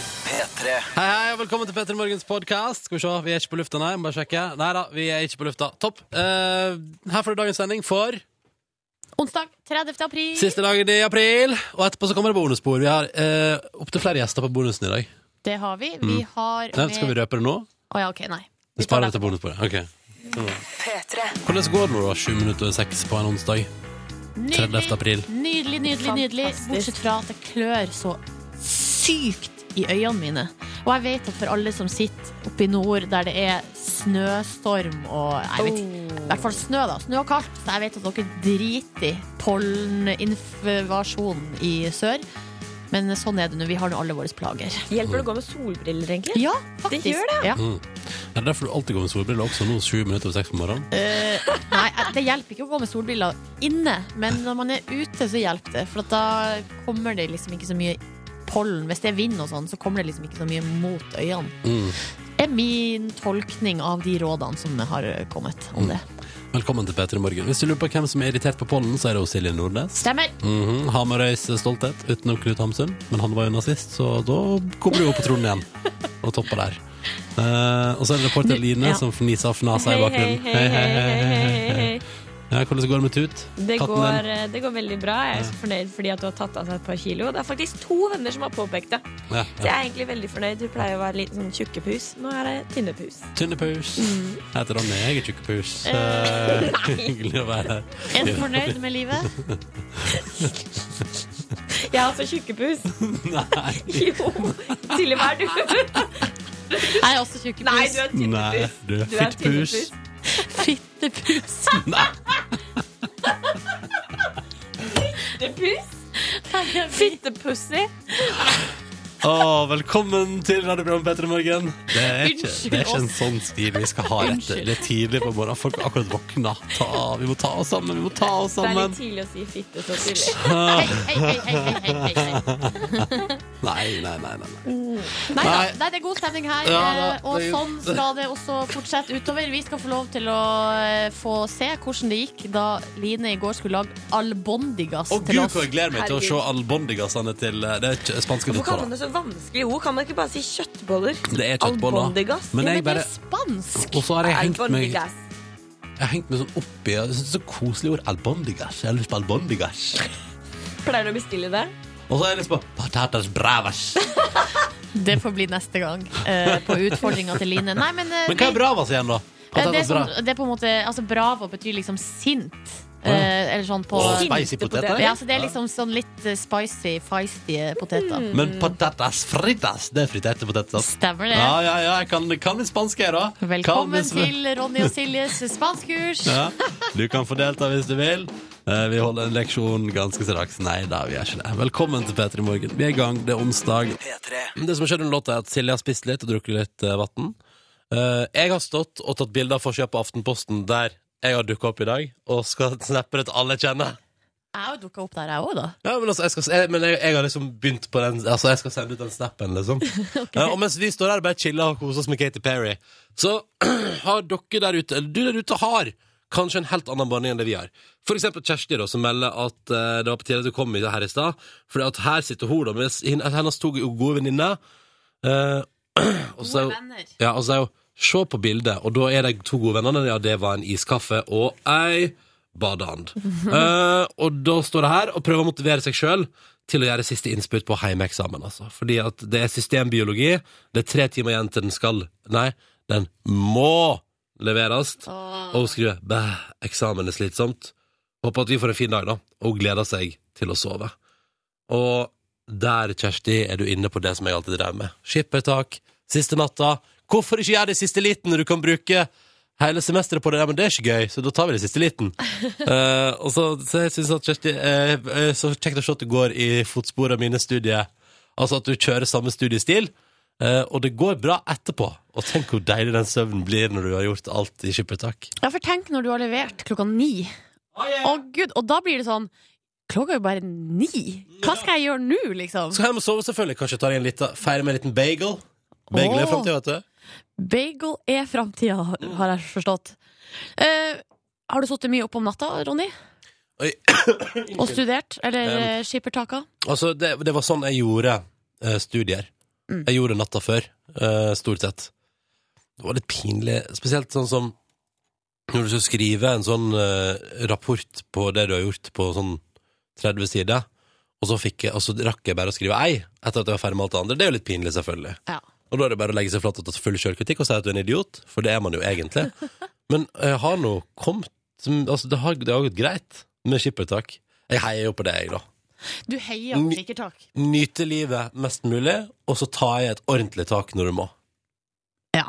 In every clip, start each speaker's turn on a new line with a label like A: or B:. A: P3.
B: Hei, hei, og velkommen til Petter Morgens podkast. Skal vi se, vi er ikke på lufta, nei. Må bare sjekke. Nei da, vi er ikke på lufta. Topp. Eh, her får du dagens sending for
C: Onsdag 30. april.
B: siste dagen i april. Og etterpå så kommer det bonusspor. Vi har uh, opptil flere gjester på bonusen i dag.
C: Det har vi. Vi har
B: Nei, Mm. skal vi røpe det nå?
C: Å ja, OK, nei.
B: Vi sparer det til bonussporet. Ok. Hvordan går det nå, da? Sju minutter over seks på en onsdag. 30. april.
C: Nydelig, nydelig, nydelig. Bortsett fra at det klør så sykt i øynene mine. Og jeg vet at for alle som sitter oppe i nord der det er snøstorm og jeg vet, I hvert fall snø, da. Snø og kaldt. Så jeg vet at dere driter i polleninvasjonen i sør. Men sånn er det nå. Vi har nå alle våre plager.
D: Hjelper det å gå med solbriller, egentlig?
C: Ja, faktisk.
D: gjør
C: Ja.
B: Er det derfor du alltid går med solbriller også nå, sju minutter over seks på morgenen?
C: Nei, eh, det hjelper ikke å gå med solbriller inne, men når man er ute, så hjelper det. For at da kommer det liksom ikke så mye pollen. Hvis det er vind og sånn, så kommer det liksom ikke så mye mot øynene.
B: Mm.
C: er min tolkning av de rådene som har kommet om det.
B: Velkommen til P3 Morgen. Hvis du lurer på hvem som er irritert på pollen, så er det jo Silje Nordnes.
C: Stemmer.
B: Mhm, Hamarøys stolthet utenom Knut Hamsun, men han var jo nazist, så da kommer du jo på tronen igjen og topper der. Eh, og så er det reporter Line
D: ja.
B: som fniser og fnaser i bakgrunnen. Hei, hei, hei, hei, hei. Ja, hvordan går det med Tut?
D: Det
B: Katten
D: går, eh,
B: din?
D: det går veldig bra. Jeg er så fornøyd fordi at du har tatt av seg et par kilo. Det er faktisk to venner som har påpekt det.
B: Ja,
D: Så jeg
B: ja.
D: er egentlig veldig fornøyd. Du pleier å være litt sånn tjukke pus. Nå er det tynne pus.
B: Tynnepus. Jeg heter Ronny, jeg er tjukkepus. Eh, Hyggelig å være her.
C: Er du fornøyd med livet?
D: Jeg er altså tjukke pus.
B: Nei.
D: Jo. Silje, hva er du?
C: Jeg er også tjukkepus.
D: Nei, du er tynne
B: Nei,
D: pus.
B: du er
D: Du er tynne
B: fittpus.
D: pus.
C: Fittepus.
B: Nei.
D: Fittepus? Ah. Fittepussy?
B: Å, velkommen til radioprogrammet Petter i morgen. Det er, ikke, det er ikke en sånn stil vi skal ha etter.
C: Unnskyld.
B: Det er tidlig på morgenen. Folk har akkurat våkna. Ta- Vi må ta oss sammen, vi må ta oss
D: Det er
B: sammen.
D: litt tidlig å si fitte så tidlig.
C: Hei, hei, hei, hei, hei, hei, hei.
B: Nei, nei, nei. nei, nei.
C: Nei da,
B: Nei.
C: nei, det er god stemning her.
B: Ja da,
C: eh, og
B: det er jo-
C: sånn skal det også fortsette utover. Vi skal få lov til å eh, få se hvordan det gikk da Line i går skulle lage albondigas
B: Å
C: til
B: gud,
C: oss.
B: hvor jeg gleder meg til å se
D: Herregud.
B: albondigasene til eh, Det er ikke- spanske
D: Hvorfor kaller
B: dødsåra.
D: man det så vanskelige ord? Kan man ikke bare si kjøttboller?
B: Det er kjøttboller.
D: Albondigas.
B: Men
C: Ja,
B: jeg
C: men det
B: bare
C: er spansk!
B: Og så har jeg hengt meg, jeg
D: Albondigas.
B: har hengt meg sånn oppi Jeg synes det er så koselig ord. Albondigas. Jeg har lyst på albondigas.
D: Pleier du å bestille det?
B: Og så har jeg lyst på patatas bravas.
C: Det får bli neste gang eh, på utfordringa til Line. Nei, men, eh,
B: Men hva er
C: vi-
B: bravas igjen, da?
C: eh, det, er
B: Patatas
C: sånn,
B: bravas.
C: det er på en måte altså, Bravo betyr liksom sint.
B: ja.
C: Eh, eller sånn på
B: Og
D: Sinte
B: spicy poteter?
C: ja, så Det er liksom sånn litt eh, spicy, feisty eh, poteter.
B: Men patatas fritas, det er friterte poteter.
C: Stemmer det.
B: Ja, ja, ja, jeg kan, kan litt spansk her, da. Kan
C: Velkommen
B: litt sp-
C: til Ronny og Siljes spanskkurs.
B: ja. Du kan få delta hvis du vil. Eh, Vi holder en leksjon ganske straks. Nei da, vi gjør ikke det. Velkommen til P3 Morgen. Vi er i gang, det er onsdag.
A: P3.
B: Det som har skjedd under låta, er at Silje har spist litt og drukket litt eh, vann. Eh, Jeg har stått og tatt bilder av forsida på Aftenposten der jeg har dukka opp i dag, og skal snappe det til alle jeg kjenner.
C: Jeg har jo dukka opp der, jeg òg, da.
B: Ja, men altså, jeg, skal, jeg, men jeg, jeg har liksom begynt på den Altså, jeg skal sende ut den snappen, liksom. Ja, og mens vi står her og bare chiller og koser oss med Katy Perry, så har dere der ute Eller du der ute har kanskje en helt annen banning enn det vi har. For eksempel Kjersti, da, som melder at eh, det var på tide at du kom her i stad. For at her sitter hun da med sin- hennes to gode venninner. eh, og så er hun- ja, og så er hun Se på bildet, og da er de to gode vennene Ja, det var en iskaffe og ei badehand. Eh, og da står det her og prøver å motivere seg sjøl til å gjøre siste innspurt på heimeeksamen. Altså. Fordi at det er systembiologi, det er tre timer igjen til den skal Nei, den må leveres. Og hun skriver bæh, eksamen er slitsomt. Håper at vi får en fin dag, da. Og hun gleder seg til å sove. Og der, Kjersti, er du inne på det som jeg alltid drev med. Skippertak, siste natta. Hvorfor ikke gjøre det i siste liten når du kan bruke hele semesteret på det? Ja, men det er ikke gøy, så da tar vi det i siste liten. Eh, og så, så jeg synes at Kjersti, eh, eh, så kjekt å se at du går i fotsporet av mine studier. Altså at du kjører samme studiestil. eh, og det går bra etterpå. Og tenk hvor deilig den søvnen blir når du har gjort alt i skippertak.
C: Ja, for tenk når du har levert klokka ni. Å gud, Og da blir det sånn Klokka er jo bare ni! Hva skal jeg gjøre nå, liksom?
B: Så hjem og sove, selvfølgelig. Kanskje ta deg en liten, feire med en liten bagel. Bagel er
C: Åh.
B: fremtiden, vet du.
C: Bagel er framtida,
B: Mm.
C: har jeg forstått. Eh, har du sittet mye opp om natta, Ronny?
B: Oi.
C: Og studert? Eller um, skippertaka?
B: Altså, det, det var sånn jeg gjorde eh, studier. Jeg gjorde det natta før, eh, stort sett. Det var litt pinlig, spesielt sånn som når du skal skrive en sånn eh, rapport på det du har gjort på sånn 30 sider, og så, fikk jeg, og så rakk jeg bare å skrive ei etter at jeg var ferdig med alt det andre. Det er jo litt pinlig, selvfølgelig.
C: Ja.
B: Og da er det bare å legge seg flat og ta full sjølkritikk og si at du er en idiot, for det er man jo egentlig. Men jeg har nå kommet altså, Det har det har gått greit med skippertak. Jeg heier jo på det, jeg, da.
C: Du heier på kikkertak.
B: Nyte livet mest mulig, og så tar jeg et ordentlig tak når du må.
A: Ja.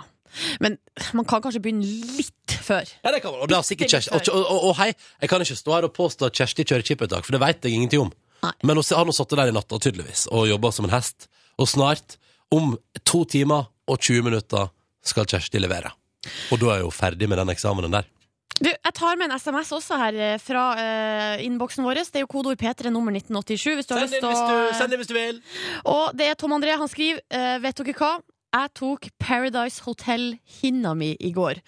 A: Men man kan kanskje begynne litt før.
B: Ja, det kan man. Og, det har sikkert Kjersti, og, og, og, og hei, jeg kan ikke stå her og påstå at Kjersti kjører skippertak, for det vet jeg ingenting om.
A: Nei.
B: Men hun har nå sittet der i natta, tydeligvis, og jobba som en hest. Og snart, om to timer og 20 minutter, skal Kjersti levere. Og da er jeg jo ferdig med den eksamenen der.
C: Du, jeg tar med en SMS også her eh, fra eh, innboksen vår. Det er jo kodeord P3 nummer 1987 hvis du har lyst til å
B: inn hvis du vil!
C: Og det er Tom André, han skriver eh, Vet dere hva? Jeg tok Paradise Hotel-hinna mi i går.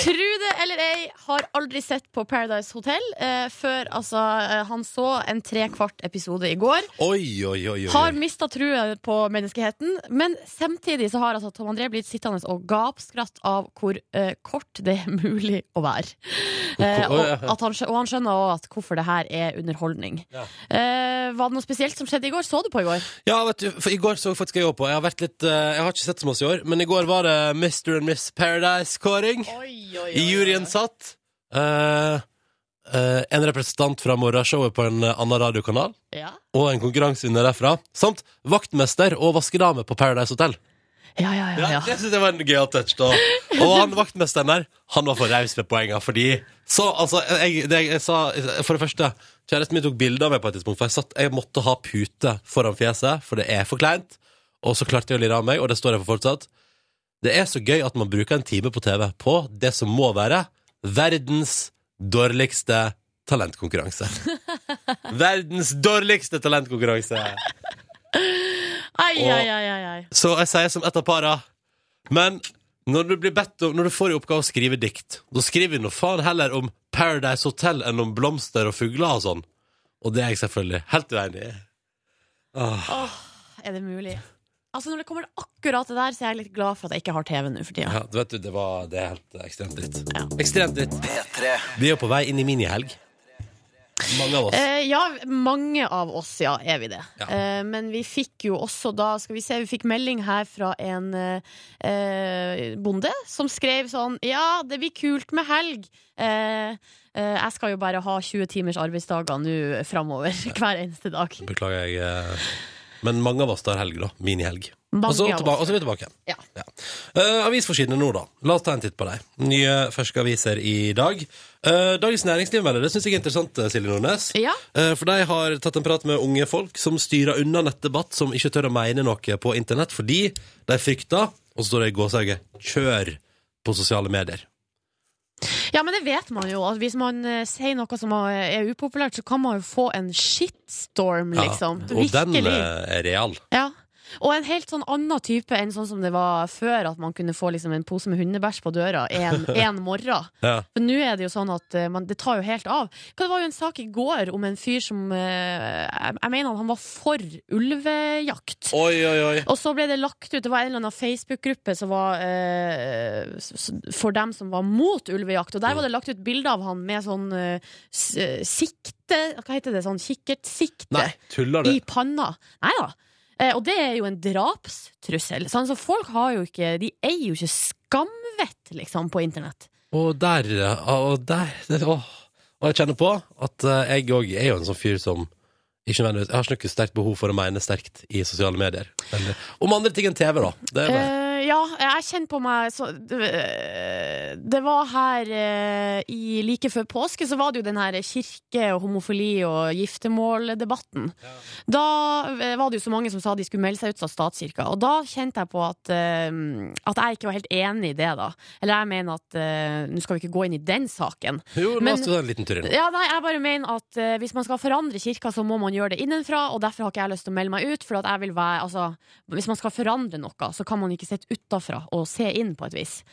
C: Tru det eller ei, har aldri sett på Paradise Hotel eh, før altså, eh, han så en trekvart episode i går.
B: Oi, oi, oi, oi.
C: Har mista trua på menneskeheten, men samtidig så har altså Tom André blitt sittende og gapskratt av hvor eh, kort det er mulig å være.
B: Å,
C: Eh, og,
B: ja.
C: at han, skjø- og han skjønner også at hvorfor det her er underholdning.
B: Ja.
C: Eh, var det noe spesielt som skjedde i går? Så du på i går?
B: Ja, vet du, for i går så faktisk jeg òg på. Jeg har, vært litt, eh, jeg har ikke sett så masse i år, men i går var det Mr. and Miss Paradise-kåring. I juryen satt eh, eh, en representant fra morgenshowet på en eh, annen radiokanal,
C: Ja.
B: og en konkurransevinner derfra, samt vaktmester og vaskedame på Paradise Hotel.
C: Ja, ja, ja, ja.
B: Jeg synes det var en gøyal touch, da. Og han vaktmesteren der, han var for raus med poengene, fordi Så, altså, jeg, det jeg sa For det første, kjæresten min tok bilder av meg på et tidspunkt, for jeg, satt, jeg måtte ha pute foran fjeset, for det er for kleint. Og så klarte jeg å lire av meg, og det står jeg for fortsatt. Det er så gøy at man bruker en time på TV på det som må være verdens dårligste talentkonkurranse. Verdens dårligste talentkonkurranse.
C: Ai,
B: Og-
C: ai, ai, ai, ai.
B: Så jeg sier som et av para Men når du, blir bedt om, når du får i oppgave å skrive dikt Da skriver vi noe faen heller om Paradise Hotel Enn om blomster og fugler og sånn Og det er jeg selvfølgelig helt uenig i Åh,
C: Er det mulig? Altså Når det kommer til akkurat det der, så er jeg litt glad for at jeg ikke har TV nå for tida.
B: ja, du vet du, det, var, det er helt eh, ekstremt dritt
C: Ja.
B: Ekstremt dritt Vi er jo på vei inn i minihelg Mange av oss
C: Eh, ja, mange av oss, ja, er vi det.
B: Ja.
C: Eh, men vi fikk jo også da Skal vi se, vi fikk melding her fra en eh, eh, bonde som skrev sånn Ja, det blir kult med helg. Eh, eh, jeg skal jo bare ha 20 timers arbeidsdager nå framover. Hver eneste dag.
B: Beklager jeg eh, Men mange av oss tar helg da, minihelg
C: Mange
B: Og så
C: av oss.
B: tilba- og så er vi tilbake igjen
C: Ja.
B: Ja. Eh, avisforsidene nå, da. La oss ta en titt på dem. Nye ferske aviser i dag. Eh, Dagens Næringsliv melder, det syns jeg er interessant, eh, Silje Nordnes.
C: Ja.
B: Eh, for de har tatt en prat med unge folk som styrer unna nettdebatt, som ikke tør å mene noe på internett fordi de frykter, og så står det i gåseøyne, kjør på sosiale medier.
C: Ja, men det vet man jo. At hvis man eh, sier noe som eh, er upopulært, så kan man jo få en shitstorm, liksom.
B: Ja, og den
C: Virkelig.
B: eh, er real.
C: Ja. Og en helt sånn annen type enn sånn som det var før, at man kunne få liksom en pose med hundebæsj på døra en, en morgen.
B: Ja.
C: For nå er det jo sånn at eh, man, det tar jo helt av. Hva, Det var jo en sak i går om en fyr som eh, Jeg, jeg mener han var for ulvejakt.
B: Oi, oi, oi.
C: Og så ble det lagt ut, det var en eller annen Facebook-gruppe som var eh, s- s- for dem som var mot ulvejakt, og der var det lagt ut bilde av han med sånn eh, s- eh, sikte, hva heter det, sånn kikkertsikte
B: Nei, tuller
C: i
B: du?
C: panna. Nei da. Eh, og det er jo en drapstrussel. Sånn, så folk har jo ikke De eier jo ikke skamvett, liksom, på internett.
B: Og der, ja, og der det- åh. Og jeg kjenner på at eh, jeg òg er jo en sånn fyr som ikke nødvendigvis, Jeg har ikke noe sterkt behov for å mene sterkt i sosiale medier. Eller, om andre ting enn TV, da. Det er bare,
C: Eh, ja, jeg kjenner på meg så, det, det var her eh, i like før påske, så var det jo den her kirke- og homofili- og giftermåldebatten. Da eh, var det jo så mange som sa de skulle melde seg ut av statskirka, og da kjente jeg på at, eh, at jeg ikke var helt enig i det, da. Eller jeg mener at eh, nå skal vi ikke gå inn i den saken.
B: jo, la
C: Eh, men- eh,
B: oss ta en liten tur inn.
C: Ja, nei, jeg bare mener at eh, hvis man skal forandre kirka, så må man gjøre det innenfra, og derfor har ikke jeg lyst til å melde meg ut, for at jeg vil være, altså, hvis man skal forandre noe, så kan man ikke sitte utafra og se inn på et vis.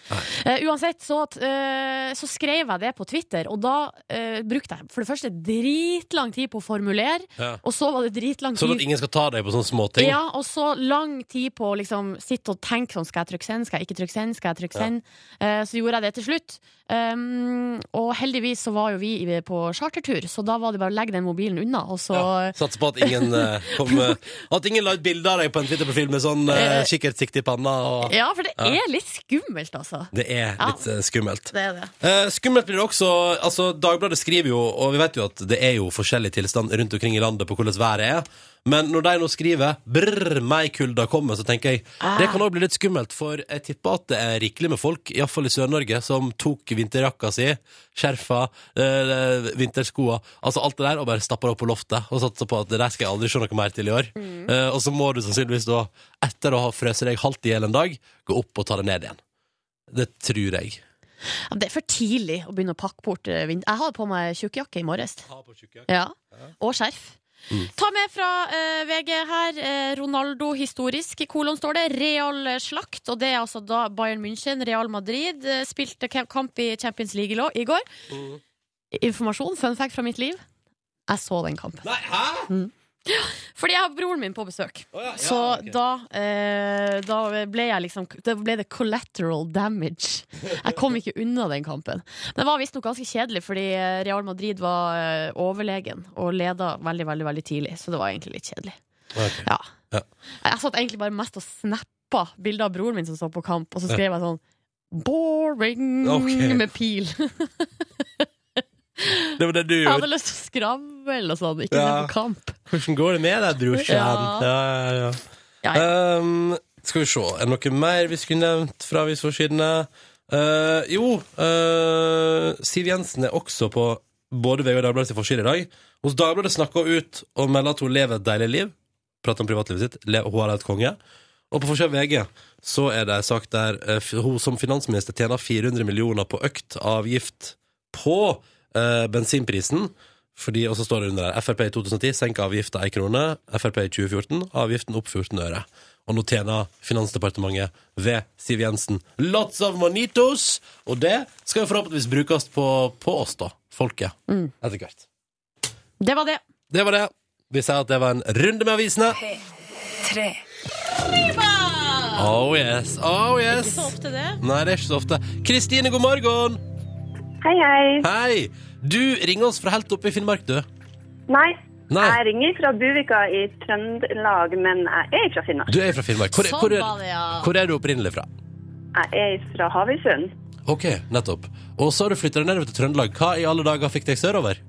C: Eh, uansett, så, eh, så skrev jeg det på Twitter, og da eh, brukte jeg for det første dritlang tid på å formulere,
B: Ja.
C: og så var det dritlang
B: Sånn at
C: tid
B: ingen skal ta deg på sånne småting.
C: Ja, og så lang tid på å liksom sitte og tenke sånn, skal jeg trykke send, skal jeg ikke trykke send, skal jeg trykke
B: Ja.
C: send? Eh, så gjorde jeg det til slutt. Um, og heldigvis så var jo vi i- på chartertur, så da var det bare å legge den mobilen unna, og så
B: Ja, Satser på at ingen eh, kom, eh, At ingen la ut bilde av deg på en Twitter-profil med sånn uh,
C: Eh,
B: kikkertsikt i panna. Og...
C: Ja, for det
B: Ja.
C: er litt skummelt, altså.
B: Det er
C: Ja.
B: litt eh, skummelt.
C: Det er det.
B: Eh, skummelt blir det også. altså Dagbladet skriver jo, og vi vet jo at det er jo forskjellig tilstand rundt omkring i landet på hvordan været er. Men når de nå skriver 'brr, meg kulda kommer', så tenker jeg det kan òg bli litt skummelt. For jeg tipper at det er rikelig med folk, iallfall i Sør-Norge, som tok vinterjakka si, skjerfa, eh, vinterskoa, altså alt det der, og bare stappa det opp på loftet og satsa på at det der skal jeg aldri se noe mer til i år. Eh, og så må du sannsynligvis da, etter å ha frøst deg halvt i hjel en dag, gå opp og ta det ned igjen. Det tror jeg.
C: Ja, det er for tidlig å begynne å pakke bort eh, vind... Jeg hadde på meg tjukkjakke i morges.
B: Ha på tjukkjakke.
C: Ja. Og skjerf. Ta med fra eh, VG her. eh, Ronaldo historisk, i kolon står det. Real slakt. Og det er altså da Bayern München, Real Madrid. eh, Spilte ka- kamp i Champions League i lå- i går. Informasjon, fun fact fra mitt liv. Jeg så den kampen.
B: Nei, hæ?
C: Fordi jeg har broren min på besøk.
B: Å, ja, ja,
C: Så
B: ok.
C: da, eh, da ble jeg liksom Da ble det collateral damage. Jeg kom ikke unna den kampen. Den var visstnok ganske kjedelig, fordi eh, Real Madrid var eh, overlegen og leda veldig, veldig veldig tidlig. Så det var egentlig litt kjedelig.
B: Ok.
C: Ja.
B: Ja.
C: Jeg satt egentlig bare mest og snappa bilder av broren min som så på kamp, og så skrev jeg sånn Boring!
B: Ok.
C: Med pil.
B: Det var det du
C: Jeg
B: gjorde.
C: hadde lyst til å skravle og sånn, ikke se
B: Ja.
C: på kamp.
B: Hvordan går det med deg, brorsan? Ja,
C: Ja.
B: ja, ja.
C: Ja, ja.
B: Ehm, skal vi se, er det noe mer vi skulle nevnt fra avisforsidene? Eh, jo, eh, Siv Jensen er også på både VG og Dagbladets forside i dag. Hos Dagbladet snakker hun ut og melder at hun lever et deilig liv. Prater om privatlivet sitt. Le hun har et konge. Og på forsiden av VG så er det en sak der eh, f- hun som finansminister tjener 400 millioner på økt avgift på eh, bensinprisen. Fordi, og så står det under der Frp i 2010 senker avgifta ei krone. Frp i 2014 avgiften opp 14 øre. Og nå tjener Finansdepartementet ved Siv Jensen lots of monitos! Og det skal jo forhåpentligvis brukes på, på oss, da. Folket. Etter hvert.
C: Det var det.
B: Det var det. Vi sier at det var en runde med avisene. Oh yes. Oh yes.
C: Så opp til det.
B: Nei, det er ikke så ofte. Kristine, god morgen!
E: Hei, hei.
B: Hei! Du ringer oss fra helt oppe i Finnmark, du.
E: Nei.
B: Nei.
E: Jeg ringer fra Buvika i Trøndelag, men jeg er fra Finnmark.
B: Du er fra Finnmark. Hvor,
C: Sånn
B: hvor,
C: var det,
B: er,
C: ja.
B: hvor er du opprinnelig fra?
E: Jeg er fra Havøysund.
B: Ok, nettopp. Og så har du flytta deg nedover til Trøndelag. Hva i alle dager fikk deg sørover?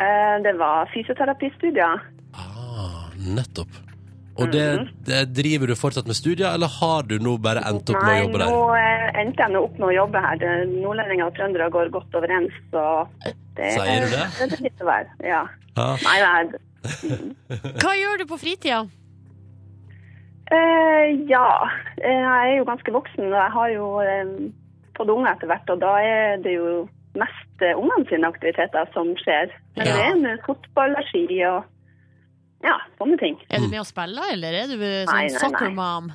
E: Eh, Det var fysioterapistudier.
B: Ah, nettopp. Og det,
E: Mhm.
B: det driver du fortsatt med studier, eller har du nå bare endt opp med å
E: Nei,
B: jobbe
E: nå
B: der?
E: eh, endte jeg nå opp med å jobbe her. Det- Nordlendinger og trøndere går godt overens, så det
B: Sier du det?
E: er litt å være. Ja.
B: Ja.
E: Nei, nei.
C: Hva gjør du på fritida?
E: Eh, ja. Eh, Jeg er jo ganske voksen, og jeg har jo eh, fått unger etter hvert, og da er det jo mest eh, ungene sine aktiviteter som skjer. Men
C: Ja.
E: det er med fotball og ski og ja, sånne ting.
C: Er du med og spiller, eller er du
E: Nei,
C: eh,
E: nei,
C: sånn
E: nei.
C: soccer mom?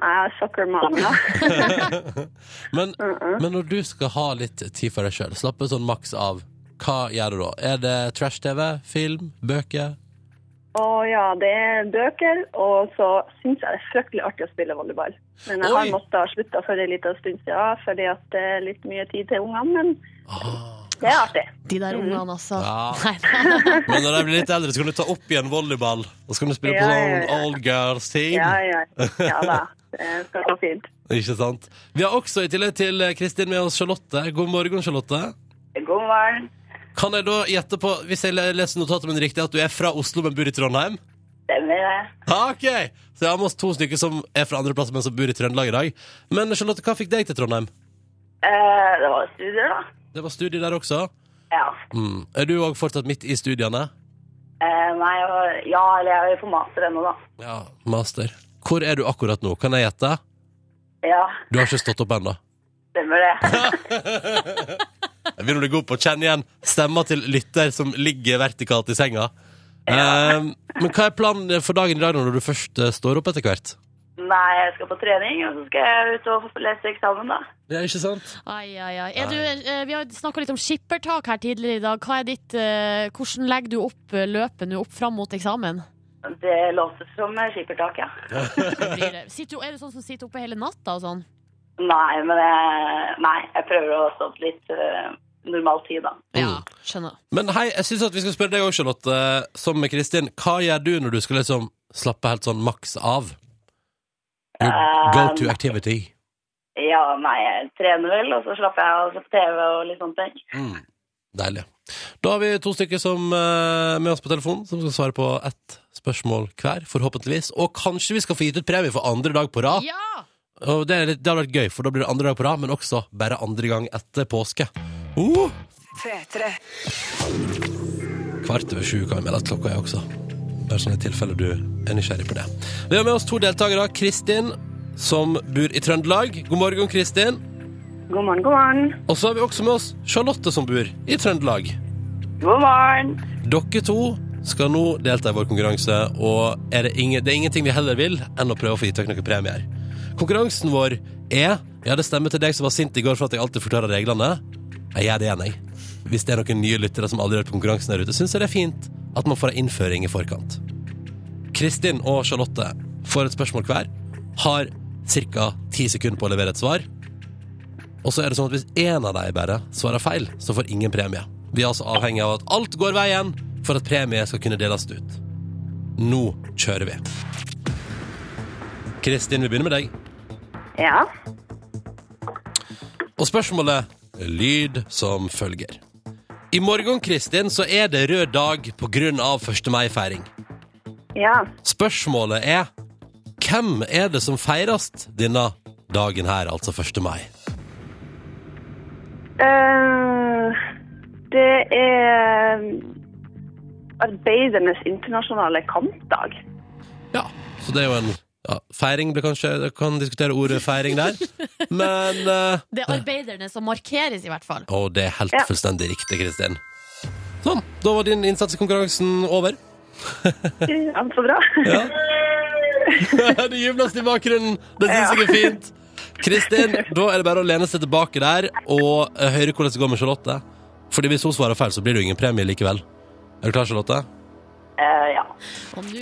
E: Jeg er soccer mom, ja.
B: Men,
E: Mhm.
B: men når du skal ha litt tid for deg sjøl, slappe sånn maks av, hva gjør du da? Er det trash-TV, film, bøker?
E: Og ja, det er bøker, og så syns jeg det er fryktelig artig å spille volleyball. Men jeg har
B: Oi!
E: måttet slutte for en liten stund siden, fordi at det er litt mye tid til ungene, men
B: Ah.
E: det er artig.
C: De der ungene, altså.
B: Ja.
C: Nei, da.
B: Men når de blir litt eldre, så kan du ta opp igjen volleyball. Og så kan du spille på
E: Ja,
B: sånn
E: ja, ja.
B: old girls team.
E: Ja, ja, ja da. Det skal gå fint.
B: Ikke sant? Vi har også i tillegg til Kristin med oss Charlotte. God morgen, Charlotte.
E: God morgen.
B: Kan jeg da gjette på, hvis jeg leser notatet min riktig, at du er fra Oslo, men bor i Trondheim?
E: Stemmer det.
B: Ja, ok! Så jeg har med oss to stykker som er fra andre plasser, men som bor i Trøndelag i dag. Men Charlotte, hva fikk deg til Trondheim?
E: Eh, det var studier, da.
B: Det var studie der også.
E: Ja.
B: Mm. Er du òg fortsatt midt i studiene?
E: Eh, nei, og- ja, eller jeg er jo på master ennå, da.
B: Ja, master. Hvor er du akkurat nå? Kan jeg gjette?
E: Ja,
B: Du har ikke stått opp ennå.
E: stemmer det.
B: Jeg vil bli god på å kjenne igjen stemmer til lytter som ligger vertikalt i senga. Ehm, men hva er planen for dagen i dag når du først eh, står opp etter hvert?
E: Nei, jeg skal på trening, og så skal jeg ut og lese eksamen, da.
B: Det er ikke sant?
C: Ai, ai, ai. Er du, eh, vi har snakka litt om skippertak her tidligere i dag. Hva er ditt, eh, hvordan legger du opp eh, løpet nå opp fram mot eksamen?
E: Det låses som skippertak, ja.
C: Blir det- Sitter, du- er du sånn som sitter oppe hele natta og sånn?
E: Nei, men jeg, nei, jeg prøver å stå opp litt eh, normal tid, da.
C: Ja, skjønner.
B: Men hei, jeg syns vi skal spørre deg òg, Charlotte, som med Kristin. Hva gjør du når du skal liksom slappe helt sånn maks av? Your go to activity.
E: Ja, nei, jeg trener vel, og så slapper jeg av og ser på TV og litt sånne ting.
B: Mm. Deilig. Da har vi to stykker som, eh, med oss på telefonen som skal svare på ett spørsmål hver, forhåpentligvis. Og kanskje vi skal få gitt ut premie for andre dag på rad.
C: Ja!
B: Og det, er litt, det hadde vært gøy, for da blir det andre dag på rad, men også bare andre gang etter påske. Uh! Kvart over sju kan vi melde at klokka er også. Bare sånn i tilfelle du er nysgjerrig på det. Vi har med oss to deltakere. Kristin, som bor i Trøndelag. God morgen, Kristin.
E: God morgen, god morgen.
B: Og så har vi også med oss Charlotte, som bor i Trøndelag.
E: God morgen.
B: Dere to skal nå delta i vår konkurranse, og er det, ingen, det er ingenting vi heller vil enn å prøve å få gitt dere noen premier. Konkurransen vår er Ja, det stemmer til deg som var sint i går for at jeg alltid forklarer reglene. Jeg gjør det igjen, jeg. Hvis det er noen nye lyttere som aldri har hørt på konkurransen der ute, syns jeg det er fint at man får en innføring i forkant. Kristin og Charlotte får et spørsmål hver, har ca. ti sekunder på å levere et svar. Og så er det sånn at hvis én av dem bare svarer feil, så får ingen premie. Vi er altså avhengig av at alt går veien for at premie skal kunne deles ut. Nå kjører vi. Kristin, vi begynner med deg.
E: Ja.
B: Og spørsmålet lyd som følger. I morgen, Kristin, så er det rød dag på grunn av 1. mai-feiring.
E: Ja.
B: Spørsmålet er hvem er det som feires denne dagen her, altså 1. mai?
E: Eh, det er Arbeidernes internasjonale kampdag.
B: Ja, så det er jo en ja, feiring blir kanskje, jeg kan diskutere ordet feiring der, men eh,
C: Det er arbeiderne som markeres, i hvert fall.
B: Og det er helt
E: Ja.
B: fullstendig riktig, Kristin. Sånn, da var din innsats i konkurransen over.
E: Ja, så bra.
B: Ja. det jubles i bakgrunnen, det syns jeg er fint. Kristin, da er det bare å lene seg tilbake der og eh, høre hvordan det går med Charlotte. Fordi hvis hun svarer feil, så blir det jo ingen premie likevel. Er du klar, Charlotte?
E: Eh, ja.
C: Og nå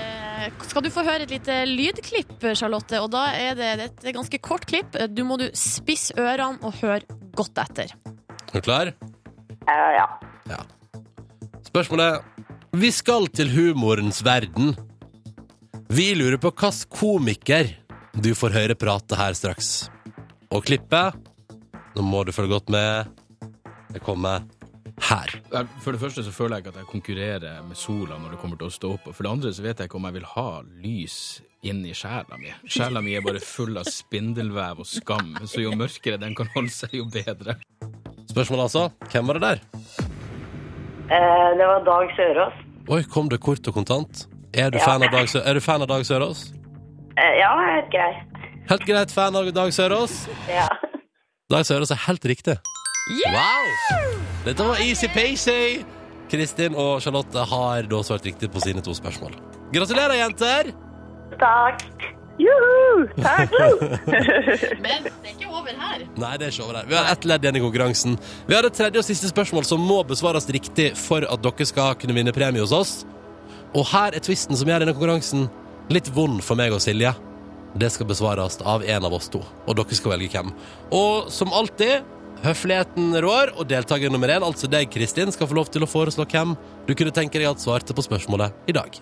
C: eh, skal du få høre et lite lydklipp, Charlotte. Og da er det det er et ganske kort klipp. Du må du spisse ørene og høre godt etter.
B: Er du klar?
E: Eh, ja.
B: Ja. Spørsmålet er Vi skal til humorens verden. Vi lurer på hvilken komiker du får høre prate her straks. Og klippet Nå må du følge godt med. Det kommer her.
F: Jeg- For det første så føler jeg ikke at jeg konkurrerer med sola når det kommer til å stå opp. Og for det andre så vet jeg ikke om jeg vil ha lys inn i sjela mi. Sjela mi er bare full av spindelvev og skam, så jo mørkere den kan holde seg, jo bedre.
B: Spørsmålet altså Hvem var det der?
E: Eh, det var Dag Sørås.
B: Oi, kom det kort og kontant? Er du
E: Ja.
B: fan av Dag, Sø er du fan av Dag Sørås?
E: Eh, ja, jeg vet ikke, jeg.
B: Helt greit fan av Dag Sørås?
E: Ja.
B: Dag Sørås er helt riktig. Wow! Dette var easy-peasy. Kristin og Charlotte har da svart riktig på sine to spørsmål. Gratulerer, jenter!
E: Takk. Juhu! Takk.
C: Men det er ikke over her.
B: Nei, det er ikke over her. Vi har ett ledd igjen i konkurransen. Vi har et tredje og siste spørsmål som må besvares riktig for at dere skal kunne vinne premie hos oss. Og her er tvisten som gjør denne konkurransen litt vond for meg og Silje. Det skal besvares av en av oss to, og dere skal velge hvem. Og som alltid, høfligheten rår, og deltaker nummer én, altså deg, Kristin, skal få lov til å foreslå hvem du kunne tenke deg at svarte på spørsmålet i dag.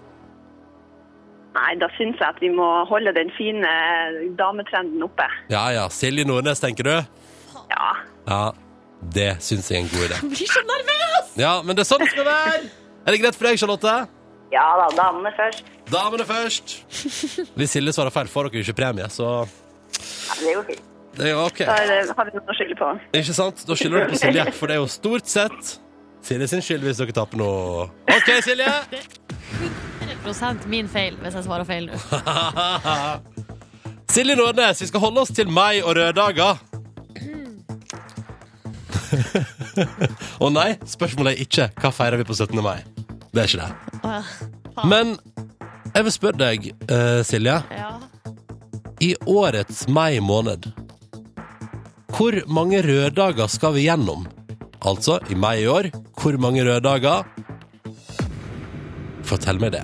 E: Nei, da syns jeg at vi må holde den fine dametrenden oppe.
B: Ja ja, Silje Nordnes, tenker du?
E: Ja.
B: Ja, det syns jeg er en god idé.
C: Jeg blir så nervøs!
B: Ja, men det er sånn det skal være! Er det greit for deg, Charlotte?
E: Ja da, damene først.
B: Damene først! Hvis Silje svarer feil, får dere jo ikke premie, så
E: Ja, det går fint.
B: det er jo OK.
E: Da er det- Eh, har vi noe å skylde på.
B: Ikke sant? Da skylder dere på Silje, for det er jo stort sett Silje sin skyld hvis dere taper nå. OK, Silje!
C: 100 min feil hvis jeg svarer feil nå.
B: Silje Nordnes, vi skal holde oss til mai og røde dager. Å nei, spørsmålet er ikke hva feirer vi på 17. mai. Det er ikke det.
C: Å, ja.
B: Men jeg vil spørre deg, eh, Silje.
C: Ja.
B: i årets mai måned. Hvor mange røddager skal vi gjennom? Altså, i mai i år, hvor mange røddager? Fortell meg det.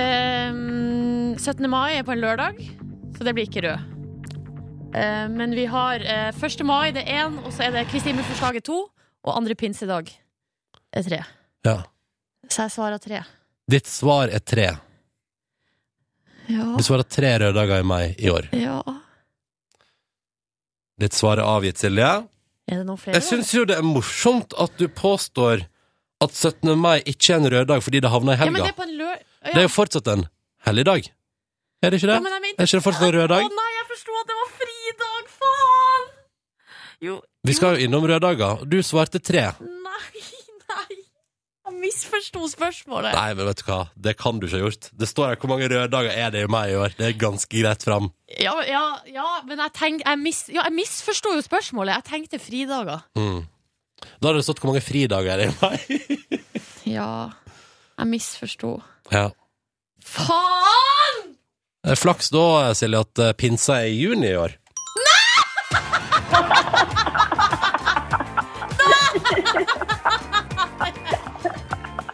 C: Ehm, 17. mai er på en lørdag, så det blir ikke rød. Ehm, men vi har eh, 1. mai, det er én, og så er det Kristi himmelforslaget to. Og andre pinsedag er tre.
B: Ja.
C: Så jeg svarer tre.
B: Ditt svar er tre.
C: Ja.
B: Du svarer tre røddager i mai i år.
C: ja.
B: Ditt svar er avgitt, Silje.
C: Er det noen flere?
B: Jeg syns jo det er morsomt at du påstår at 17. mai ikke er en røddag fordi det havna i
C: ja, men
B: helga.
C: det er på en lør... Ja.
B: Det er jo fortsatt en helligdag. Er det ikke det?
C: Ja, men jeg mente-
B: Er ikke det fortsatt en rød
C: Å
B: dag?
C: nei, jeg forsto at det var fridag! Faen! Jo,
B: Vi skal jo innom røddager. Du svarte tre.
C: nei, nei. Jeg misforsto spørsmålet.
B: Nei, men vet du hva? Det kan du ikke ha gjort. Det står her hvor mange røddager er det i mai i år. Det er ganske greit fram.
C: Ja, ja, ja, men jeg, tenk, jeg, mis, ja, jeg misforsto jo spørsmålet. Jeg tenkte fridager.
B: Mm. Da hadde det stått hvor mange fridager er det i mai.
C: Ja, jeg misforsto.
B: Ja.
C: Faen!
B: Det er Eh, flaks da, Silje, at eh, pinsa er i juni i år.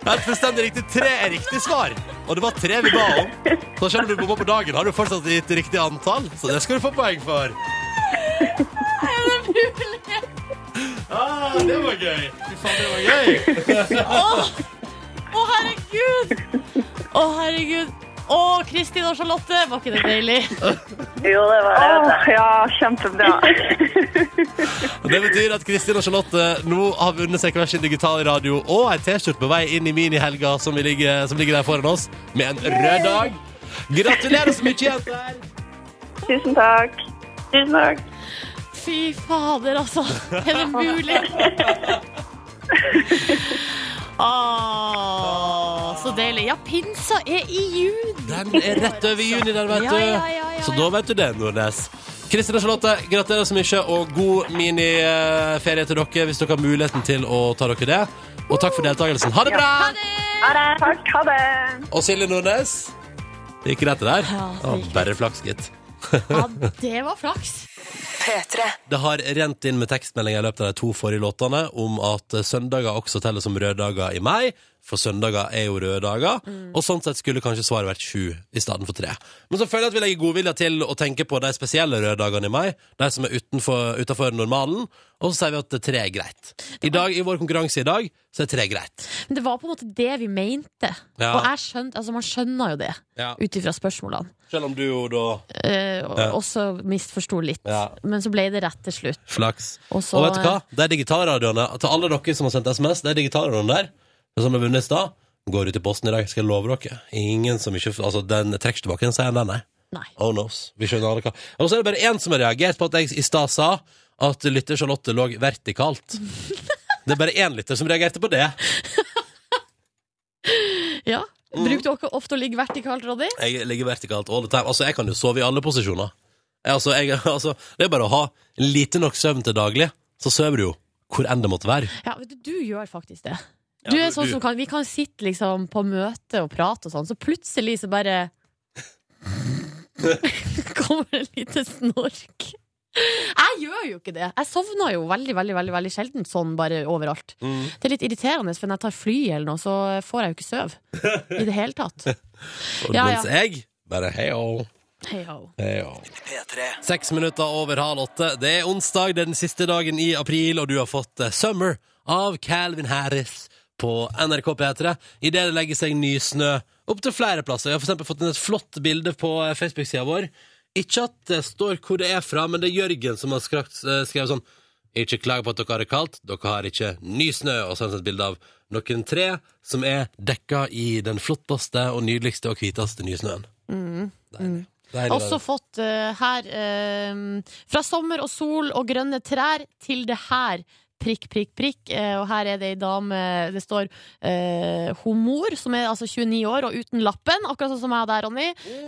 B: Helt fullstendig riktig. Tre er riktig svar. Og det var tre vi ba om. Så selv om du bomma på dagen, har du fortsatt gitt riktig antall. Så det skal du få poeng for. Ah, det var gøy. Fy faen, det var gøy.
C: Å, herregud! Å, herregud. Å, Kristin og Charlotte, var ikke det deilig?
E: Åh, ja, kjempebra.
B: Det betyr at Kristin og Charlotte nå har vunnet seg hver sin digital radio og ei T-skjorte på vei inn i minihelga som, vi ligger, som ligger der foran oss, med en rød dag. Gratulerer så mye, jenter!
E: Tusen takk. Tusen takk.
C: Fy fader, altså. Er det mulig? Å, så deilig. Ja, pinsa er i juni.
B: Den er rett over juni, den, vet du.
C: Ja, ja, ja, ja,
B: Så da vet du det, Nordnes. Kristin og Charlotte, gratulerer så mye, og god miniferie til dere hvis dere har muligheten til å ta dere det. Og takk for deltakelsen. Ha det bra!
E: Ha det. Takk, ha det.
B: Og Silje Nordnes, det gikk rett der.
C: Ja, det
B: Å,
C: gikk
B: Bare flaks, gitt.
C: Ja, det var flaks.
B: Det har rent inn med tekstmeldinger i løpet av de to forrige låtene om at eh, søndager også teller som røddager i mai, for søndager er jo røde dager, og sånn sett skulle kanskje svaret vært sju i stedet for tre. Men så føler jeg at vi legger godvilja til å tenke på de spesielle røddagene i mai, de som er utenfor, utenfor normalen, og så sier vi at det tre er greit. I dag, i vår konkurranse i dag, så er tre greit.
C: Men det var på en måte det vi mente.
B: Ja.
C: Og jeg skjønte, altså, man skjønner jo det
B: Ja.
C: ut ifra spørsmålene.
B: Selv om du jo da
C: Eh, og
B: Ja.
C: også misforsto litt.
B: Ja.
C: Men så ble det rett til slutt.
B: Flaks.
C: Og så-
B: og vet du hva? De digitalradioene til alle dere som har sendt SMS, de digitalradioene der, som har vunnet i stad, går ut i posten i dag, skal jeg love dere. Ingen som ikke Altså, den trekker tilbake den seieren, den, nei.
C: Nei.
B: Oh knows. Vi skjønner alle hva Og så er det bare én som har reagert på at jeg i stad sa at lytter Charlotte lå vertikalt. Det er bare én lytter som reagerte på det.
C: Ja.
B: Mm.
C: Bruker du ikke ofte å ligge vertikalt, Roddy?
B: Jeg ligger vertikalt all the time. Altså, jeg kan jo sove i alle posisjoner. Jeg, altså, jeg, altså, det er bare å ha lite nok søvn til daglig, så sover du jo hvor enn det måtte være.
C: Ja, vet du, du gjør faktisk det. Du
B: men
C: er sånn
B: du-
C: som kan, Vi kan sitte liksom på møte og prate og sånn, så plutselig så bare Kommer det et lite snork. Jeg gjør jo ikke det. Jeg sovner jo veldig veldig, veldig, veldig sjelden sånn bare overalt. Det er litt irriterende, for når jeg tar fly eller noe, så får jeg jo ikke sove i det hele tatt.
B: Og
C: Ja,
B: mens jeg bare hei-å,
C: Hei ho.
B: hei-å. Seks minutter over halv åtte. Det er onsdag, det er den siste dagen i april, og du har fått eh, Summer av Calvin Harris på NRK P3. Idet det legger seg ny snø opptil flere plasser. Jeg har for eksempel fått inn et flott bilde på eh, Facebook-sida vår. Ikke at det står hvor det er fra, men det er Jørgen som har skrakt, eh, skrevet sånn Ikke klag på at dere har det kaldt, dere har ikke ny snø, og så har han sett bilde av noen tre som er dekka i den flotteste og nydeligste og hviteste nysnøen. Deilig. Deilig,
C: Også fått eh, her eh, Fra sommer og sol og grønne trær til det her. Prikk, prikk, prikk. Eh, og her er det ei dame Det står eh, Homor, som er altså 29 år og uten lappen, akkurat sånn som jeg og deg, Ronny,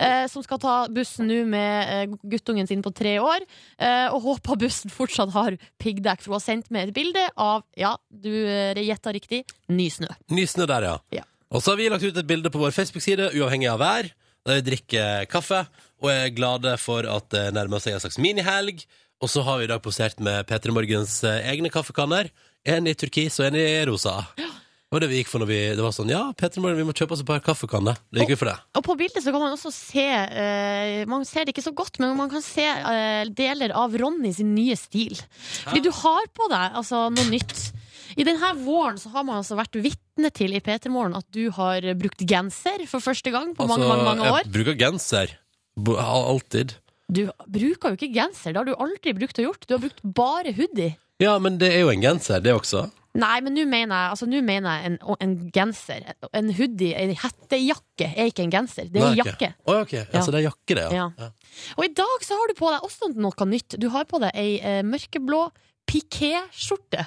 C: eh, som skal ta bussen nå med eh, guttungen sin på tre år. eh, og håper bussen fortsatt har piggdekk, for hun har sendt meg et bilde av, ja, du eh, gjetta riktig, ny snø.
B: Nysnø der, ja.
C: Ja.
B: Og så har vi lagt ut et bilde på vår Facebook-side, uavhengig av vær, der vi drikker kaffe og er glade for at det nærmer seg en slags minihelg. Og så har vi i dag posert med P3 Morgens eh, egne kaffekanner. En i turkis og en i rosa. Det var det vi gikk for når vi Det var sånn Ja, P3 Morgen, vi må kjøpe oss et par kaffekanner. Da gikk vi for det.
C: Og på bildet så kan man også se eh, Man ser det ikke så godt, men man kan se eh, deler av Ronny sin nye stil. Fordi du har på deg altså, noe nytt. I denne våren så har man altså vært vitne til i P3morgen at du har brukt genser for første gang på mange, mange, mange år.
B: Altså, jeg bruker genser. Bo- Alltid.
C: Du bruker jo ikke genser, det har du aldri brukt og gjort. Du har brukt bare hoodie.
B: Ja, men det er jo en genser, det også.
C: Nei, men nå mener jeg, altså, nå mener jeg en, en genser. En hoodie, en hettejakke, er ikke en genser. Det er en
B: Nei, ok.
C: jakke.
B: Å, ja, ok. Ja,
C: Ja.
B: Så det er jakke, det, ja.
C: Ja. Og i dag så har du på deg også noe nytt. Du har på deg ei eh, mørkeblå piké-skjorte.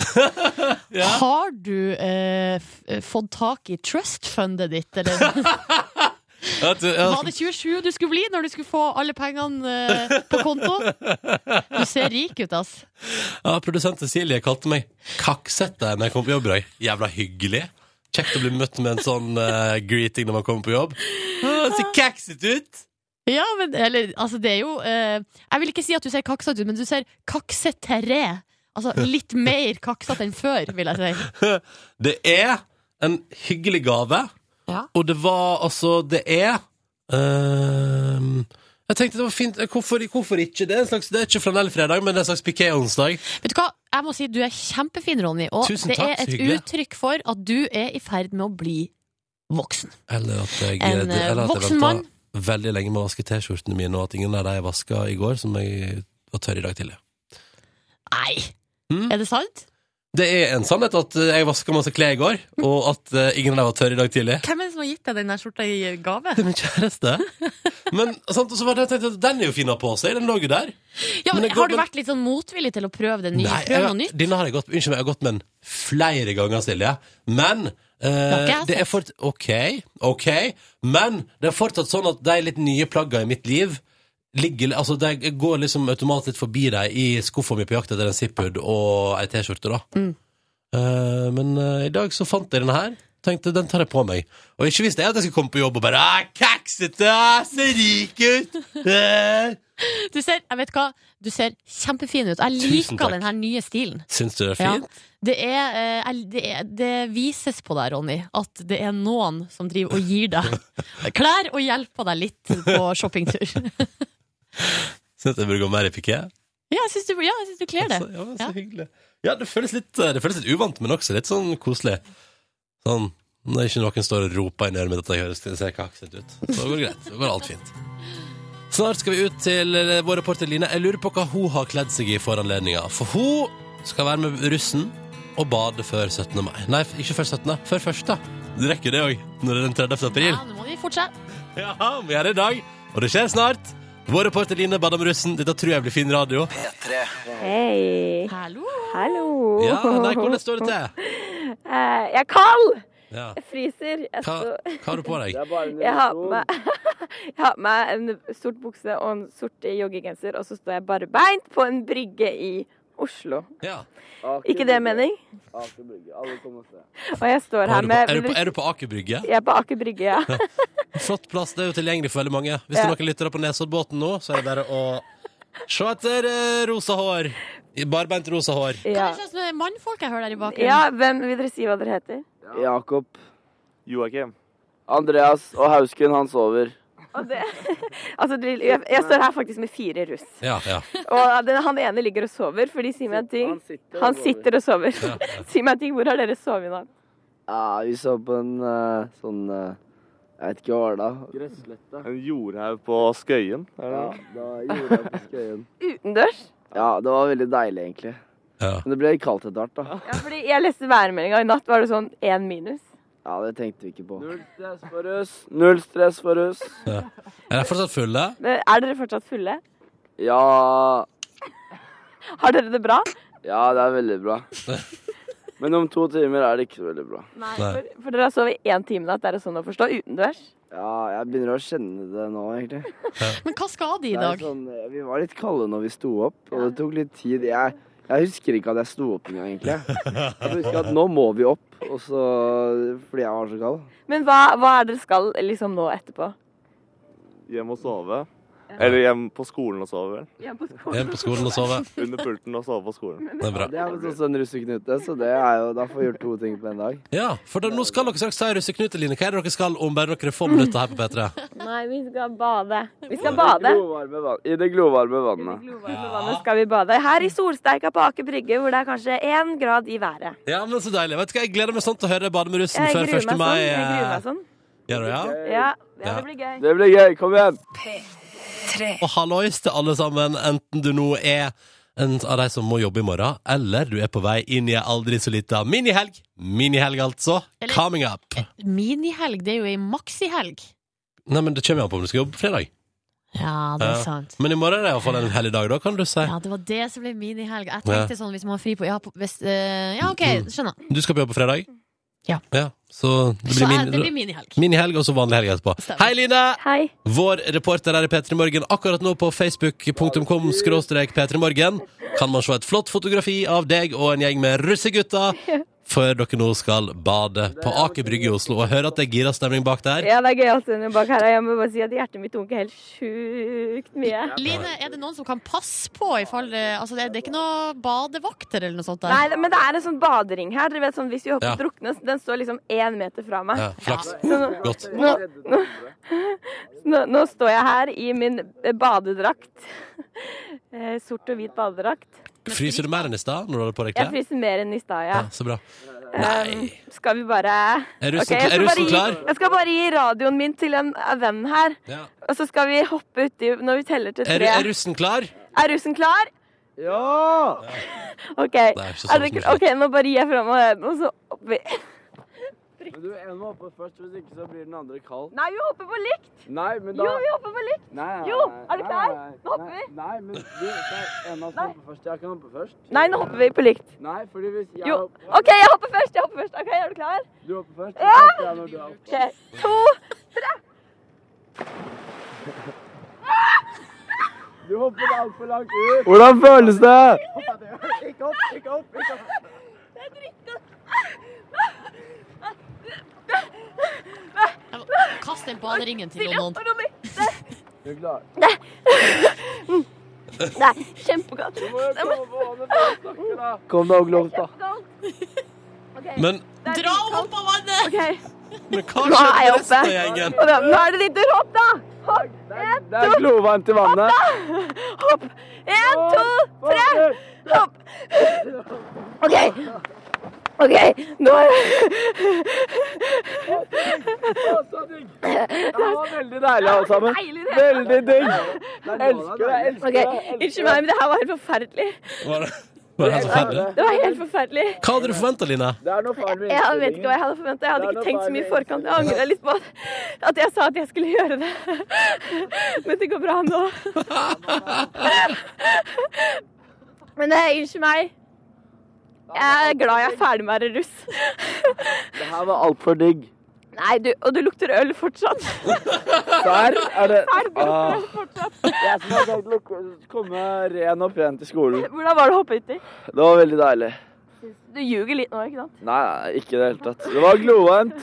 C: Har du eh, f eh, fått tak i trust-fundet ditt, eller
B: Ja, du- ja,
C: var det 27 du skulle bli når du skulle få alle pengene eh, på konto? Du ser rik ut, ass.
B: ja, Produsent Cecilie kalte meg kaksete når jeg kom på jobb i dag. Jævla hyggelig. Kjekt å bli møtt med en sånn eh, greeting når man kommer på jobb. Ah, ser kaksete ut!
C: Ja, men eller, altså, det er jo eh, Jeg vil ikke si at du ser kaksete ut, men du ser kakseterre. Altså litt mer kaksete enn før, vil jeg si.
B: Det er en hyggelig gave,
C: Ja.
B: og det var altså Det er ehm, Jeg tenkte det var fint eh, Hvorfor, hvorfor ikke? Det er, en slags, det er ikke flanellfredag, men det er en slags piké-onsdag.
C: Vet du hva, jeg må si du er kjempefin, Ronny. Og
B: Tusen
C: det
B: takk,
C: er et
B: så hyggelig.
C: uttrykk for at du er i ferd med å bli voksen.
B: Eller at jeg,
C: En, eh,
B: eller at jeg
C: voksen
B: venta
C: mann.
B: veldig lenge med å vaske T-skjortene mine, og at ingen av de jeg vaska i går, som jeg var tørr i dag tidlig.
C: Nei!
B: Mm.
C: Er det sant?
B: Det er en sannhet at eh, jeg vaska masse klær i går, og at eh, ingen av dem var tørre i dag tidlig.
C: Hvem er det som har gitt deg den der skjorta i gave?
B: Det er min kjæreste. Men sant, og så var det jeg tenkte at den er jo fin å ha på seg. Den lå jo der.
C: Ja,
B: Men
C: men
B: det går-
C: Har du vært litt sånn motvillig til å prøve det nye?
B: Nei,
C: Prøv
B: jeg-
C: noe nytt?
B: Denne har jeg gått, unnskyld meg, jeg har gått med den flere ganger, Silje. Men
C: har ikke
B: eh,
C: jeg altså.
B: det er
C: sett.
B: fort, OK, OK. Men det er fortsatt sånn at de litt nye plaggene i mitt liv ligger Altså, de går liksom automatisk litt forbi dem i skuffa mi på jakt etter en ziphood og ei T-skjorte, da.
C: Mm.
B: Eh, men eh, i dag så fant jeg denne her. Tenkte den tar jeg på meg. Og ikke visste jeg at jeg skulle komme på jobb og bare «Ah, Kaksete! Ser rik ut! Eh.
C: Du ser, jeg vet hva, du ser kjempefin ut.
B: Tusen
C: Jeg
B: takk.
C: liker den her nye stilen.
B: Syns du det er
C: Ja.
B: fint?
C: Det, er, eh, jeg- det, er, det vises på deg, Ronny, at det er noen som driver og gir deg klær og hjelper deg litt på shoppingtur.
B: Syns du jeg burde gå mer i piké?
C: Ja, jeg syns du, ja, jeg synes du kler det.
B: Altså, ja, men så
C: Ja.
B: hyggelig. Ja, det føles, litt, eh, det føles litt uvant, men også litt sånn koselig. Sånn, når ikke noen står og roper inn i øret mitt at jeg høres det ser kakset ut. Så går det greit. Så går alt fint. Snart skal vi ut til eh, vår reporter Line. Jeg lurer på hva hun har kledd seg i for anledninga. For hun skal være med russen og bade før 17. mai. Nei, ikke før 17., før 1. Du rekker det òg, når det er den 30. april.
C: Ja, nå må vi fortsette.
B: Ja, vi er her i dag, og det skjer snart. Vår reporter Line bader med russen. Dette tror jeg blir fin radio.
E: Hei.
C: Hallo!
E: Hallo.
B: Ja, nei, hvordan står det til?
E: Eh, jeg er kald!
B: Ja.
E: Jeg fryser. Jeg,
B: Hva, hva har du på deg?
E: har på meg, jeg har på meg en sort bukse og en sort joggegenser, og så står jeg barbeint på en brygge i Oslo.
B: Ja.
E: Ikke det mening? Og jeg står
B: Er,
E: her
B: du på,
E: med
B: er, du på, er du på Aker Brygge?
E: Jeg er på Aker Brygge, ja.
B: Flott plass, det er jo tilgjengelig for veldig mange. Hvis det er noen lyttere på Nesoddbåten nå, så er det bare å se etter eh, rosa hår. I Barbeint rosa hår.
E: ja.
C: Hva slags mannfolk jeg hører der i bakgrunnen?
E: Ja, hvem vil dere si hva dere heter?
G: Jakob. Joakim. Andreas og Hausken, han sover.
E: Og det, altså, du, jeg, jeg står her faktisk med fire russ.
B: Ja, ja.
E: Og den, han ene ligger og sover, for de sier meg en ting.
G: sitter
E: Han sitter og sover. Si meg en ting, hvor har dere sovet i natt?
G: Ja, vi så på en eh, sånn eh, Jeg vet ikke hva var det da. Gresslette.
H: En jordhaug på Skøyen? Er det
G: Ja,
H: det?
G: da gjorde jeg på skøyen.
E: Utendørs?
G: Ja, det var veldig deilig, egentlig.
B: Ja.
G: Men det ble kaldt etter hvert, da.
E: Ja, fordi jeg leste værmeldinga, og i natt var det sånn én minus.
G: Ja, det tenkte vi ikke på. Null stress for russ. Null stress for russ.
B: Er de fortsatt fulle?
E: Men er dere fortsatt fulle?
G: Ja
E: Har dere det bra?
G: Ja, det er veldig bra. Men om to timer er det ikke så veldig bra.
B: Nei.
E: For, for dere har sovet én time i natt, er det sånn å forstå? Utendørs?
G: Ja, jeg begynner å kjenne det nå, egentlig.
C: Men hva skal de i
G: Det er
C: dag?
G: Sånn, eh, vi var litt kalde når vi sto opp, og det tok litt tid. Jeg, jeg husker ikke at jeg sto opp engang, egentlig. Jeg husker at nå må vi opp, og så, fordi jeg var så kald.
E: Men hva, hva er dere skal liksom nå etterpå?
I: hjem og sove. Eller hjem på skolen og sove, vel.
D: Hjem på skolen.
B: Hjem på skolen og sove.
I: Under pulten og sove på skolen.
B: Det er bra.
G: Det er vel også en russeknute, så det er jo, da får vi gjort to ting på en dag.
B: Ja, for da, nå skal dere straks ta en russeknute, Line. Hva er det dere skal om bare noen få minutter her på P3?
D: Nei, vi skal bade. Vi skal bade.
G: Glovarme vann- I det glovarme vannet.
D: Glovarme vannet skal vi bade. Her i solsteika på Aker Brygge, hvor det er kanskje én grad i været.
B: Ja, men så deilig. Vet du hva, Jeg gleder meg sånn til å høre Bade med russen
D: Jeg
B: før
D: gruer
B: 1.
D: meg
B: mai. eh,
D: sånn. Jeg gruer meg sånn.
B: Ja, da, ja.
D: Ja, ja,
B: Ja.
D: det blir gøy.
G: Det blir gøy. Kom igjen!
B: Og hallois til alle sammen, enten du nå er en av de som må jobbe i morgen, eller du er på vei inn i ei aldri så lita minihelg. Minihelg, altså.
C: Eller-
B: Coming up.
C: Minihelg, det er jo ei maksihelg.
B: Nei, men Det kommer jo an på om du skal jobbe på fredag.
C: Ja,
B: det er
C: det er
B: Ja.
C: sant.
B: Men i morgen er det iallfall en hellig dag, da, kan du si.
C: Ja, det var det som ble minihelg. Jeg tenkte sånn hvis man har fri på Ja, på, hvis, eh, ja OK,
B: Mm.
C: skjønner.
B: Du skal på jobb på fredag?
C: Ja.
B: så det
C: Så
B: blir,
C: jeg,
B: min,
C: det blir minihelg.
B: minihelg, og så vanlig helg etterpå.
C: Stemmer.
B: Hei, Line!
D: Hei.
B: Vår reporter her i P3 Morgen akkurat nå på facebook.com skråstrek P3 Morgen kan man se et flott fotografi av deg og en gjeng med russegutter før dere nå skal bade på Aker Brygge i Oslo. Og jeg hører at det er gira stemning bak der.
D: Ja, det er gøy å stå bak her. og Jeg må bare si at hjertet mitt dunker helt sjukt mye.
C: Line, er det noen som kan passe på i fall det- Altså, det, det er ikke noe badevakter eller noe sånt der?
D: Nei, det- men det er en sånn badering her. Dere vet sånn, Hvis vi hopper
B: Ja.
D: og drukner, så den står liksom én meter fra meg.
B: Ja, flaks. Uh,
D: Så nå,
B: Godt.
D: nå, nå står jeg her i min badedrakt. Eh, Sort og hvit badedrakt.
B: Fryser du mer enn i stad når du holder på deg
D: Jeg
B: klær?
D: fryser mer enn i stad, ja.
B: Ja, så bra.
D: Um, skal vi bare
B: Er
D: Ok,
B: russen,
D: jeg
B: er
D: skal bare
B: russen
D: gi,
B: klar?
D: jeg skal bare gi radioen min til en en venn her.
B: Ja.
D: Og så skal vi hoppe uti når vi teller til
B: Er,
D: tre.
B: er russen klar?
D: Er russen klar?
G: Ja!
D: OK.
B: er ikke så
D: Er dere
B: sånn som
D: klar? OK, nå bare gir jeg fra meg den, og så hopper vi.
G: Men du, en må hoppe først, hvis ikke så blir den andre kald.
D: Nei, vi hopper på likt!
G: Nei, men da
D: Jo, vi hopper på likt!
G: Nei, nei,
D: Jo,
G: nei,
D: er du
G: nei,
D: klar?
G: nei,
D: Nå hopper
G: nei,
D: vi.
G: Nei, men du, det er en av oss som hopper først. Jeg kan hoppe først.
D: Nei, nå hopper vi på likt.
G: Nei, fordi hvis jeg
D: Jo.
G: hopper
D: OK, jeg hopper først. jeg hopper først. Ok, Er du klar?
G: Du hopper først, så hopper jeg når du hopper.
D: OK, to
G: Du hopper altfor langt ut. Hvordan føles det?
C: Jeg må- Kast den baderingen til
D: Silje,
C: noen.
D: hopper noe nytt.
G: Du er klar.
D: Nei, kjempegodt.
G: Kom deg opp lov, da.
B: Men,
C: Dra henne opp av vannet!
D: OK,
B: men hva
D: nå
B: skjer
D: er
B: med
D: jeg oppe.
B: resten av gjengen?
D: Og da- Nå er det ditt tur. Hopp, da! Hopp. En,
G: Det er glovarmt i vannet.
D: Hopp! En, to, tre! Hopp! OK. OK, nå
G: Det var veldig deilig, alle sammen. Veldig digg. Elsker det. Elsker
D: OK, unnskyld meg, men det her var helt forferdelig.
B: Var det, var det helt forferdelig?
D: Det var helt forferdelig.
B: Hva hadde du forventa, Line?
G: Det er noe faren
D: Jeg vet ikke hva jeg hadde forventa. Jeg hadde ikke tenkt så mye i forkant. Jeg angrer litt på at- at jeg sa at jeg skulle gjøre det. Men det går bra nå. Men eh, unnskyld meg. Jeg er glad jeg er ferdig med å være russ.
G: Det her var altfor digg.
D: Nei, du, og du lukter øl fortsatt.
G: Der er det
D: Ah.
G: Jeg som har tenkt å luk- komme ren og pen til skolen.
D: Hvordan var det å hoppe uti?
G: Det var veldig deilig.
D: Du ljuger litt nå, ikke sant?
G: Nei, nei, ikke i det hele tatt. Det var glovarmt.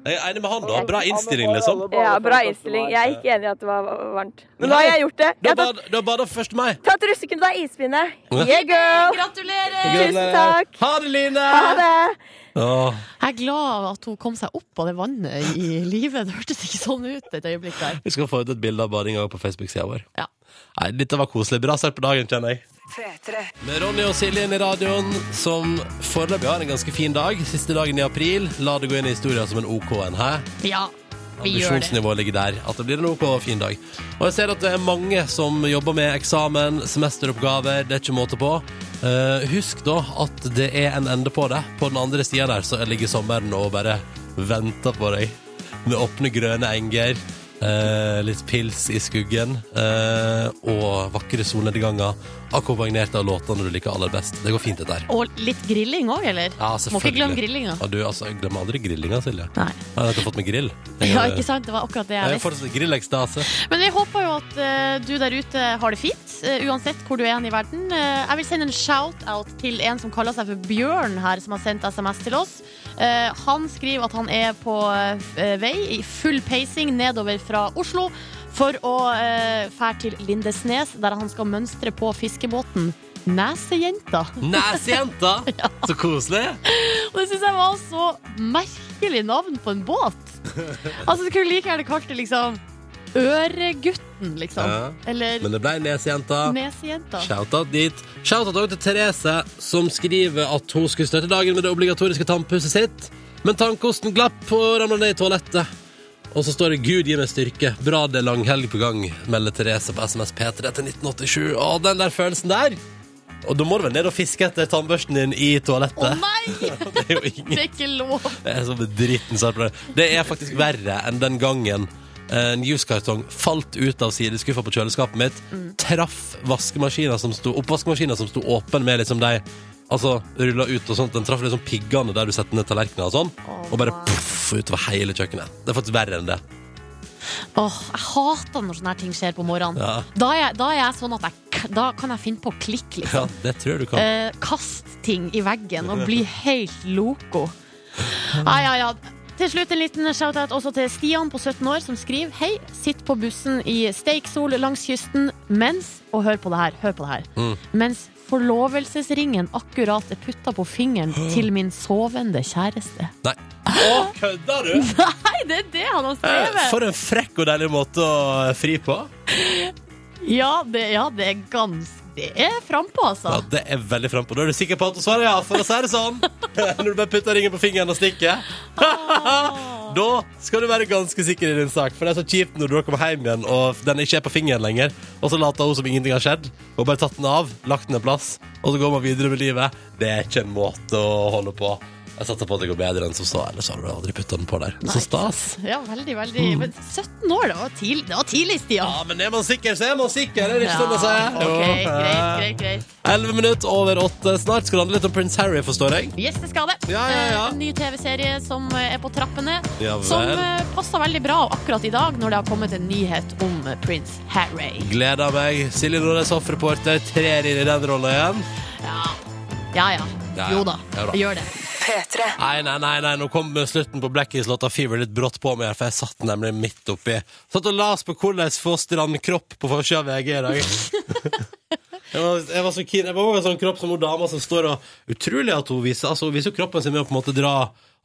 B: Jeg er enig med han, da. Bra innstilling, liksom.
D: Ja, bra innstilling. Jeg er ikke enig i at det var varmt. Men nå har jeg gjort det.
B: Da
D: Jeg har tatt,
B: bad- da bada først meg.
D: tatt russekund av ispinne. Yeah, girl!
C: Gratulerer!
D: Tusen takk.
B: Ha det, Line!
D: Ha det.
B: Åh,
C: Jeg er glad at hun kom seg opp av det vannet i livet. Det hørtes ikke sånn ut et øyeblikk der.
B: vi skal få ut et bilde av badinga på Facebook-sida vår.
C: Ja.
B: Nei, Dette var koselig. Bra start på dagen, kjenner jeg. Med Ronny og Silje inn i radioen, som foreløpig har en ganske fin dag. Siste dagen i april. La det gå inn i historien som en OK en, hæ?
C: Ja, vi gjør det.
B: Ambisjonsnivået ligger der. At det blir en OK og fin dag. Og jeg ser at det er mange som jobber med eksamen, semesteroppgaver, det er ikke måte på. Eh, husk da at det er en ende på det. På den andre sida der så ligger sommeren og bare venter på deg. Med åpne, grønne enger, eh, litt pils i skuggen eh, og vakre solnedganger. Akkompagnert av låtene du liker aller best. Det går fint, dette her.
C: Og litt grilling òg, eller?
B: Ja,
C: Må ikke
B: selvfølgelig.
C: glemme grillinga.
B: Ja, du, altså, jeg glemmer aldri grillinga, Silje.
C: Nei.
B: Jeg har nettopp fått meg grill. eh,
C: Ja, ikke sant? Det var akkurat det jeg
B: Jeg er
C: visste.
B: fortsatt grillekstase.
C: Men vi håper jo at eh, du der ute har det fint, eh, uansett hvor du er hen i verden. Eh, jeg vil sende en shout-out til en som kaller seg for Bjørn her, som har sendt SMS til oss. Eh, han skriver at han er på eh, vei i full peising nedover fra Oslo for å eh, fære til Lindesnes, der han skal mønstre på fiskebåten Nesejenta.
B: Nesejenta! Så koselig!
C: Og det syns jeg var så merkelig navn på en båt. Altså, du kunne like gjerne kalt det liksom Øregutten, liksom.
B: Ja.
C: Eller
B: Men det ble Nesejenta.
C: Nesejenta.
B: Shoutout dit. Shoutout også til Therese, som skriver at hun skulle støtte dagen med det obligatoriske tannpusset sitt, men tannkosten glapp og ramla ned i toalettet. Og så står det 'Gud gi meg styrke'. Bra det er langhelg på gang, melder Therese på SMS P3 til 1987. Å, den der følelsen der! Og da må du vel ned og fiske etter tannbørsten din i
C: Å
B: toalettet?
C: nei!
B: det er jo ingen
C: Det er ikke lov.
B: det er så bedritten svar på det. Det er faktisk verre enn den gangen eh, en juskartong falt ut av sideskuffa på kjøleskapet mitt, traff vaskemaskina som sto, oppvaskmaskina som sto åpen med liksom de Altså, rulla ut og sånt. Den traff liksom piggene der du setter ned tallerkenene og sånn. og bare poff utover hele kjøkkenet. Det er faktisk verre enn det.
C: Åh, Jeg hater når sånne her ting skjer på morgenen.
B: Ja,
C: Da, er jeg, da er jeg sånn at jeg, k- da kan jeg finne på å klikke, liksom.
B: ja det tror jeg du kan.
C: Eh, kaste ting i veggen og bli helt loco. Ai, ai, ai. Til slutt en liten shout-out også til Stian på 17 år, som skriver Hei, sitt på bussen i steiksol langs kysten mens Og hør på det her. Hør på det her.
B: Mm.
C: Mens forlovelsesringen akkurat er putta på fingeren til min sovende kjæreste.
B: Å, kødder du?!
C: Nei, det er det han har
B: Eh,
C: skrevet!
B: For en frekk og deilig måte å fri på.
C: Ja, det, ja, det er gans... Det er frampå, altså.
B: Ja, det er veldig frampå. Da er du sikker på at hun svarer ja, for å si det sånn. Når du bare putter ringen på fingeren og stikker. Ah. Da skal du være ganske sikker i din sak, for det er så kjipt når du kommer hjem igjen og den ikke er på fingeren lenger, og så later hun som ingenting har skjedd, og bare tatt den av, lagt den en plass, og så går man videre med livet. Det er ikke en måte å holde på. Jeg satser på at det går bedre enn som så, ellers har du aldri putta den på der. Så stas.
C: Ja, veldig, veldig. Men 17 år, det var tidlig, det var tidlig Stian.
B: Ja, men er man sikker, så er man sikker, er det ikke sånn å si?
C: ok,
B: Jo.
C: greit, greit, greit.
B: 11 minutter over 8. Snart skal det handle litt om prins Harry, forstår jeg.
C: Yes, det skal det.
B: Ja, ja, ja.
C: Eh, En ny TV-serie som eh, er på trappene,
B: Ja vel.
C: som eh, passer veldig bra akkurat i dag, når det har kommet en nyhet om eh, prins Harry.
B: Gleder meg. Silje Nordnes, hoffreporter, trer inn i den rolla igjen.
C: Ja, ja.
B: Ja,
C: ja.
B: ja.
C: Jo da,
B: Ja da.
C: gjør det.
B: Nei, nei, nei, nei, nå kom slutten på Blackies-låta Fever litt brått på meg, her, for jeg satt nemlig midt oppi. Satt og las på hvordan få strandkropp på forsida av VG i dag. jeg, var, jeg var så keen. Jeg var også en sånn kropp som hun dama som står og Utrolig at hun viser Altså, hun viser jo kroppen sin med å på en måte dra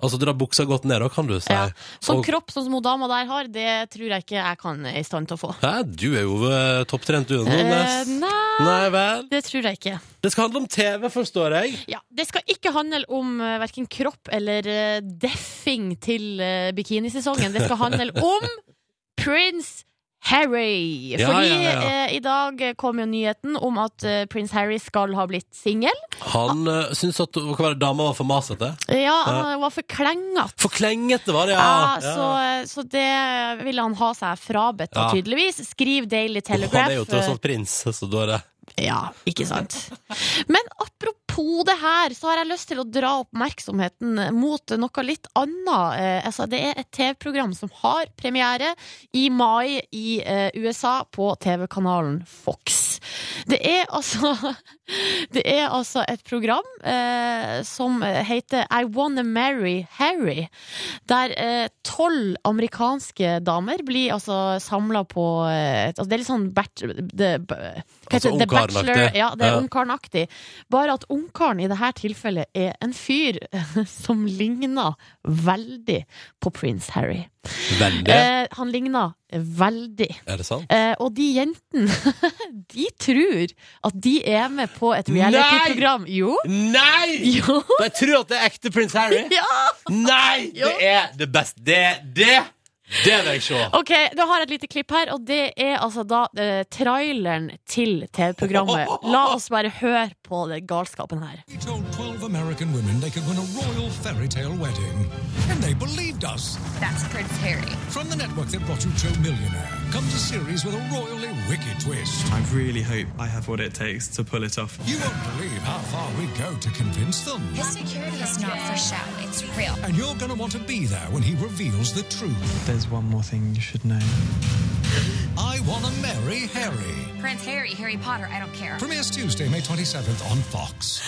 B: Altså dra buksa godt ned, da, kan du si.
C: Ja. Sånn
B: Og-
C: kropp sånn som hun dama der har, det tror jeg ikke jeg kan er i stand til å få.
B: Hæ, du er jo eh, topptrent, du,
C: Eh,
B: Nordnes.
C: nei,
B: Nei vel.
C: det tror jeg ikke.
B: Det skal handle om TV, forstår jeg.
C: Ja, Det skal ikke handle om uh, verken kropp eller eh, deffing til eh, bikinisesongen. Det skal handle om prins Harry.
B: Ja,
C: Fordi
B: ja, ja.
C: eh, i dag kom jo nyheten om at eh, prins Harry skal ha blitt singel.
B: Han uh, syntes at hva var det, dama var for masete.
C: Ja, han var for klengete.
B: For klengete var det, ja!
C: Ja,
B: Ja.
C: så, eh, så det ville han ha seg frabedt, da,
B: Ja.
C: tydeligvis. Skriv
B: Han
C: Daily Telegraph. eh,
B: er jo tross alt prins, så da er det
C: Ja, ikke sant. Men apropos det her, så har jeg lyst til å dra oppmerksomheten mot noe litt annet. Eh, altså, det er et TV-program som har premiere i mai i eh, USA på TV-kanalen Fox. Det er altså Det er altså et program eh, som heter I Wanna Marry Harry. Der eh, tolv amerikanske damer blir altså samla på eh, et- altså, Det er litt sånn bat, det, hva heter det? The
B: ungkarenaktig.
C: Bachelor. Ja, det er
B: Ja.
C: ungkarenaktig. Bare at ungkaren i dette tilfellet er en fyr som ligner veldig på prins Harry.
B: veldig.
C: Eh, han ligner veldig.
B: Er det sant?
C: Eh, og de jentene, de tror at de er med på et reality-program. Jo.
B: Nei!
C: Jo.
B: Jeg tror at det er ekte prins Harry.
C: Ja!
B: Nei! Det er det beste. Det, det, det vil jeg se.
C: Ok, da har jeg et lite klipp her, og det er altså da eh, traileren til TV-programmet. La oss bare høre på den galskapen her.
J: We told 12 American women they could win a royal fairy tale wedding. And they believed us.
K: That's Prince Harry.
J: From the network that brought you Joe Millionaire comes a series with a royally wicked twist.
L: I really hope I have what it takes to pull it off.
J: You won't believe how far we go to convince them.
K: His security is not for show. It's real.
J: And you're going to want to be there when he reveals the truth.
L: There's one more thing you should know.
J: I want to marry Harry.
K: Prince Harry, Harry Potter, I don't care.
J: Premieres Tuesday, May 27th on Fox.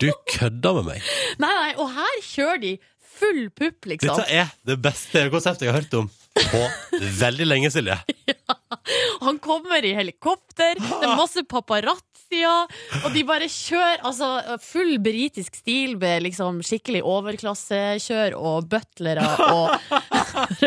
B: Du kødder med meg.
C: Nei, nei, og her kjører de full pupp, liksom.
B: Dette er det beste konseptet jeg har hørt om. på veldig lenge, Silje.
C: Han kommer i helikopter, det er masse paparazzier, og de bare kjører altså, full britisk stil med liksom, skikkelig overklassekjør og butlere og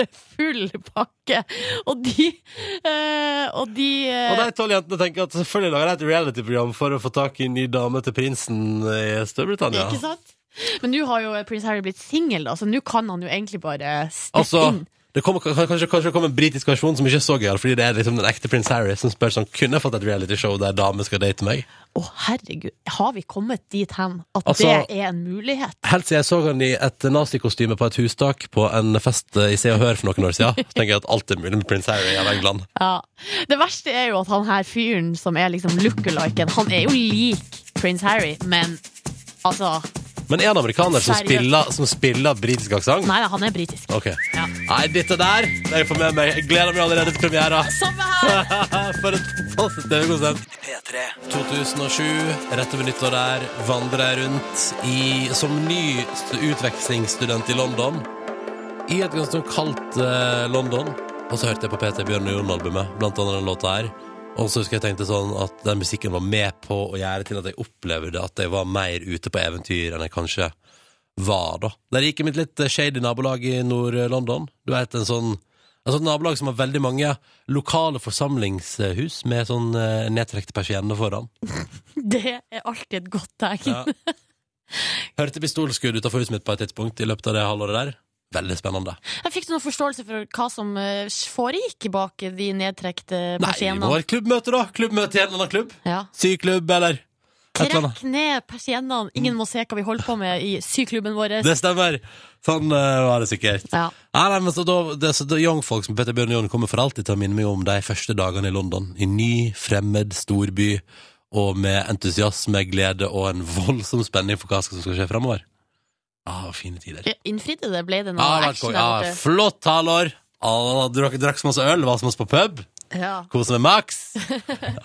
C: full pakke. Og de eh, Og de eh,
B: Og de tolv jentene tenker at selvfølgelig lager de et reality-program for å få tak i en ny dame til prinsen i Storbritannia.
C: Ikke sant? Men nå har jo prins Harry blitt singel, da, så nå kan han jo egentlig bare steppe
B: Altså,
C: inn.
B: det kommer, kan- kanskje, kanskje det kommer en britisk versjon som ikke jeg så gøy, fordi det er liksom den ekte prins Harry som spør sånn, kunne jeg fått et reality-show der dame skal date meg?
C: Å, herregud, har vi kommet dit hen at
B: Altså-
C: det er en mulighet?
B: Helt siden jeg så han i et nazikostyme på et hustak på en fest eh, i Se og Hør for noen år siden, så tenker jeg at alt er mulig med prins Harry av England.
C: Ja. Det verste er jo at han her fyren som er liksom lookaliken, han er jo lik prins Harry, men altså
B: Men er han amerikaner som
C: Seriøst?
B: spiller, som spiller britisk aksent?
C: Nei, nei, han er britisk.
B: Ok. Nei, dette der det er for med meg. Jeg gleder meg allerede til premiera. for et fantastisk TV-konsert. 2007, rett over nyttår der, vandrer jeg rundt i, som ny st- utvekslingsstudent i London. I et ganske sånn kaldt eh, London. Og så hørte jeg på PT Bjørn og Jon-albumet, blant annet den låta her. Og så husker jeg tenkte sånn at den musikken var med på å gjøre til at jeg opplevde at jeg var mer ute på eventyr enn jeg kanskje var, da. Der gikk i mitt litt eh, shady nabolag i Nord-London. Du vet, en sånn et sånt nabolag som har veldig mange lokale forsamlingshus med sånn eh, nedtrekte persienner foran.
C: Det er alltid et godt tegn.
B: Ja. Hørte pistolskudd utenfor huset mitt på et tidspunkt i løpet av det halvåret der. Veldig spennende.
C: Jeg Fikk du noen forståelse for hva som eh, foregikk bak de nedtrekte
B: Nei, det
C: persiennene?
B: var et klubbmøte, da. Klubbmøte i en eller annen klubb.
C: Ja.
B: Syklubb, eller et eller annet.
C: Trekk ned persiennene, ingen må se hva vi holder på med i syklubben vår.
B: Det stemmer. Sånn eh, var det sikkert.
C: Ja.
B: Nei, nei, men så da, det, så da Young-folk som Petter Bjørn Johan kommer for alltid til å minne meg om de første dagene i London. I ny, fremmed storby, og med entusiasme, glede og en voldsom spenning for hva som skal skje fremover. Ja, fine tider.
C: Innfridde det? Ble det noe
B: Ja, det var
C: action
B: konge. Ja,
C: der borte?
B: flott halvår! Ja, drakk, drakk så masse øl, var så masse på pub.
C: Ja.
B: Kose med maks.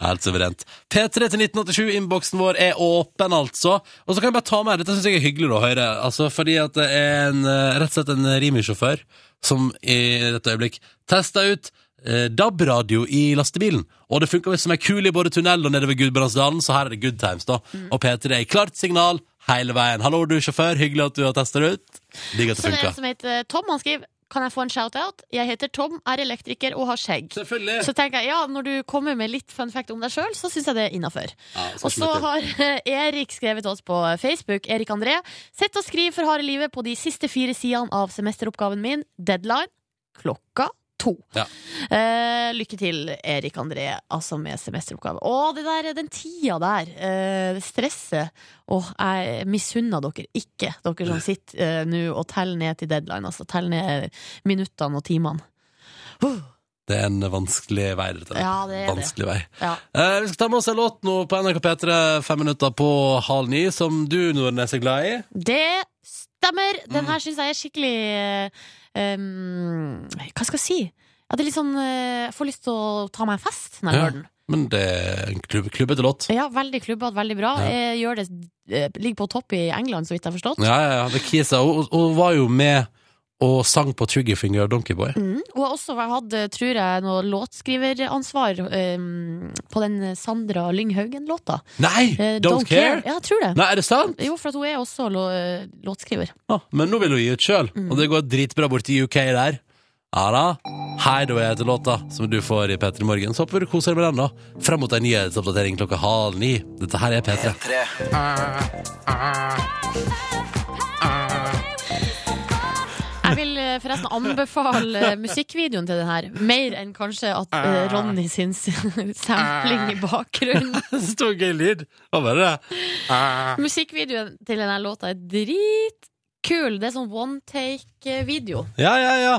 B: Helt suverent. P3 til 1987, innboksen vår er åpen, altså. Og så kan jeg bare ta med, dette syns jeg er hyggelig da, å høre, altså, fordi at det er en, eh, rett og slett en Rimi-sjåfør som i dette øyeblikk testa ut eh, DAB-radio i lastebilen. Og det funka som ei kule i både tunnel og nedover Gudbrandsdalen, så her er det good times, da.
C: Mm.
B: Og P3 er i klart signal hele veien. Hallo, du sjåfør, hyggelig at du har testa det ut. Digg at det
C: Så det er en
B: funka.
C: som heter Tom, han skriver Kan jeg få en shout-out? Jeg heter Tom, er elektriker og har skjegg.
B: Selvfølgelig.
C: Så tenker jeg, ja, når du kommer med litt fun fact om deg sjøl, så syns jeg det er innafor.
B: Ja, skal
C: Og så
B: smette.
C: har eh, Erik skrevet til oss på Facebook. Erik André. Sett og skriv for harde livet på de siste fire sidene av semesteroppgaven min. Deadline klokka to.
B: Ja.
C: Eh, lykke til, Erik André, altså med semesteroppgave. Å, det der, den tida der. eh, det stresset. Åh, jeg misunner dere ikke, dere som sitter eh, nå og teller ned til deadline. Altså teller ned minuttene og timene. Huh.
B: Det er en vanskelig vei, dette.
C: Ja, det er det.
B: vanskelig vei.
C: Ja.
B: Eh, vi skal ta med oss en låt nå på NRK P3 fem minutter på halv ni, som du, Nordnes, er glad i.
C: Det stemmer! Den
B: Mm.
C: her syns jeg er skikkelig eh, um, Hva skal jeg si? Ja, det er litt sånn eh, Jeg får lyst til å ta meg en fest når jeg hører den.
B: Men det er en klubb, klubbete låt.
C: Ja, veldig klubbete, veldig bra.
B: Ja.
C: Eh, Gjør det, eh, ligger på topp i England, så vidt jeg har forstått.
B: Ja, ja, ja. The Keys, ja. Hun, hun var jo med og sang på Triggerfinger og Donkeyboy.
C: Mm. Hun har også hatt, eh, tror jeg, noe låtskriveransvar eh, på den Sandra Lynghaugen-låta.
B: Nei!
C: Eh,
B: Don't, Care?
C: Ja, jeg tror det.
B: Nei, er det sant?
C: Jo, for at hun er også lå, låtskriver.
B: Ja, men nå vil hun gi ut sjøl,
C: Mm.
B: og det går dritbra bort i UK der. Ja da. Hideaway heter låta, som du får i P3 Morgen. Så håper vi du koser deg med den, da. Frem mot en nyhetsoppdatering klokka halv ni. Dette her er P3.
C: Jeg vil eh, forresten anbefale eh, musikkvideoen til den her. Mer enn kanskje at eh, Ronny sin s- sampling i bakgrunnen.
B: Så gøy lyd. Hva var det?
C: Musikkvideoen til denne låta er dritkul. Det er sånn one take-video.
B: Ja, ja, ja.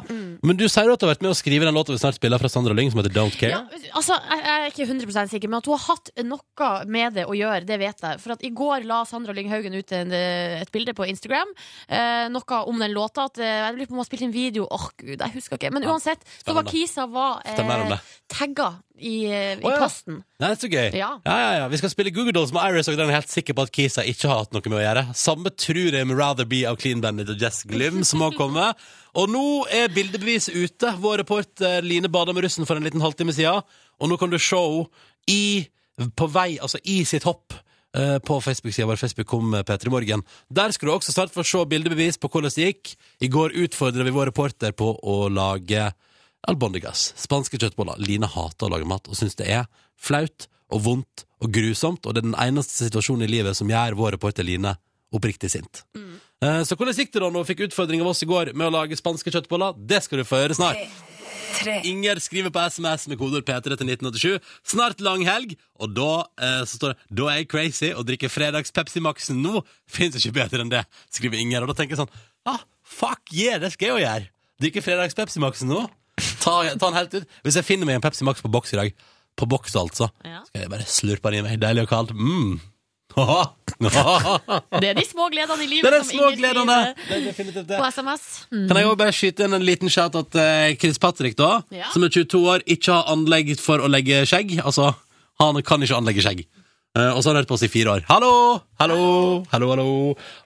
B: Men du sier jo at du har vært med å skrive den låta vi snart spiller fra Sandra Lyng, som heter Don't Care.
C: Ja, altså, jeg, jeg er ikke 100 sikker, men at hun har hatt noe med det å gjøre, det vet jeg. For at i går la Sandra Lynghaugen ut en, et bilde på Instagram, eh, noe om den låta. At, eh, jeg lurer på om hun har spilt inn video. Åh, gud, jeg husker ikke. Men uansett, så var
B: Spennende.
C: Kisa var
B: Fortell mer om
C: eh,
B: det.
C: tagga i, eh, i
B: Å, ja.
C: posten.
B: Nei, så gøy.
C: Ja.
B: Ja, ja, ja. Vi skal spille Google Dolls med Iris, og den er jeg helt sikker på at Kisa ikke har hatt noe med å gjøre. Samme tror jeg med Rather Be av Clean Bandit og Jess Glym, som også Tjomme. Og nå er bildebeviset ute. Vår reporter Line bada med russen for en liten halvtime siden. Og nå kan du se henne i, på vei, altså i sitt hopp. eh, På Facebook-sida vår Facebook kom P3 Morgen. Der skal du også snart få se bildebevis på hvordan det gikk. I går utfordra vi vår reporter på å lage albondigas. Spanske kjøttboller. Line hater å lage mat og syns det er flaut og vondt og grusomt, og det er den eneste situasjonen i livet som gjør vår reporter Line oppriktig sint. Eh, Så hvordan gikk det da når hun fikk utfordring av oss i går med å lage spanske kjøttboller? Det skal du få høre snart. Inger skriver på SMS med kodeord P3 til 1987. Snart langhelg, og da eh, så står det Da er jeg crazy og drikker fredags Pepsi Max nå. Fins ikke bedre enn det, skriver Inger. Og da tenker jeg sånn ah, Fuck yeah, det skal jeg jo gjøre. Drikke fredags Pepsi Max nå. Ta, ta den helt ut. Hvis jeg finner meg en Pepsi Max på boks i dag, på boks altså, skal jeg bare slurpe den i meg. Deilig og kaldt. Mm.
C: Det er de små gledene i livet
B: Det er de
C: som
B: små
C: Inger skriver
B: gledene. Det er definitivt det.
C: På SMS. Mm.
B: Kan jeg også bare skyte inn en liten shout-out til eh, Chris Patrick, da?
C: Ja.
B: Som er 22 år, ikke har anlegg for å legge skjegg. Altså, han kan ikke anlegge skjegg. Eh, og så har han hørt på oss i fire år. Hallo! Hallo! Hallo, hallo.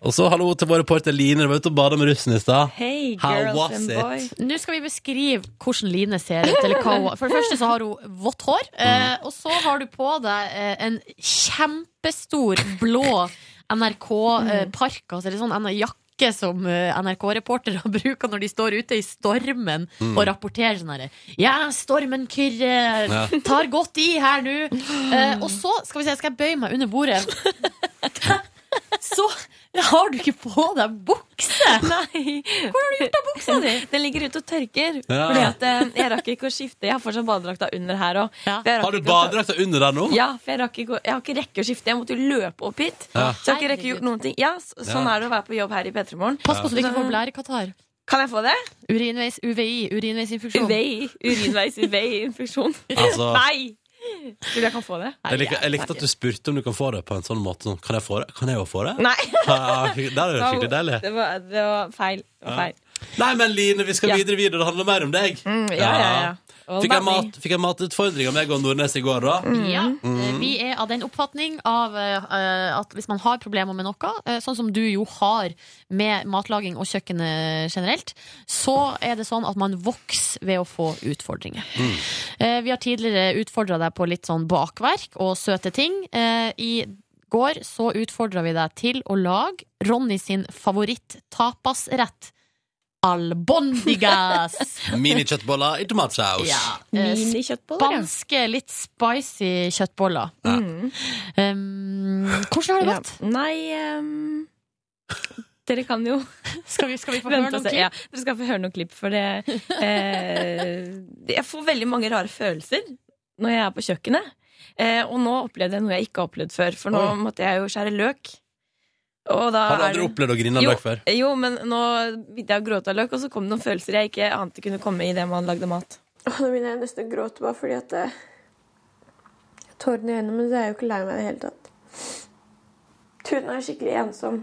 B: Og så hallo til vår reporter Line. Du var ute og bada med russen i stad.
D: Hey,
B: How girls was and it? boy.
C: Nå skal vi beskrive hvordan Line ser ut. Eller hva hun, for det første så har hun vått hår, eh,
A: Mm.
C: og så har du på deg eh, en kjempestor blå
A: Mm.
C: NRK-park, altså eller sånn en jakke som eh, NRK-reportere bruker når de står ute i stormen
A: Mm.
C: og rapporterer sånn herre Ja, stormen kyrrer,
A: Ja.
C: tar godt i her nå. Eh, og så skal vi se, skal jeg bøye meg under bordet. Så har du ikke på deg bukse!
D: Nei.
C: Hvor har du gjort av buksa di?
D: Den ligger ute og tørker.
B: Ja.
D: Fordi at eh, jeg rakk ikke å skifte. Jeg har fortsatt badedrakta under her òg.
B: Har du badedrakta under der nå?
D: Ja, for jeg, rakk ikke, å- jeg har ikke rekke å skifte. Jeg måtte jo løpe opp hit.
B: Ja.
D: Så jeg har ikke rekke å gjort noen ting. Ja, så, sånn
B: Ja.
D: er det å være på jobb her i P3 Morgen.
C: Pass på så du ikke får blære i Qatar.
D: Kan jeg få det?
C: Urinveis, UVI, urinveisinfeksjon.
D: UVI. Urinveis UVI-infeksjon.
B: Altså-
D: Nei! Tror du jeg kan få det?
B: Jeg, liker, jeg likte at du spurte om du kan få det på en sånn måte. Sånn, kan jeg få det? Kan jeg òg få det?
D: Nei.
B: Ja, ja, det er jo skikkelig deilig.
D: Det var, det var feil. Det var
B: Ja.
D: feil.
B: Nei, men Line, vi skal
D: Ja. Mm,
B: videre videre. Det handler mer om deg.
D: ja, ja, ja. All
B: Fikk jeg,
D: about
B: mat, fikk jeg matutfordring av meg og Nordnes i går, da?
C: Ja,
B: Mm.
C: eh, vi er av den oppfatning av eh, at hvis man har problemer med noe, eh, sånn som du jo har med matlaging og kjøkkenet generelt, så er det sånn at man vokser ved å få utfordringer. Eh, Vi har tidligere utfordra deg på litt sånn bakverk og søte ting. Eh, I går så utfordra vi deg til å lage Ronny sin favoritt-tapasrett. Albondigas!
B: Minikjøttboller i tomatsaus.
C: eh,
D: Minikjøttboller, ja.
C: Spanske, litt spicy kjøttboller.
B: Ja.
D: Mm.
C: Um, hvordan har det gått?
D: Ja. Nei ehm, Dere kan jo
C: Skal vi, skal vi få
D: Vent
C: høre
D: og
C: noen
D: se.
C: klipp?
D: Ja, dere skal få høre noen klipp, for det eh, Jeg får veldig mange rare følelser når jeg er på kjøkkenet. Eh, og nå opplevde jeg noe jeg ikke har opplevd før, for nå
B: Oi.
D: måtte jeg jo skjære løk. Og da
B: Har du
D: er
B: aldri
D: det-
B: opplevd å grine av
D: Jo,
B: løk før?
D: Jo, men nå begynte jeg å gråte av løk, og så kom det noen følelser jeg ikke ante kunne komme i det man lagde mat.
M: Åh, Nå begynner jeg nesten å gråte bare fordi at det Tårene i øynene, men så er jeg jo ikke lei meg i det hele tatt. Tuden er skikkelig ensom.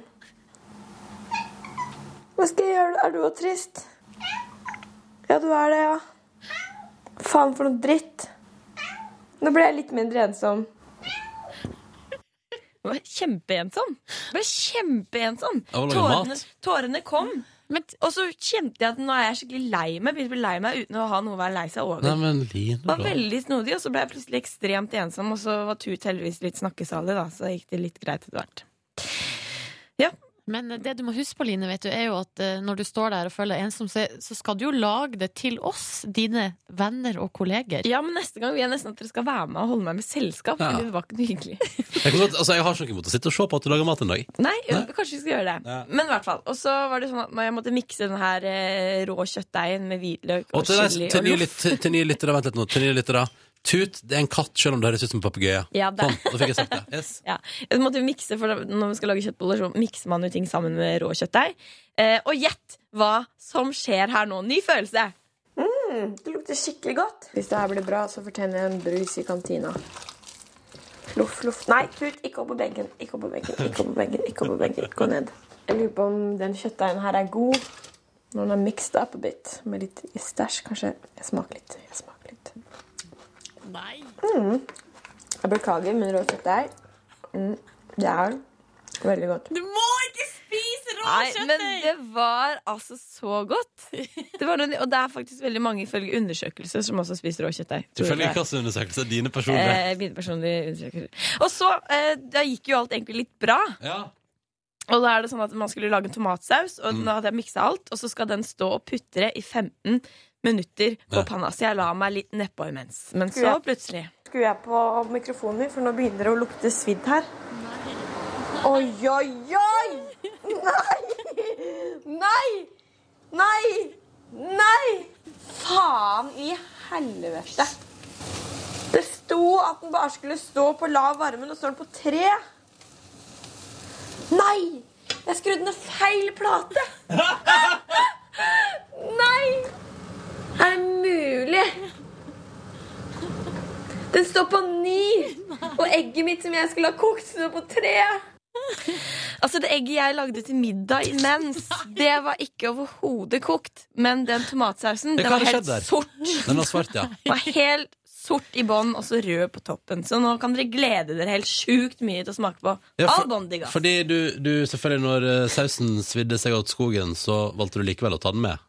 M: Hva skal jeg gjøre? Er du også trist? Ja, du er det, ja. Faen for noe dritt. Nå ble jeg litt mindre ensom.
D: Jeg var kjempeensom. Jeg var kjempeensom.
M: Av å lage
D: Tårene,
M: mat?
D: tårene kom. og så kjente jeg at nå er jeg skikkelig lei meg. Begynte å bli lei meg uten å ha noe å være lei seg over.
B: Nei, men Line,
D: var
B: da.
D: veldig snodig, og så ble jeg plutselig ekstremt ensom. Og så var Tut heldigvis litt snakkesalig, da, så gikk det litt greit etter hvert.
C: Men det du må huske på, Line, vet du, er jo at eh, når du står der og føler deg ensom, så så skal du jo lage det til oss, dine venner og kolleger.
D: Ja, men neste gang vil jeg nesten at dere skal være med og holde meg med selskap.
B: Ja.
D: Fordi det var ikke noe hyggelig.
B: Jeg, kan godt, altså, jeg har ikke noe imot å sitte og se på at du lager mat en dag.
D: Nei, kanskje vi skal gjøre det.
B: Ja.
D: Men i hvert fall. Og så var det sånn at jeg måtte mikse den her eh, rå kjøttdeigen med hvitløk
B: Og
D: og,
B: til, deg-
D: chili
B: til,
D: og
B: nye,
D: loff.
B: lyt- til, til nye lyttere, vent litt nå. Til nye lyttere. Tut, det er en katt, selv om det høres ut som en papegøye.
D: Ja, det.
B: Sånn, da fikk jeg sagt det. Yes.
D: Ja. Jeg måtte jo mikse, for da- Når man skal lage kjøttboller, så mikser man jo ting sammen med rå kjøttdeig. Eh, og gjett hva som skjer her nå. Ny følelse.
M: Mm, det lukter skikkelig godt. Hvis det her blir bra, så fortjener jeg en brus i kantina. Loff, loff. Nei, Knut, ikke opp på benken. Ikke opp på benken, ikke opp på benken. ikke opp på benken. Gå ned. Jeg lurer på om den kjøttdeigen her er god når den er mixed up a bit. Med litt stæsj, kanskje. Jeg smaker litt. Jeg smaker litt.
C: Nei.
M: Mm. Jeg beklager, men rå kjøttdeig mm, Det er veldig godt.
C: Du må ikke spise
D: Nei, men det var altså så godt. Det var noe, og det er faktisk veldig mange ifølge undersøkelser som også spiser rå kjøttdeig.
B: Tilfeldig kasseundersøkelse. Dine personlige.
D: Eh, mine personlige undersøkelser. Og så, eh, da gikk jo alt egentlig litt bra. Og da er det sånn at man skulle lage en tomatsaus, og
B: Mm.
D: nå hadde jeg miksa alt, og så skal den stå og putre i 15 minutter på
M: Ja.
D: panna. Så jeg la meg litt nedpå imens. Men
M: Skulle
D: så
M: jeg-
D: plutselig
M: Skrur jeg på mikrofonen min, for nå begynner det å lukte svidd her. Oi, oi, oi! Nei! Nei! Nei! Nei! Faen i helvete. Det sto at den bare skulle stå på lav varme. Nå står den på tre. Nei! Jeg skrudde ned feil plate. Nei! Er det mulig? Den står på ni! Og egget mitt som jeg skulle ha kokt, står på tre.
D: Altså, det egget jeg lagde til middag imens, det var ikke overhodet kokt. Men den tomatsausen,
B: Det
D: den
B: kan
D: var
B: ha
D: helt
B: skjedd der.
D: sort.
B: Den var svart, ja.
D: Den var helt sort i bånn, og så rød på toppen. Så nå kan dere glede dere helt sjukt mye til å smake på
B: Ja, for-
D: all Bondiga.
B: Fordi du, du selvfølgelig når eh, sausen svidde seg av skogen, så valgte du likevel å ta den med.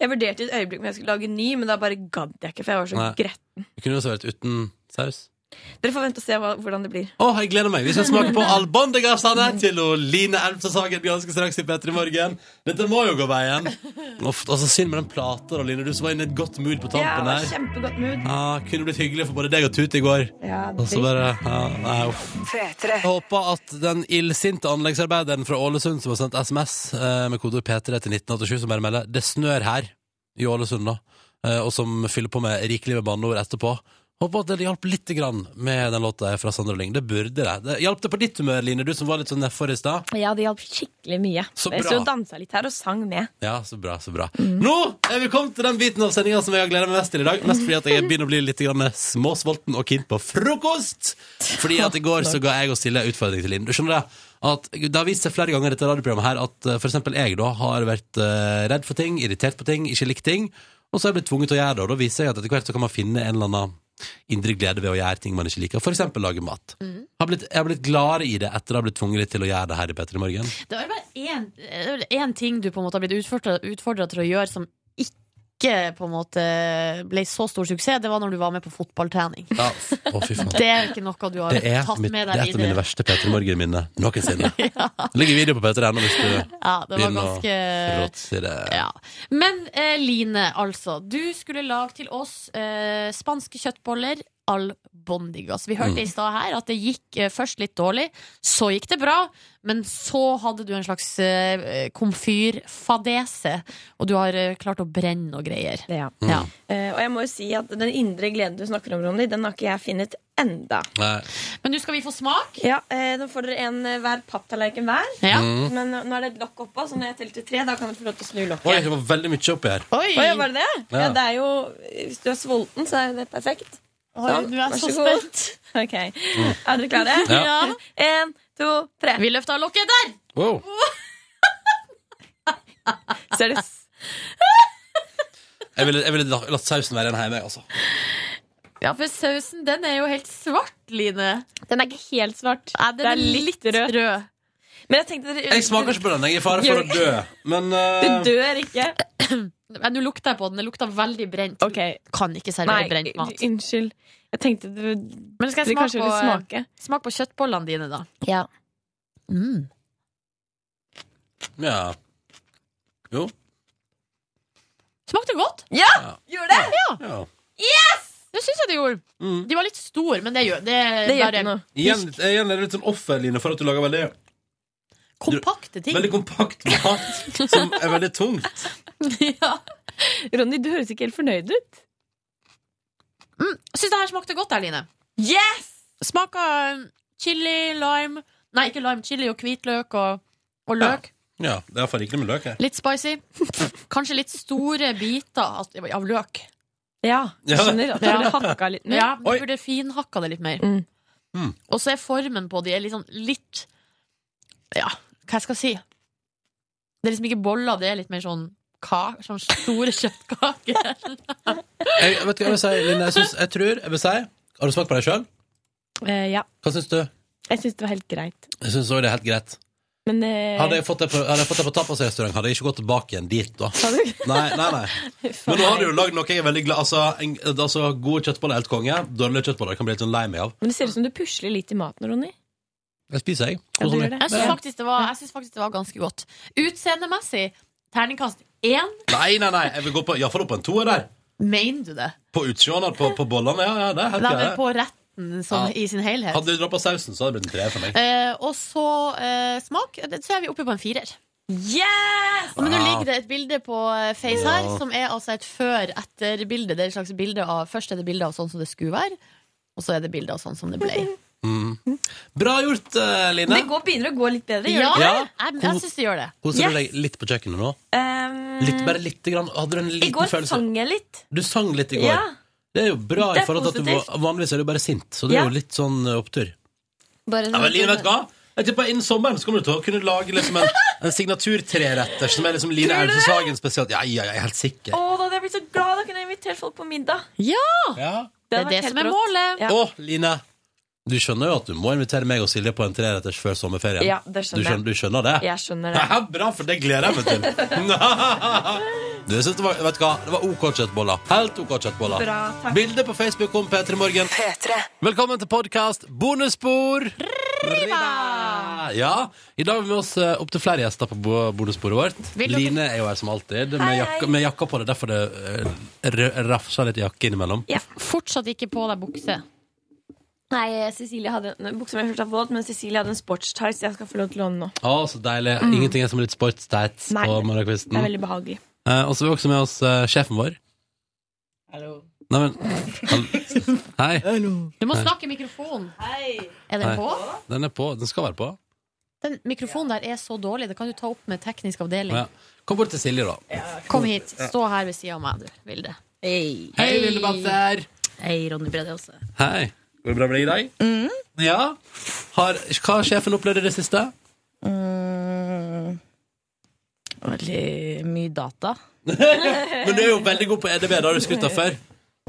D: Jeg vurderte i et øyeblikk om jeg skulle lage en ny, men da bare gadd jeg ikke, for jeg var så
B: Nei.
D: gretten.
B: Du kunne jo servert uten saus.
D: Dere får vente og se hva, hvordan det blir.
B: Å, jeg gleder meg! Vi skal smake på albondigasene til å Line Elvstadsagen ganske straks i P3 Morgen. Dette må jo gå veien. Uff, altså Synd med den plata, da, Line. Du som var inne i et godt mood på
D: Ja,
B: tampen
D: det var
B: der.
D: kjempegodt mood.
B: Ja, kunne blitt hyggelig for både deg og Tut i går.
D: Ja,
B: Og så bare ja, Nei, uff. Jeg håper at den illsinte anleggsarbeideren fra Ålesund som har sendt SMS eh, med kodeord P3 til 1987, som bare melder 'Det snør her' i Ålesund nå, eh, og som fyller på med rikelig med banneord etterpå. Håper at det hjalp litt grann med den låta fra Sander Lyng. Det burde det. det. Hjalp det på ditt humør, Line, du som var litt sånn nedfor i stad?
D: Ja, det hjalp skikkelig mye.
B: Så
D: jeg
B: bra.
D: sto og dansa litt her og sang med.
B: Ja, så bra, så bra. Nå er vi kommet til den biten av sendinga som jeg har gleda meg mest til i dag. Mest fordi at jeg begynner å bli litt grann småsulten og keen på frokost. Fordi at i går så ga jeg og Silje en utfordring til Linn. Du skjønner det? At det har vist seg flere ganger i dette radioprogrammet her at eh, for eksempel jeg da har vært eh, redd for ting, irritert på ting, ikke likt ting. Og så har jeg blitt tvunget til å gjøre det, og da viser jeg at etter hvert så kan man finne en eller annen indre glede ved å gjøre ting man ikke liker. For eksempel lage mat. Har blitt, jeg har blitt gladere i det etter å ha blitt tvunget til å gjøre det her i Petter i morgen.
C: Det var bare én- det var én ting du på en måte har blitt utfordra, utfordra til å gjøre som ikke på en måte ble så stor suksess. Det var når du var med på fotballtrening.
B: Ja, f- å, fy faen.
C: Det er ikke noe du har
B: Det er,
C: tatt
B: mitt, det
C: med
B: er
C: deg
B: et av mine
C: videre.
B: verste Peter Morgen-minner noensinne. Det ligger video på Peter ennå hvis du
C: Ja, det var
B: begynner å
C: ganske
B: råtsi det.
C: Men eh, Line, altså. Du skulle lage til oss eh, spanske kjøttboller al bondigas. Vi hørte
M: Mm.
C: i stad her at det gikk eh, først litt dårlig, så gikk det bra, men så hadde du en slags eh, komfyrfadese, og du har eh, klart å brenne noe greier.
D: Ja.
B: Mm.
C: ja.
D: Eh, og jeg må jo si at den indre gleden du snakker om, Ronny, den har ikke jeg funnet enda.
B: Nei.
C: Men nå skal vi få smak.
D: Ja, eh, Nå får dere en eh, hver papptallerken hver.
B: Ja. Mm.
D: Men nå nå er det et lokk oppå, så når jeg teller til tre, da kan dere få lov til å snu lokket.
B: Oi, det var veldig mye oppi her.
D: Oi, var det det? Ja.
B: Ja.
D: det er jo, Hvis du er sulten, så er jo det perfekt.
C: Oi, du er
D: vær
C: så
D: god. Ok, Er dere klare?
B: Ja.
D: En, to, tre.
C: Vi løfter lokket der!
B: Wow.
D: Ser du?
B: Jeg ville, jeg ville la- latt sausen være igjen hjemme, jeg, altså.
C: Ja, for sausen den er jo helt svart, Line.
D: Den er ikke helt svart.
C: Nei, den
D: Den
C: er litt, rød.
D: Men jeg tenkte dere
B: Jeg smaker ikke på den. Jeg er i fare for å dø. Men eh,
D: Du dør ikke.
C: Men nå lukter jeg på den. Det lukter veldig brent. Kan ikke servere
D: Nei,
C: brent mat.
D: Unnskyld. Jeg tenkte du
C: Men skal jeg
D: dere kanskje
C: smake på, eh,
D: ville smake.
C: smak på kjøttbollene dine, da?
D: Ja.
C: Mm.
B: ja. Jo.
C: Smakte godt!
D: Ja! Gjorde det?
C: Ja.
B: ja. Mm.
C: Yes! Det syns jeg det gjorde. De var litt store, men det gjør det, er
D: Det gjør
C: bare
D: ikke noe.
B: Igjen, igjen er det litt sånn offer, Line, for at du lager veldig
C: Kompakte ting.
B: Veldig kompakt mat som er veldig tungt.
D: Ronny, du høres ikke helt fornøyd ut.
C: Mm. Syns det her smakte godt, Erline.
D: Yes!
C: Smaka um, chili, lime Nei, ikke lime, chili og hvitløk og, og løk.
B: Ja, det er iallfall rikelig med løk her.
C: Litt spicy. Kanskje litt store biter av, av løk.
D: Ja,
B: jeg skjønner at du burde hakka
D: litt
B: mer.
C: Ja, du burde finhakka det litt mer.
B: Mm.
C: Og så er formen på de er litt sånn litt Ja, hva jeg skal si? Det er liksom ikke boller, det er litt mer sånn ka, sånn store kjøttkaker.
B: Jeg, vet du hva jeg vil si, Line? Jeg, synes, jeg tror jeg vil si Har du smakt på deg sjøl?
D: Eh, ja.
B: Hva syns du?
D: Jeg syns det var helt greit.
B: Jeg syns òg det er helt greit.
D: Men eh,
B: Hadde jeg fått det på, hadde jeg fått det på tapasrestaurant, hadde jeg ikke gått tilbake igjen dit, da.
D: Hadde du ikke?
B: Nei, nei, nei. Men nå har du jo lagd noe jeg er veldig glad Altså, en, altså gode kjøttboller er helt konge. Dårlige kjøttboller kan jeg bli litt sånn lei meg av.
D: men det ser ut som du pusler litt i maten, Ronny.
B: Det spiser jeg.
D: Ja, du gjør det.
C: Jeg syns faktisk, det var- jeg synes faktisk det var ganske godt. Utseendemessig, terningkast én,
B: Nei, nei, nei. Jeg vil gå på, iallfall opp på en toer der.
C: mener du det?
B: På utseendet, på, på bollene. Ja, ja, det er helt
C: Nei, men
B: greit.
C: på retten som,
B: Ja.
C: i sin helhet.
B: Hadde du droppa sausen, så hadde det blitt en treer for meg.
C: Eh, og så eh, smak, det- så er vi oppe på en firer.
D: Yes!
C: Men nå
B: Wow.
C: ligger det et bilde på eh, Face her
B: Ah. Ja.
C: som er altså et før-etter-bilde. Det er et slags bilde av Først er det bilde av sånn som det skulle være, og så er det bilde av sånn som det ble.
B: Mm. Bra gjort, eh, Line.
D: Det går, begynner å gå litt bedre.
C: Ja,
D: Gjør det ikke?
C: jeg, jeg syns det gjør det.
B: Koser
D: Yes.
B: du deg litt på kjøkkenet nå?
D: Ehm,
B: Litt, bare lite grann? Hadde du en
D: I
B: liten
D: går
B: følelse
D: sang jeg litt.
B: Du sang litt i går.
D: Ja.
B: Det er jo bra. i
D: Det er
B: forhold til at du
D: positivt.
B: var- Vanligvis er du bare sint, så det er
D: Ja.
B: jo litt sånn eh, opptur.
D: Bare sånn-
B: Ja, men Line, vet du hva? Jeg tipper Innen sommeren så kommer du til å kunne lage liksom en, en signaturtreretter som er liksom Line
D: Tror du det?
B: Elvsås Hagen spesielt. Ja, ja, jeg er helt sikker.
D: Å, da hadde jeg blitt så glad. Da kunne jeg invitert folk på middag.
C: Ja!
B: Ja.
C: Det er det som er målet.
D: Ja.
B: Å, Line! Du skjønner jo at du må invitere meg og Silje på en treretters før sommerferien.
D: Ja, det
B: du
D: skjønner jeg.
B: skjønner, du skjønner det?
D: Jeg skjønner det.
B: Ja, bra, for det gleder jeg meg til. du jeg synes det var, vet du hva? Det var OK kjøttboller. Helt OK kjøttboller.
D: Bra, takk.
B: Bilde på Facebook om P3 Morgen. Velkommen til podkast Bonusspor. Riva! Ja, I dag har vi med oss eh, opptil flere gjester på bo- bonussporet vårt.
C: Vil dere-
B: Line er jo her som alltid, med
C: Hei, hei.
B: jakka, med jakka på det. Derfor det eh, rø- rafser litt jakke innimellom.
C: Fortsatt ikke på deg bukse.
D: Nei, Cecilie hadde nei, Buksa mi er fortsatt våt, men Cecilie hadde en sportstights jeg skal få lov til å låne nå.
B: Å, så deilig.
D: Mm.
B: Ingenting er som litt sportstights
D: Nei,
B: på
D: Det er
B: morgenkvisten.
D: veldig behagelig.
B: Eh, og så har vi også med oss eh, sjefen vår. Nei, men Hall- Hei.
C: Du må
B: Hei.
C: snakke i mikrofonen. Er den
B: Hei.
C: på?
B: Den er på. Den skal være på.
C: Den mikrofonen der er så dårlig. Det kan du ta opp med teknisk avdeling.
B: Ja. Kom bort til Silje, da.
C: Kom hit. Stå her ved sida av meg, du, Vilde. Hei,
B: Hei, Vilde Batser.
N: Hei, Ronny Brede også.
B: Hei. Går det bra med deg i dag? Ja. Har, hva har sjefen opplevd i det siste?
N: Mm, veldig mye data.
B: Men du er jo veldig god på EDB, det har du skutt av før.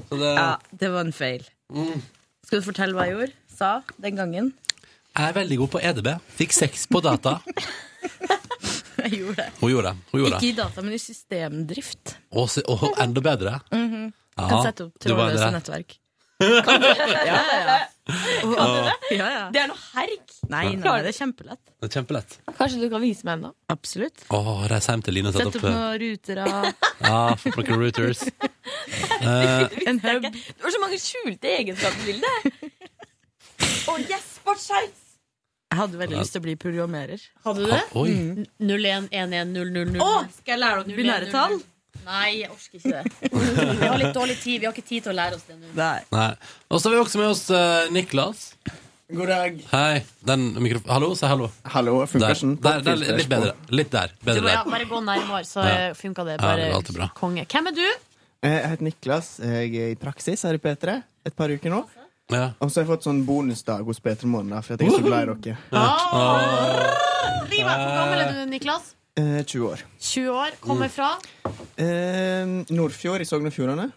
B: Så det,
N: Ja, det var en feil.
B: Mm.
N: Skal du fortelle hva jeg gjorde? Sa den gangen?
B: Jeg er veldig god på EDB. Fikk seks på data.
N: Jeg gjorde det.
B: Hun gjorde det. Hun gjorde
N: Ikke
B: det.
N: i data, men i systemdrift.
B: Og, se- og enda bedre.
N: Mhm.
B: Ja,
N: Kan sette opp
B: det var
N: trådløse
B: det.
N: nettverk. Kan du? Ja, ja, ja.
B: Kan du det?
N: Ja, ja.
D: Det er noe herk.
N: Nei, nei, nei, det er kjempelett.
B: Det er kjempelett.
D: Kanskje du kan vise meg en, da?
N: Absolutt.
B: Å, reis hjem til Line og sett
N: Sette
B: opp
N: opp noen ruter av
B: Ja, fått noen routers. Eh,
N: en hub.
D: Det var så mange skjulte egenskaper til det. Å, yes, sportstights!
N: Jeg hadde veldig lyst til å bli programmerer.
C: Hadde du det?
N: Oi.
C: Mm. 01110000.
N: Å, skal jeg lære dere binære tall?
C: Nei, jeg orker ikke det. Vi har litt dårlig tid. Vi har ikke tid til å lære oss det nå.
B: nei. Og så har vi også med oss eh, Niklas.
I: God dag.
B: Hei. Den mikrof- hallo, si hallo.
I: Hallo, funker
B: der.
I: sånn.
B: Der, der, litt bedre. Litt der.
C: Du
B: Bedre
C: må, ja,
B: der.
C: bare gå nærmere, så
B: Ja.
C: funka det.
B: Ja, det
C: Bare
B: går alltid bra.
C: konge. Hvem er du?
I: Eh, Jeg heter Niklas. Jeg er i praksis her i P3 et par uker nå.
B: Ja.
I: Og så har jeg fått sånn bonusdag hos P3 Morgen, da, for at jeg er så glad i dere.
C: Riva, Hvor gammel er du, Niklas?
I: Eh, 20 år.
C: 20 år, kommer
I: Mm.
C: fra
I: Eh, Nordfjord i Sogn og Fjordane.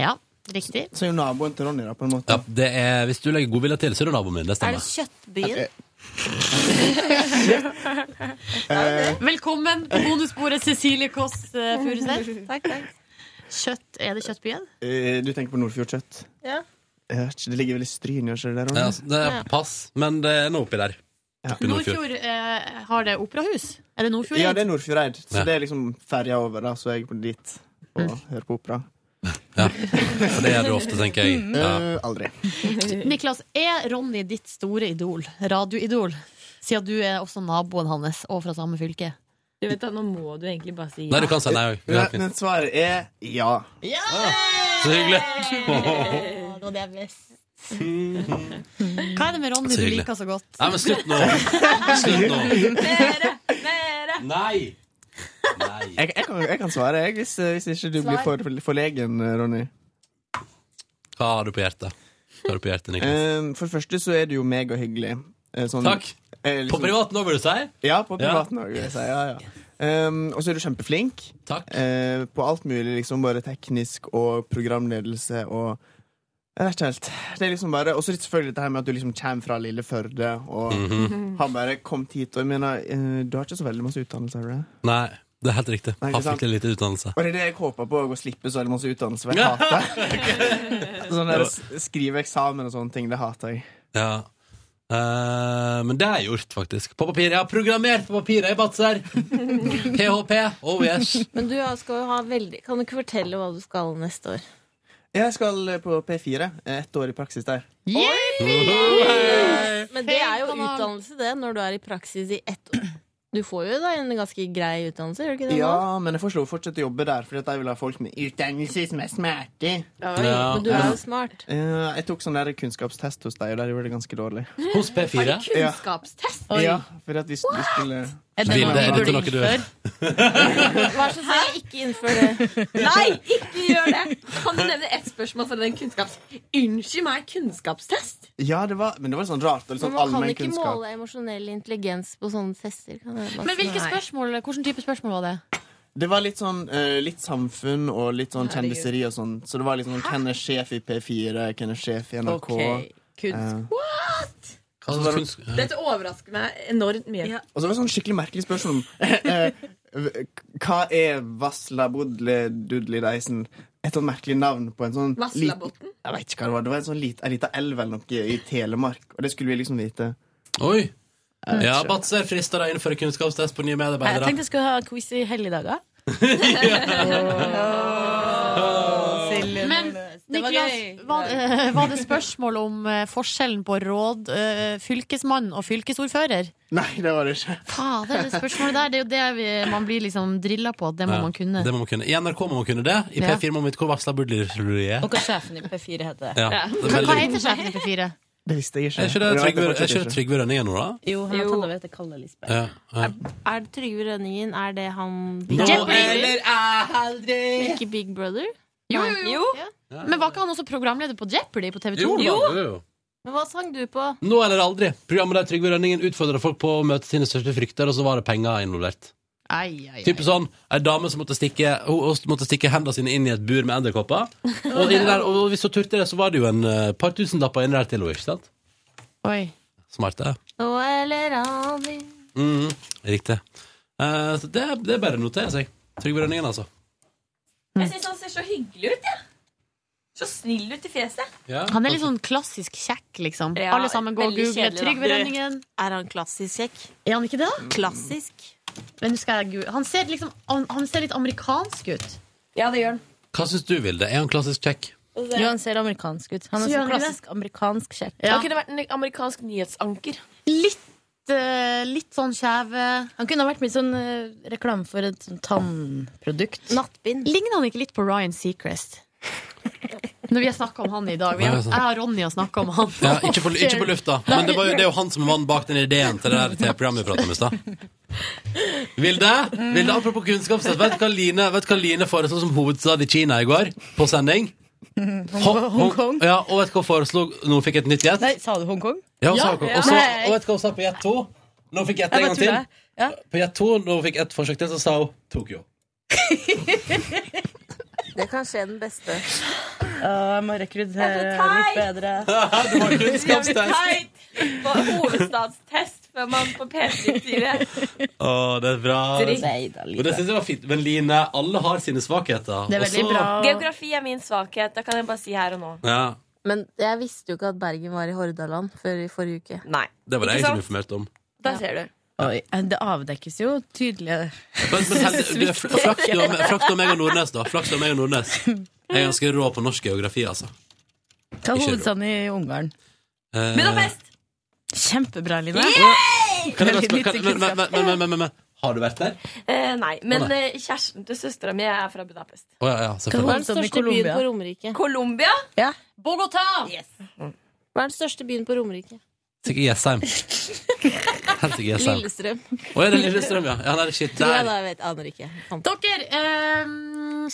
C: Ja, riktig.
I: Så er jo naboen til Ronny, da, på en måte.
B: Ja, det er, hvis du legger godvilje til, så er du naboen min. Det
C: Er det sånn?
B: stemmer.
I: Eh.
C: Kjøttbyen? Velkommen på bonusbordet, Cecilie Kåss eh, Furuseth. Takk, takk. Kjøtt, er det Kjøttbyen?
I: Eh, du tenker på Nordfjordkjøtt?
C: Ja.
I: Jeg vet ikke, Det ligger vel i Stryn, gjør ikke det der,
B: Ja,
I: Ronny?
B: altså, det er pass, men det er noe oppi der. Oppi Nordfjord.
C: Nordfjord eh, har det operahus. Er det Nordfjord?
I: Ja, det er Nordfjordeid. Så
B: Ja.
I: det er liksom ferja over, da, så jeg går dit
C: Mm.
I: og hører på opera.
B: For det gjør du ofte, tenker jeg. Ja.
I: Eh, aldri.
C: Niklas, er Ronny ditt store idol? Radioidol? Siden du er også naboen hans og fra samme fylke.
D: Du vet da, Nå må du egentlig bare si
B: Nei, du kan si nei òg.
I: Ja, men svaret er ja.
B: Så hyggelig.
C: Det var det jeg visste. Hva er det med Ronny
B: Så
C: du
B: hyggelig.
C: liker så godt?
B: Nei, men slutt nå. Slutt nå. Nei!
I: Jeg, jeg, kan, jeg kan svare, jeg, hvis, eh, hvis ikke du
C: Svar.
I: blir for forlegen, Ronny.
B: Hva har du på hjertet? Hva har du på hjertet, Niklas?
I: Eh, for det første så er du jo megahyggelig. Eh, sånn-
B: Takk.
I: eh, liksom-
B: På privaten òg, vil du si?
I: Ja, på
B: Ja.
I: privaten òg. Ja, ja. Um, og så er du kjempeflink.
B: Takk.
I: Eh, på alt mulig, liksom. Både teknisk og programledelse og Jeg vet ikke helt. Det er liksom bare, Og så selvfølgelig dette her med at du liksom kommer fra lille Førde og
B: Mhm.
I: har bare kommet hit. Og jeg mener, eh, Du har ikke så veldig masse utdannelse? har du det?
B: Nei, det er helt riktig.
I: Nei, ikke
B: Har
I: sant?
B: fryktelig lite utdannelse.
I: Og det er det jeg håper på, å slippe så veldig masse utdannelse. For jeg hater Sånn der s- Skrive eksamen og sånne ting, det hater jeg.
B: Ja. Eh, men det har jeg gjort, faktisk. På papir. Jeg har programmert på papiret, jeg, Batser! PHP. Oh yes.
O: Men du skal jo ha veldig Kan du ikke fortelle hva du skal neste år?
I: Jeg skal eh, på P4. eh, Ett år i praksis der.
O: Men det er jo utdannelse, det, når du er i praksis i ett år. Du får jo da en ganske grei utdannelse, gjør du ikke det? nå?
I: Ja, men jeg får slå fortsette å jobbe der, fordi at jeg vil ha folk med utdannelse som er smarte.
O: Oi, Men du er jo smart.
I: Eh, jeg tok sånn der kunnskapstest hos deg, og der gjorde jeg det ganske dårlig.
B: Hos P4?
I: Har du
O: Kunnskapstest?
I: Ja, for at hvis du skulle
O: Er det noe vi burde innføre? Vær så snill, ikke innfør det.
D: Nei, ikke gjør det! Kan du nevne ett spørsmål fra den kunnskaps... Unnskyld meg, kunnskapstest?
I: Ja, det var, men det var sånn rart. Og litt
O: Men
I: sånn
O: man kan
I: allmenn
O: ikke
I: kunnskap.
O: måle emosjonell intelligens på sånne tester. Kan jeg bare
C: Men
O: si.
C: hvilke
O: Nei.
C: spørsmål, hvilken type spørsmål var det?
I: Det var litt sånn eh, litt samfunn og litt sånn kjendiseri og sånn. Så det var liksom hvem er sjef i P4, hvem er sjef i NRK?
D: Ok,
I: Eh,
D: Kunnskap What?!
I: og så var det-
B: eh,
D: Dette overrasker meg enormt mye.
I: Og så var det sånn skikkelig merkelig spørsmål. Eh, Hva er Vasla Bodle Dudli Deisen? Et sånt merkelig navn på en sånn
D: Vaslabotn?
I: Jeg vet ikke hva det var. Det var en sånn lit, en liten elv eller noe i Telemark, og det skulle vi liksom vite.
B: Oi. Ja, Batser frister deg å innføre kunnskapstest på nye
N: Jeg
B: medarbeidere.
N: tenkte jeg skulle ha quiz i helligdager.
C: Men Niklas, var, eh, var det spørsmål om eh, forskjellen på råd, eh, fylkesmann og fylkesordfører?
I: Nei, det var det ikke.
C: Fader, det spørsmålet der, det er jo det vi, man blir liksom drilla på, at det må
B: Ja,
C: man kunne.
B: Det må man kunne. I NRK må man kunne det. I
C: Ja.
B: P4 må man vite hvor varsla Budlerud er.
N: Og hva sjefen i P4 heter.
B: Ja, det er
C: Hva, hva
B: veldig-
C: heter sjefen i P4?
I: Det visste jeg ikke.
B: Er ikke det
I: Og vet jeg
B: Trygve, er
I: fortsatt
B: ikke det Trygve Rønningen nå, da?
N: Jo, han har tatt over etter Kalle Lisbeth.
B: Ja, ja.
N: Er det Trygve Rønningen? Er det han
B: Nå eller
N: aldri! Ikke Big Brother?
C: Jo, jo, jo.
N: Ja.
C: Men var ikke han også programleder på Jeopardy på TV 2?
B: Jo, da, jo, jo.
N: Men hva sang du på?
B: Nå eller aldri. Programmet der Trygve Rønningen utfordra folk på å møte sine største frykter, og så var det penger involvert.
C: Ai, ai, ai.
B: Typisk sånn, Ei dame som måtte stikke, hun- hun måtte stikke hendene sine inn i et bur med edderkopper. Og, inni der- og hvis hun turte det, så var det jo en eh, par tusenlapper inni der til henne. ikke sant?
C: Oi.
B: Smart, det.
N: Nå eller aldri
B: Mhm, riktig. Eh, så det, det er bare å notere seg. Trygve Rønningen, altså.
N: Mm.
D: Jeg syns han ser så hyggelig ut, jeg. Så snill ut i fjeset.
C: Han er litt
B: Altså-
C: sånn klassisk kjekk, liksom.
D: Ja,
C: Alle sammen går og
D: veldig
C: googler
D: kjedelig, da.
C: Trygve Rønningen.
N: Er han klassisk kjekk?
C: Er han ikke det?
N: Klassisk.
D: Mm.
C: Men nå skal jeg google. Han ser, liksom, han, han ser litt amerikansk ut.
D: Ja, det gjør han.
B: Hva syns du, Vilde? Er han klassisk kjekk?
N: Jo, han ser amerikansk ut. Han
D: Så
N: er så
D: gjør han ikke
N: klassisk amerikansk kjekk.
D: Han kunne vært en amerikansk nyhetsanker.
C: Litt, eh, litt sånn kjeve
N: Han kunne vært med i sånn eh, reklame for et sånn tannprodukt. Nattbind.
C: Ligner han ikke litt på Ryan Seacrest? Når vi har snakka om han i dag. Vi
B: Ja,
C: har,
B: det er sant.
C: jeg har Ronny og snakka om han.
B: Ja, ikke, på, ikke på lufta, men det, var jo, det er jo han som er mannen bak den ideen til det der til programmet vi pratet om i stad. Vilde, Vilde, apropos kunnskapstest, vet du hva Line, vet du hva Line foreslo som hovedstad i Kina i går? På sending?
N: Mm,
B: Ho- Hong- Ja, og vet du hva hun foreslo nå hun fikk et nytt gjett?
N: Nei, sa du Hongkong?
B: Ja, hun sa Hongkong. Og så-
N: Nei.
B: og vet du hva hun sa på gjett to? Når hun fikk gjett en
N: Jeg
B: gang
N: bare
B: til?
N: tror det. Ja.
B: På gjett to, når hun fikk ett forsøk til, så sa hun Tokyo.
N: Det kan skje den beste. jeg må rekruttere
D: Jeg er så
N: litt bedre.
B: Du har
D: Det blir teit på hovedstadstest før man på P4.
B: Å, det er bra.
D: Dritt.
B: Og det synes jeg var fint. Men Line, alle har sine svakheter. Og så-
D: Geografi er min svakhet. Da kan jeg bare si her og nå.
B: Ja,
N: Men jeg visste jo ikke at Bergen var i Hordaland før i forrige uke.
D: Nei.
B: det var det
N: Ikke
B: jeg som
N: sant?
B: informerte om.
D: Da ser du.
N: Oi, eh, det avdekkes jo tydelig.
B: Men, men heldig, du, fl- flaks til meg- flaks til meg og Nordnes, da. Flaks til meg og Nordnes. Jeg er ganske rå på norsk geografi, altså.
N: Ta
B: Ikke
N: hovedstaden i Ungarn.
B: Eh,
N: Kjempebra, Line.
B: Kan jeg bare
N: Veldig
B: spørre, kan, men, men,
N: nyttig kunnskap.
B: men, men, men, men, men Har du vært der?
D: Eh, nei, men
B: Å, nei.
D: eh, kjæresten til søstera mi er fra Budapest.
B: Å ja, ja,
N: Hva er
B: selvfølgelig.
N: den største byen på Romerike?
D: Colombia?
N: Ja.
D: Bogotá!
N: Hva er den største byen på Romerike?
B: Sikkert Jessheim. Helt sikkert Jessheim.
N: Lillestrøm.
B: Å, er det Lillestrøm, ja? ja nei, shit,
N: Tror jeg
B: der.
N: da, jeg vet, aner ikke. Fant-
C: Dere, eh,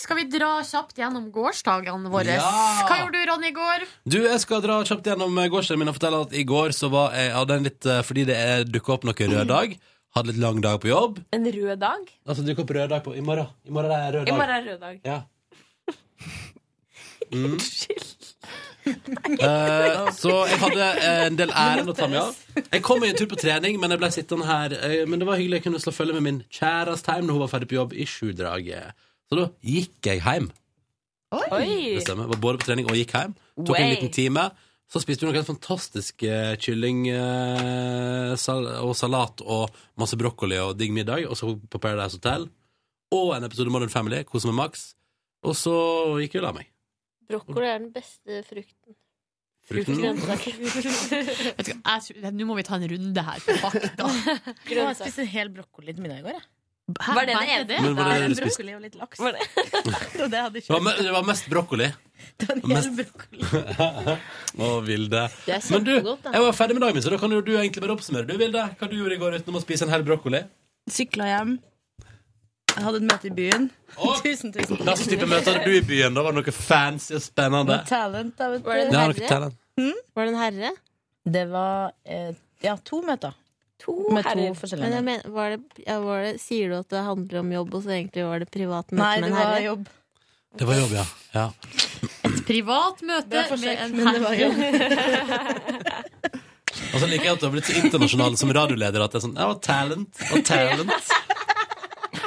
C: skal vi dra kjapt gjennom gårsdagene våre?
B: Ja!
C: Hva gjorde du, Ronny, i går?
B: Du, jeg skal dra kjapt gjennom eh, gårsdagen min og fortelle at i går så var jeg jeg hadde en litt eh, Fordi det er- dukket opp noe rød dag. Hadde litt lang dag på jobb.
D: En rød dag?
B: Altså dukket opp rød dag på I morgen. I morgen er det rød
D: I
B: dag.
D: morgen er rød dag.
B: Ja. Mm. Eh, så jeg hadde eh, en del æren å ta med av. Jeg kom meg en tur på trening, men jeg ble sittende her. eh, Men det var hyggelig. Jeg kunne slå følge med min kjæreste hjem når hun var ferdig på jobb i sjudraget. Så da gikk jeg hjem.
D: Oi!
B: Det stemmer. Var både på trening og gikk hjem. Tok en
D: Way.
B: liten time. Så spiste vi noe helt fantastisk eh, kylling eh, sal og salat og masse brokkoli og digg middag. Og så på Paradise Hotel. Og en episode Modern Family. Kose med Max. Og så gikk vi og la meg.
O: Brokkoli er den beste frukten.
B: Frukten.
A: Vet du hva, jeg tror- Nå må vi ta en runde her på fakta.
N: Jeg spiste en hel brokkoli til middag i går. Jeg.
A: Hæ, Var det merker det du ene? det? Men var det
N: Da er
A: det
N: en
A: du spiste?
N: brokkoli og litt laks. det var det jeg hadde
B: Det var, me- det var mest brokkoli.
N: kjøpt.
B: Å, Vilde.
N: Det er
B: Men du,
N: kjempegodt, da.
B: jeg var ferdig med dagen min, så da kan jo du egentlig bare oppsummere. Du, Vilde, hva du gjorde i går utenom å spise en hel brokkoli?
N: Sykla hjem. Jeg hadde et møte i byen. Tusen, tusen
B: Hva slags type møte hadde du i byen? Da var det noe fancy og spennende.
N: Noe talent, da, vet du.
O: Var det en
B: Ja, noe
O: herre?
B: talent.
N: Hmm?
O: Var det en herre?
N: Det var eh, ja, to møter. Med to forskjellige
O: Men jeg
N: menn.
O: mener, var det, ja, var det, sier du at det handler om jobb, og så egentlig var det privat møte
N: Nei,
O: med
N: det
O: en
N: var
O: herre?
N: jobb.
B: Det var jobb, ja. ja.
A: Privat møte
N: Det var forsøk,
A: med en
N: men det var jo-
B: Og så liker jeg at du har blitt så internasjonal som radioleder at det er sånn Ja, og talent og talent.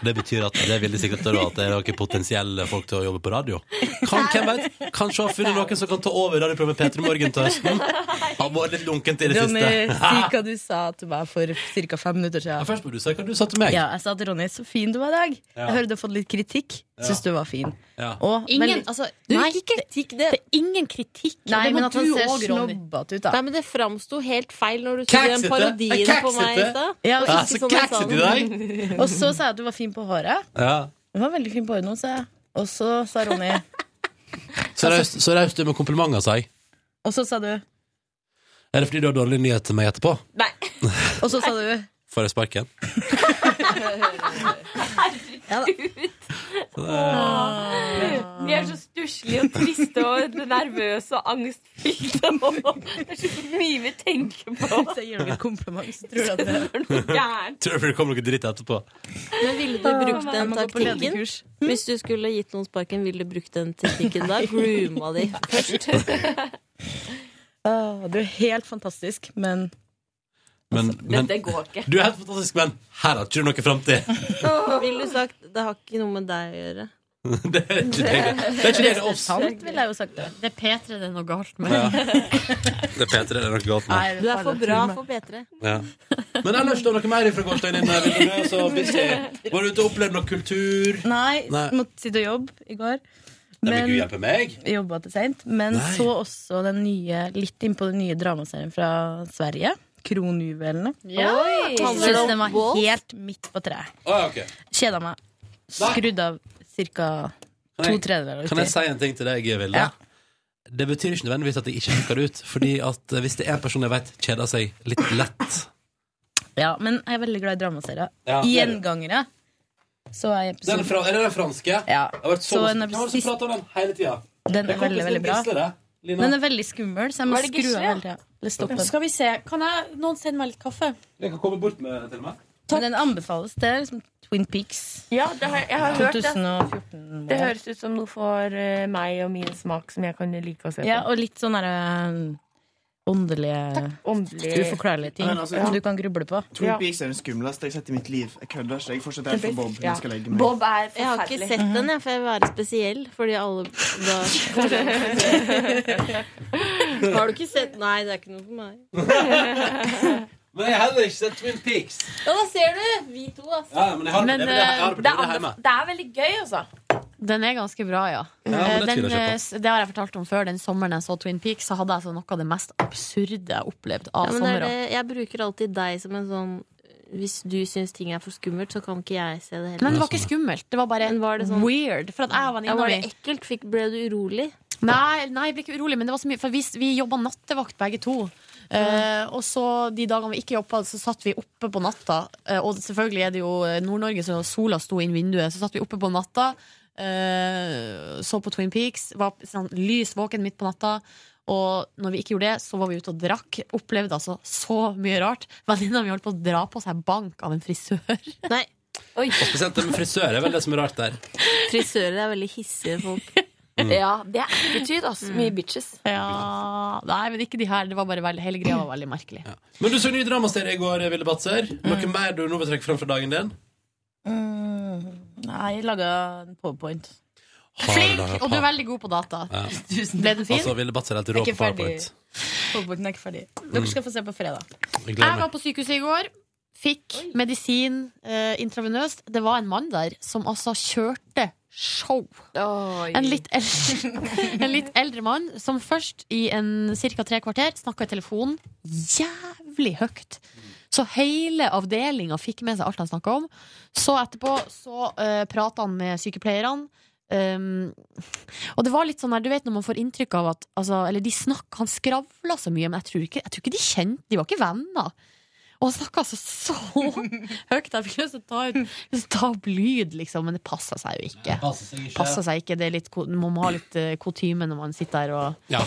B: Det betyr at det er veldig sikkert da, at det er noen potensielle folk til å jobbe på radio. Kan, hvem vet? Kanskje har funnet noen som kan ta over radioprogrammet Peter i morgen til høsten. Har vært litt lunkent i det
N: Ronny,
B: siste.
N: si hva du sa til meg for ca. fem minutter siden.
B: først må du si hva du sa til meg.
N: Ja, jeg sa til Ronny så fin du var i dag.
B: Ja.
N: Jeg hører du har fått litt kritikk. Syns du var fin.
B: Ja.
N: Og
O: Ingen-
N: veldig-
O: altså,
N: du,
O: nei,
N: ikke kritikk, det.
O: Det er ingen kritikk.
N: Nei,
O: det må
N: men at han
O: du
N: ser
O: også, Ronny.
N: snobbete ut, da.
O: Nei, men det framsto helt feil når du skulle gjøre den
N: Jeg
O: parodien på meg i
N: kaksete.
O: stad.
N: Ja,
O: Og
N: ja,
O: ikke
N: så
O: sånn jeg sa
N: kaksete
O: den.
N: i dag. Og så sa jeg at du var fin på håret.
B: Ja.
N: Du var veldig fin på håret nå, sa jeg. Og så sa Ronny
B: Så raust så raust du er med komplimenter, sa jeg.
N: Og så sa du
B: Er det fordi du har dårlig nyhet til meg etterpå?
N: Og så sa du
B: Får jeg sparken?
N: Ja da.
B: Så det er-
D: Vi er så stusslige og triste og nervøse og angstfylte. og Det er så mye vi tenker på.
N: Så jeg gir dere et kompliment, så tror dere at
D: det er noe gærent.
B: Tror du det kommer noe dritt etterpå?
O: Men ville du brukt
N: Åh,
O: den
N: jeg må gå på
O: taktikken? Hm?
N: lederkurs.
O: Hvis du skulle gitt noen sparken, ville du brukt den teknikken da? Grooma de først.
N: Åh, Ah, Du er helt fantastisk, men
B: Men,
N: Altså,
B: men
O: det går ikke.
B: Du er helt fantastisk, men her har ikke du noe framtid.
O: Ville du sagt det har ikke noe med deg å gjøre?
B: Det er ikke det. Det er ikke det det er oss.
N: sant, ville jeg jo sagt det.
A: Det er P3 det er noe galt med.
B: Ja. Det er P3 det er noe galt med.
O: Du er for bra for P3.
B: Ja. Men ellers, da, noe mer fra gårsdagen din? Altså, Vilde? Du er så busy. Var du ute og opplevde noe kultur?
N: Nei,
B: Nei.
N: måtte sitte og jobbe i går.
B: Nei, men Gud hjelpe meg.
N: Jobba til seint. Men
B: Nei.
N: så også den nye, litt innpå den nye dramaserien fra Sverige. Kronjuvelene.
O: Ja. Oi.
N: Jeg
O: Handler det
N: Syns
O: om
N: den var
O: golf?
N: helt midt på treet.
B: Å, ja, ok.
N: Kjeda meg. Skrudd av ca. to tredjedeler.
B: Kan jeg
N: uti.
B: si en ting til deg, Vilde?
N: Ja.
B: Det betyr ikke nødvendigvis at jeg ikke sjekker det ut. Fordi at eh, hvis det er en person jeg vet kjeder seg litt lett
N: Ja, men jeg er veldig glad i dramaserier.
B: Ja, det er du.
N: Gjengangere. Så er jeg
B: den fra, Er det den franske? Ja. Jeg har vært så,
N: Så
B: masse-
N: en
B: Hvem var det som pratet om den hele tiden?
N: Den
B: Det
N: er
B: kom
N: veldig,
B: til
N: veldig bra.
B: Gisle, det. Lina.
N: Den er veldig skummel, så jeg må
O: Var det
N: skru
O: Gisle,
N: av
O: ja?
N: hele tida. Eller stoppe den.
O: Skal vi se. Kan jeg, noen sende meg litt kaffe?
B: Jeg kan komme bort med til meg.
N: Men den anbefales. Det er liksom Twin Peaks.
D: Ja, det har, jeg har hørt det.
N: 2014.
D: Det høres ut som noe for eh, meg og min smak som jeg kan like å se på.
N: Ja, og litt sånn derre åndelige
D: Åndelig.
N: Uforklarlige ting
I: Men altså,
N: som du kan gruble på.
I: Twin Peaks er den skumleste jeg har sett i mitt liv. Jeg kødder ikke. Jeg fortsetter her for Bob. når Jeg skal legge meg.
D: er
O: Jeg har ikke sett
N: Mhm.
O: den, jeg, for jeg vil være spesiell. Fordi alle da Har du ikke sett Nei, det er ikke noe for meg.
B: Men jeg har heller ikke sett Twin Peaks.
O: Ja, da ser du! Vi to, altså.
B: Ja, men jeg har,
A: Men,
B: jeg, jeg, jeg har
A: eh,
B: det på DVD hjemme.
D: Det er veldig gøy, altså.
A: Den er ganske bra, ja.
B: Ja, men
A: Eh,
B: det
A: den,
B: tviler jeg ikke
A: eh,
B: på.
A: s- det har jeg fortalt om før. Den sommeren jeg så Twin Peaks, så hadde jeg altså noe av det mest absurde jeg opplevde av
O: Ja, men det er
A: somre.
O: det, jeg bruker alltid deg som en sånn Hvis du syns ting er for skummelt, så kan ikke jeg se det heller.
A: Men det var ikke
B: sånn.
A: skummelt. Det var bare
O: var det sånn-
A: weird. For at jeg og
O: ja,
A: venninna
O: Var
A: mi
O: det ekkelt? Fikk, ble du urolig?
A: Nei, nei, jeg ble ikke urolig, men det var så mye For vi, vi jobba nattevakt begge to. Eh, og så De dagene vi ikke jobba, så satt vi oppe på natta. Eh, og selvfølgelig er det jo eh, Nord-Norge, så sola sto inn vinduet. Så satt vi oppe på natta, eh, så på Twin Peaks, var sånn, lys våken midt på natta. Og når vi ikke gjorde det, så var vi ute og drakk. Opplevde altså så mye rart. Venninna mi holdt på å dra på seg bank av en frisør.
O: Nei,
B: Og spesielt det med frisør er vel det som er rart der.
O: frisører er veldig hissige folk.
B: Mm.
D: Ja, det er attitude, altså. Mye bitches.
C: Ja, nei, men ikke de her. Det var bare veldig, hele greia var veldig merkelig.
B: Men du så ny dramaserie i går, Ville Batser. Noe mer du nå vil trekke fram fra dagen din?
N: Mm, nei, jeg laga en powerpoint.
C: Flink! Og du er veldig god på data.
N: Tusen
C: Ble den fin?
B: Altså, Ville Batser er helt rå
N: Ikke
B: på
N: ferdig.
B: PowerPoint.
N: Powerpointen er ikke ferdig.
B: Mm.
N: Dere skal få se på fredag.
B: Jeg
C: Jeg
B: gleder
C: var
B: meg.
C: på sykehuset i går. Fikk medisin eh, intravenøst. Det var en mann der som altså kjørte show. En litt, eldre, en litt eldre mann som først i en ca. tre kvarter snakka i telefonen jævlig høyt. Så hele avdelinga fikk med seg alt han snakka om. Så etterpå så uh, prata han med sykepleierne. Um, og det var litt sånn her, du vet når man får inntrykk av at altså, Eller de snakk, han skravla så mye, men jeg tror ikke, jeg tror ikke de kjente De var ikke venner. Og han snakka altså så høyt. Jeg fikk lyst til å ta, ut, lyst til å ta opp lyd, liksom, men det passa seg jo ikke. Passa seg ikke. Det er litt, ko- man må ha litt eh, kutyme når man sitter der og
B: Ja,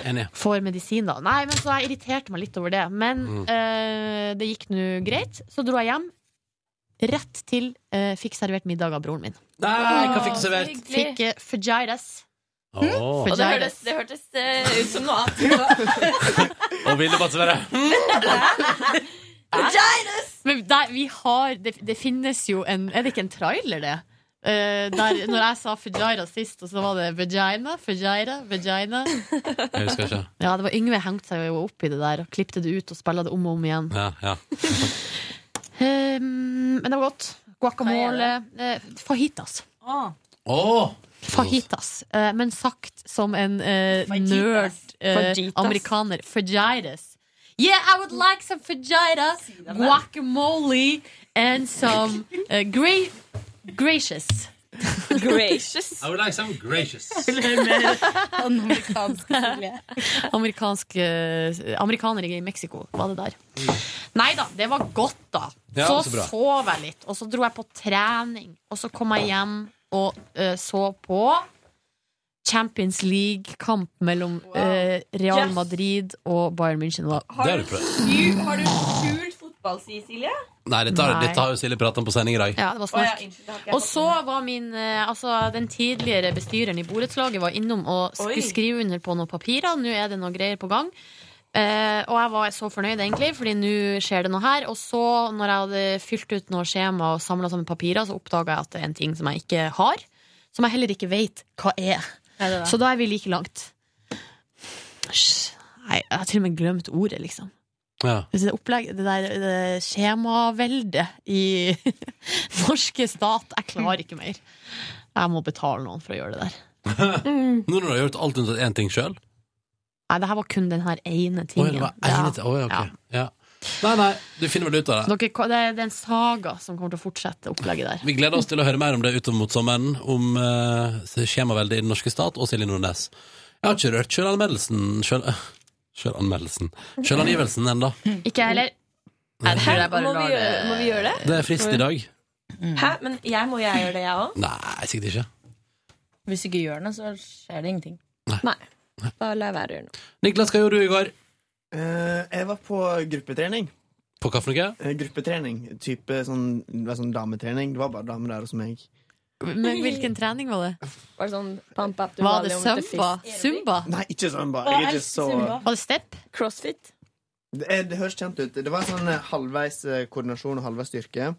B: enig.
C: får medisin, da. Nei, men så jeg irriterte meg litt over det. Men
B: Mm.
C: eh, det gikk nå greit. Så dro jeg hjem. Rett til eh, fikk servert middag av broren min.
B: Nei, hva fikk du servert?
C: Fikk eh, fajitas.
B: Åh.
D: Og det hørtes, det hørtes eh, ut som noe annet.
B: Og Ville Batser er
C: Men der, vi har det, det finnes jo en Er det ikke en trailer, det? Eh, der, når jeg sa Fujira sist, og så var det vagina, Fujira, vagina.
B: Jeg husker ikke.
C: Ja, det var Yngve hengte seg jo opp i det der og klippte det ut og spilte det om og om igjen.
B: Ja, ja.
C: Eh, men det var godt. Guacamole. eh, fajitas.
B: Åh.
C: Fajitas. eh, men sagt som en eh, nerd eh,
D: Fajitas.
C: amerikaner. Fajitas. Yeah, I would like some fajitas, guacamole and some eh, gra gracious.
D: Gracious.
B: I would like some gracious.
N: Amerikansk familie.
C: Amerikansk eh, Amerikanere i Mexico var det der. Nei da, det var godt, da.
B: Ja,
C: så
B: så bra.
C: sov jeg litt, og så dro jeg på trening. Og så kom jeg hjem og eh, så på Champions League-kamp mellom eh, Real
D: Yes.
C: Madrid og Bayern München. Det var-
B: Det har du prøvd.
D: Du- Har du skjult fotballsid, Silje?
B: Nei, dette har,
C: Nei.
B: dette har jo Silje pratet om på sending i dag.
C: Ja, det var
D: Å, ja,
C: snork.
D: unnskyld, det har ikke jeg
C: Og
D: fått
C: så var min eh, Altså, den tidligere bestyreren i borettslaget var innom og
D: Oi.
C: skulle skrive under på noen papirer. Nå er det noe greier på gang. Eh, og jeg var så fornøyd, egentlig, Fordi nå skjer det noe her. Og så, når jeg hadde fylt ut noe skjema og samla sammen papirer, så oppdaga jeg at det er en ting som jeg ikke har. Som jeg heller ikke veit hva er.
N: det er.
C: Så da er vi like langt. Sj, Nei, jeg har til og med glemt ordet, liksom.
B: Ja.
C: Det der opplegg, det der det skjemaveldet i norske stat Jeg klarer ikke mer. Jeg må betale noen for å gjøre det der.
B: Nå når du har gjort alt unntatt én ting sjøl?
C: Nei, det her var kun den her ene
B: Oi,
C: tingen.
B: det var ene ting. Oi, ok. Ja. Nei, nei, du finner vel ut av
C: Så
B: det.
C: dere, det er en saga som kommer til å fortsette opplegget der.
B: Vi gleder oss til å høre mer om det utover mot sommeren, om eh, skjemaveldet i den norske stat og Silje Nordnes. Jeg har ikke rørt sjølanmeldelsen sjøl, Sjølanmeldelsen Sjølangivelsen ennå.
C: Ikke jeg heller. Jeg tror jeg bare
D: Må vi
C: lar
D: gjøre, må vi
C: det
D: gjøre det?
B: Det er fristen i dag.
D: Hæ? Men jeg må jeg gjøre det, jeg òg?
B: Nei, sikkert ikke.
N: Hvis du ikke gjør det, så skjer det ingenting.
D: Nei. Bare la være å gjøre noe.
B: Niklas, hva gjorde du i går?
I: Eh, jeg var på gruppetrening.
B: På hva for noe?
I: Eh, gruppetrening. Type sånn, det var sånn dametrening. Det var bare damer der hos meg.
C: Men hvilken trening var det?
D: Var det sånn pump up the
C: Var det
D: volume with the
C: Zumba?
D: fist?
C: Zumba?
I: Nei, ikke sånn bare.
D: Å,
I: Jeg er
D: jeg
I: ikke så
D: elsker Zumba.
C: Var det step?
D: Crossfit?
I: det, eh, det høres kjent ut. Det var sånn eh, halvveis eh, koordinasjon og halvveis styrke.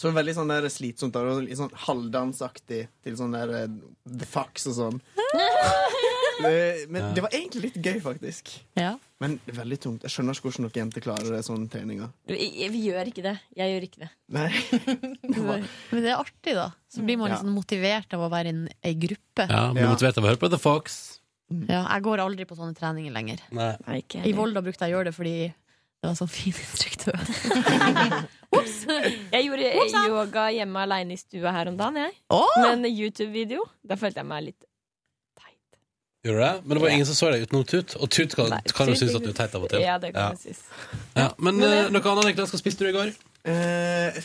I: Så det var veldig sånn der slitsomt. da. Det var Litt sånn halvdansaktig til sånn der eh, the fucks og sånn. Det- Men det var egentlig litt gøy, faktisk.
C: Ja.
I: Men det er veldig tungt. Jeg skjønner ikke hvordan dere jenter klarer det, sånne treninger.
D: Vi, vi gjør ikke det. Jeg gjør ikke det.
I: Nei.
C: Men det er artig, da. Så blir man
B: Ja.
C: litt sånn motivert av å være i en- ei gruppe.
B: Ja, Blir motivert av å høre på The Fox.
C: Ja, jeg går aldri på sånne treninger lenger.
B: Nei.
C: I Volda brukte jeg å gjøre det fordi det var sånn fin instruktør.
D: Jeg gjorde eh, yoga hjemme aleine i stua her om dagen, jeg.
C: Åh!
D: Men YouTube-video, da følte jeg meg litt
B: Gjorde du det? Men det var ingen som så deg utenom Tut, og Tut kan, kan jo synes at du er teit av og til.
D: Ja, det kan jeg synes.
B: Ja, Men eh, noe annet, Niklas? Hva spiste du i går?
I: Eh,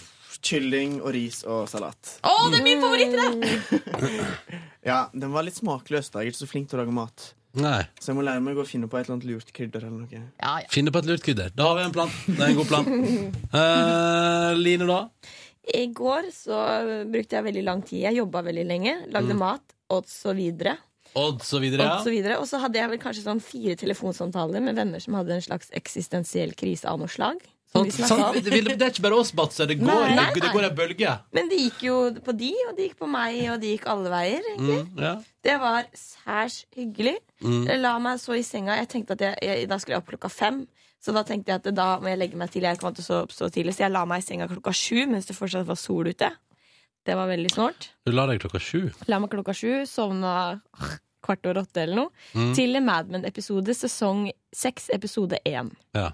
I: kylling og ris og salat.
D: Å, det er min favorittrett!
I: Ja, Den var litt smakløs. da Jeg er ikke så flink til å lage mat.
B: Nei.
I: Så jeg må lære meg å finne på et eller annet lurt krydder. eller noe
B: Finne på et lurt krydder. Da har vi en plan. Det er en god plan. Eh, Line, da?
D: I går så brukte jeg veldig lang tid. Jeg jobba veldig lenge. Lagde
B: Mm.
D: mat. og så videre.
B: Odd så videre,
D: Og så,
B: ja.
D: videre. og så hadde jeg vel kanskje sånn fire telefonsamtaler med venner som hadde en slags eksistensiell krise av noe slag. som
B: Sånn,
D: vi snakket
B: sånn,
D: om.
B: det, vil- det er ikke bare oss, Batse. Det går,
D: Nei.
B: det, det går en bølge.
D: Men det gikk jo på de, og det gikk på meg, og det gikk alle veier. egentlig.
B: Mm, ja.
D: Det var særs hyggelig.
B: Mm.
D: Jeg la meg så i senga. Jeg tenkte at jeg, jeg, Da skulle jeg opp klokka fem. Så da tenkte jeg at da må jeg legge meg til. Jeg kommer til å stå opp så tidlig Så jeg la meg i senga klokka sju mens det fortsatt var sol ute. Det var veldig snålt.
B: Du la deg klokka sju.
D: La meg klokka sju, sovna kvart over åtte eller noe.
B: Mm.
D: Til en Mad Men-episode, sesong seks, episode én.
B: Ja.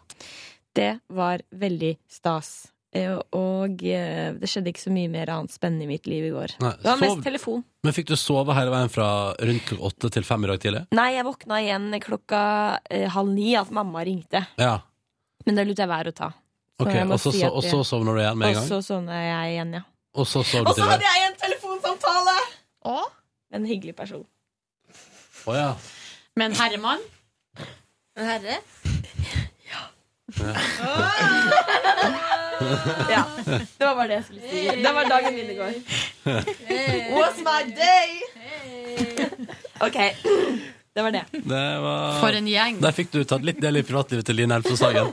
D: Det var veldig stas. Eh, Og eh, det skjedde ikke så mye mer annet spennende i mitt liv i går.
B: Nei,
D: det var
B: sov-
D: mest telefon.
B: Men fikk du sove hele veien fra rundt klokka åtte til fem i dag tidlig?
D: Nei, jeg våkna igjen klokka eh, halv ni at mamma ringte.
B: Ja.
D: Men det lot jeg være å ta. Så
B: Ok,
D: jeg må
B: og så,
D: si
B: så,
D: at
B: og
D: jeg-
B: så sovner du igjen med en
D: Og så
B: gang?
D: sovna jeg igjen, ja.
B: Og så sov du
D: Og
B: til
D: så hadde
B: det?
D: jeg en telefonsamtale! En hyggelig person.
B: Å ja.
A: Med en herremann?
O: En herre?
D: Ja. Det var bare det jeg skulle si. Det var dagen min i går. Was my day! OK. Det var det.
B: Det var...
D: For en gjeng.
B: Der fikk du tatt litt del i privatlivet til Line Elfsås Hagen.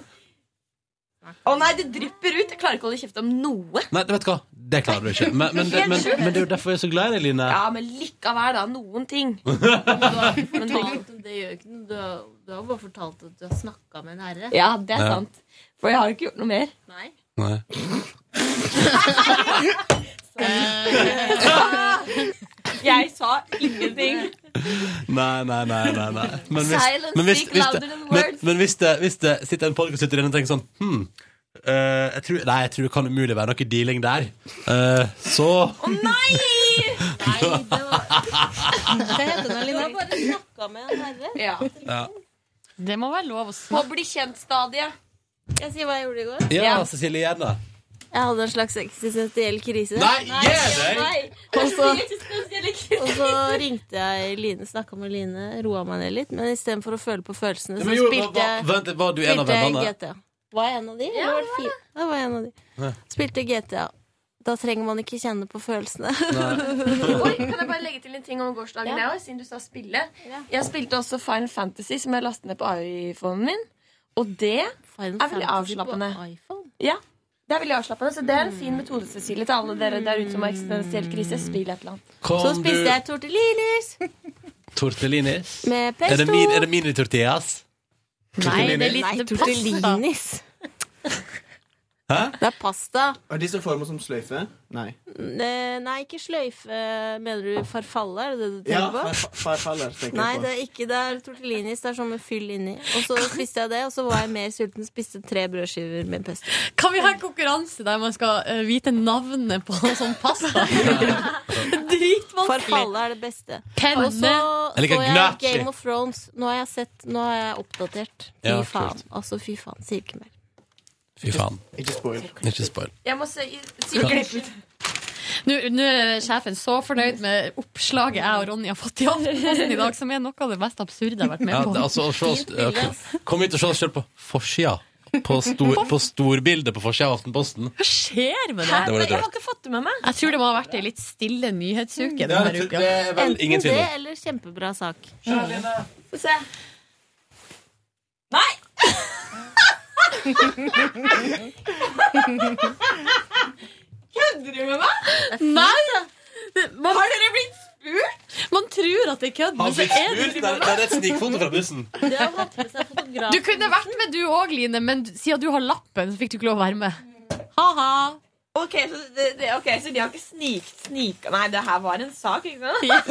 D: Å nei, det drypper ut! Jeg klarer ikke å holde kjeft om noe.
B: Nei, vet du hva, det klarer du ikke. Men, men, det- men, men, det er jo derfor jeg er så glad i deg, Line.
D: Ja, men likevel, da. Noen ting.
O: Men
D: Men
O: det,
D: det-
O: det gjør ikke noe. Du har, du har bare fortalt at du har snakka med en herre.
D: Ja, det er
B: Ja.
D: sant. For jeg har jo ikke gjort noe mer.
O: Nei.
B: Nei.
D: Jeg sa ingenting.
B: Nei, nei, nei, nei, nei. Men hvis,
D: Silence
B: men hvis,
D: speak
B: hvis,
D: louder
B: det,
D: than
B: men,
D: words.
B: men hvis, det, hvis det sitter en podkastlytter inne og tenker sånn Hm, eh, jeg tror, nei, jeg tror det kan umulig være noe dealing der. Eh, så
D: Å nei!
O: Hva heter den, Lina?
D: Du har bare snakka med en herre. Ja.
B: ja.
A: Det må være lov å si.
D: På bli kjent-stadiet.
O: Jeg sier hva jeg gjorde i går.
B: ja, Cecilie, gjerne.
O: Jeg hadde en slags eksistensiell krise.
B: Nei, gi deg!
O: Og så, og så ringte jeg Line, snakka med Line, roa meg ned litt. Men istedenfor å føle på følelsene,
B: Ja,
O: så
B: men jo,
O: spilte
B: hva-
O: jeg
B: vent, var du en av
O: spilte jeg
B: vennene?
O: GTA. Var jeg en av de? eller var det fire? Jeg var en av de.
B: Ja.
O: Spilte GTA. Da trenger man ikke kjenne på følelsene.
D: Oi, kan jeg bare legge til en ting om gårsdagen,
O: Ja.
D: jeg også, siden du sa spille? Jeg spilte også Final Fantasy, som jeg lastet ned på iPhonen min. Og det er veldig
O: Fantasy på
D: avslappende. Ja, det er veldig avslappende, så det er en fin metode, Cecilie, til alle dere der ute som har eksistensiell krise. Spill et eller annet.
B: Kom
O: så spiste
B: du-
O: jeg tortellinis
B: Tortellinis.
O: med
B: Er
O: pesto.
B: det, min, er det mini-tortillas?
O: Nei, det er
B: Tortellini?
O: litt Nei, tortellinis.
B: Hæ?
O: Det er pasta.
I: Er de som former som sløyfe? Nei.
O: Ne- Nei, ikke sløyfe. Mener du farfalle? Er det det du
I: Ja,
O: tenker på?
I: far- farfaller, tenker
O: Nei,
I: jeg
O: det
I: på.
O: er ikke det. er Tortellinis det er sånn med fyll inni. Og så spiste jeg det, og så var jeg mer sulten. Spiste tre brødskiver med pesto.
A: Kan vi ha en konkurranse der man skal eh, vite navnet på sånn pasta? Dritvanskelig.
O: Farfalle er det beste.
A: Penne.
O: Og så
B: Jeg liker
O: så jeg
B: gnocchi.
O: Game of Thrones. Nå har jeg sett, nå har jeg oppdatert. Fy
B: Ja,
O: faen. Altså, fy faen. Sier ikke mer.
B: Fy faen.
I: Ikke spoil.
B: Ikke spoil.
D: Jeg må se
A: Nå, nå er sjefen så fornøyd med oppslaget jeg og Ronny har fått i Aftenposten i dag, som er noe av det mest absurde jeg har vært med
B: Ja,
A: på.
B: det, altså, å se oss, ok. Kom hit og se oss selv på forsida. På, stor, på storbildet på forsida av Aftenposten.
A: Hva skjer med
B: Det var
A: det?
B: litt rart.
D: ikke fått det med meg.
A: Jeg tror det må ha vært ei litt stille nyhetsuke
B: Ja,
A: denne
B: det-
A: uka.
B: det er vel Enten ingen tvil om. det,
O: eller kjempebra sak.
D: Få se. Nei! Kødder du med meg?
A: Nei! Det- Man,
D: Har dere blitt spurt?
A: man tror at det er kødd, men
B: Han
A: så
B: fikk
A: er det
B: spurt. Det er- det er et snikfoto fra bussen.
A: Du kunne vært med du òg, Line, men siden du har lappen, så fikk du ikke lov å være med. Ha-ha.
D: Ok, så, det, det, ok, så de har ikke snikt snika Nei, det her var en sak, ikke sant?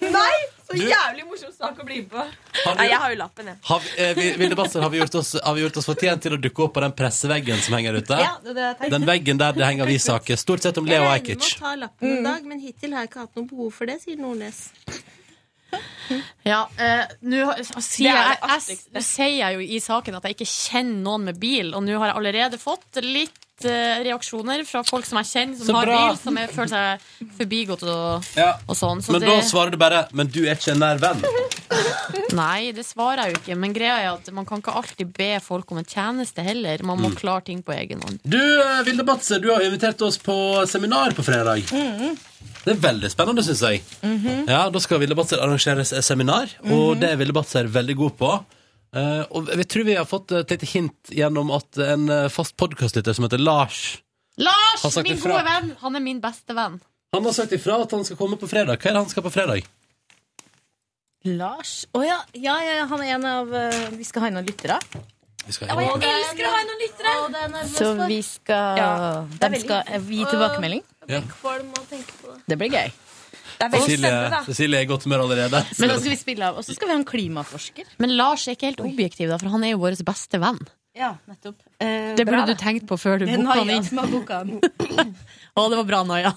D: Nei! Så
B: Du-
D: jævlig morsom sak å bli med på.
B: Har
D: Nei,
B: vi-
D: jeg har jo lappen, jeg.
B: Har vi, eh, vi- Vilde Basser, har vi gjort oss, har vi gjort oss fortjent til å dukke opp på den presseveggen som henger ute?
O: Ja, det, det er teit.
B: Den veggen der det henger avissaker, stort sett om
O: Jeg
B: Leo
O: regner med
B: Ajkic.
O: å ta lappen
D: Mm.
O: en dag, men hittil har jeg ikke hatt noe behov for det, sier Nordnes.
A: Ja, eh, nå har- sier
O: Det er
A: jeg,
O: det
A: jeg, nå sier jeg jo i saken at jeg ikke kjenner noen med bil, og nå har jeg allerede fått litt
C: fått eh, reaksjoner fra folk som jeg kjenner, som
B: Så
C: har
B: bra.
C: bil, som er, føler seg forbigått og,
B: Ja.
C: og sånn. Så
B: Men
C: det,
B: da svarer du bare 'men du er ikke en nær venn'.
C: nei, det svarer jeg jo ikke. Men greia er at man kan ikke alltid be folk om en tjeneste heller. Man må
B: Mm.
C: klare ting på egen hånd.
B: Du, eh, Vilde Batse, du har invitert oss på seminar på fredag. Det er veldig spennende, syns jeg. Ja, Da skal Ville Batser arrangere et seminar, og det er Ville Batser veldig god på. Eh, og vi tror vi har fått et lite hint gjennom at en eh, fast podcastlytter som heter Lars
C: Lars,
B: Han snakker
C: min
B: fra-
C: gode venn! Han er min beste venn.
B: Han har sagt ifra at han skal komme på fredag. Hva er det han skal på fredag?
N: Lars Å ja. Ja, ja, han er en av eh, Vi skal ha inn noen lyttere.
B: Vi skal
N: Å, jeg
O: elsker å ha noen lyttere!
N: Så vi skal
O: Ja, det er
N: De
O: veldig
N: skal
O: hyggelig.
N: gi tilbakemelding.
B: Ja.
O: Kvalm av å tenke på det.
N: Det blir gøy.
B: Cecilie, Cecilie er i godt humør allerede.
N: Men da skal vi spille av. Og så skal vi ha en klimaforsker.
C: Men Lars er ikke helt objektiv, da, for han er jo vår beste venn.
N: Ja, nettopp.
C: Det burde du tenkt på før du
N: Den
C: booka
N: har
C: han
N: jeg
C: inn.
N: som har booka den.
C: Å, det var bra, Naja.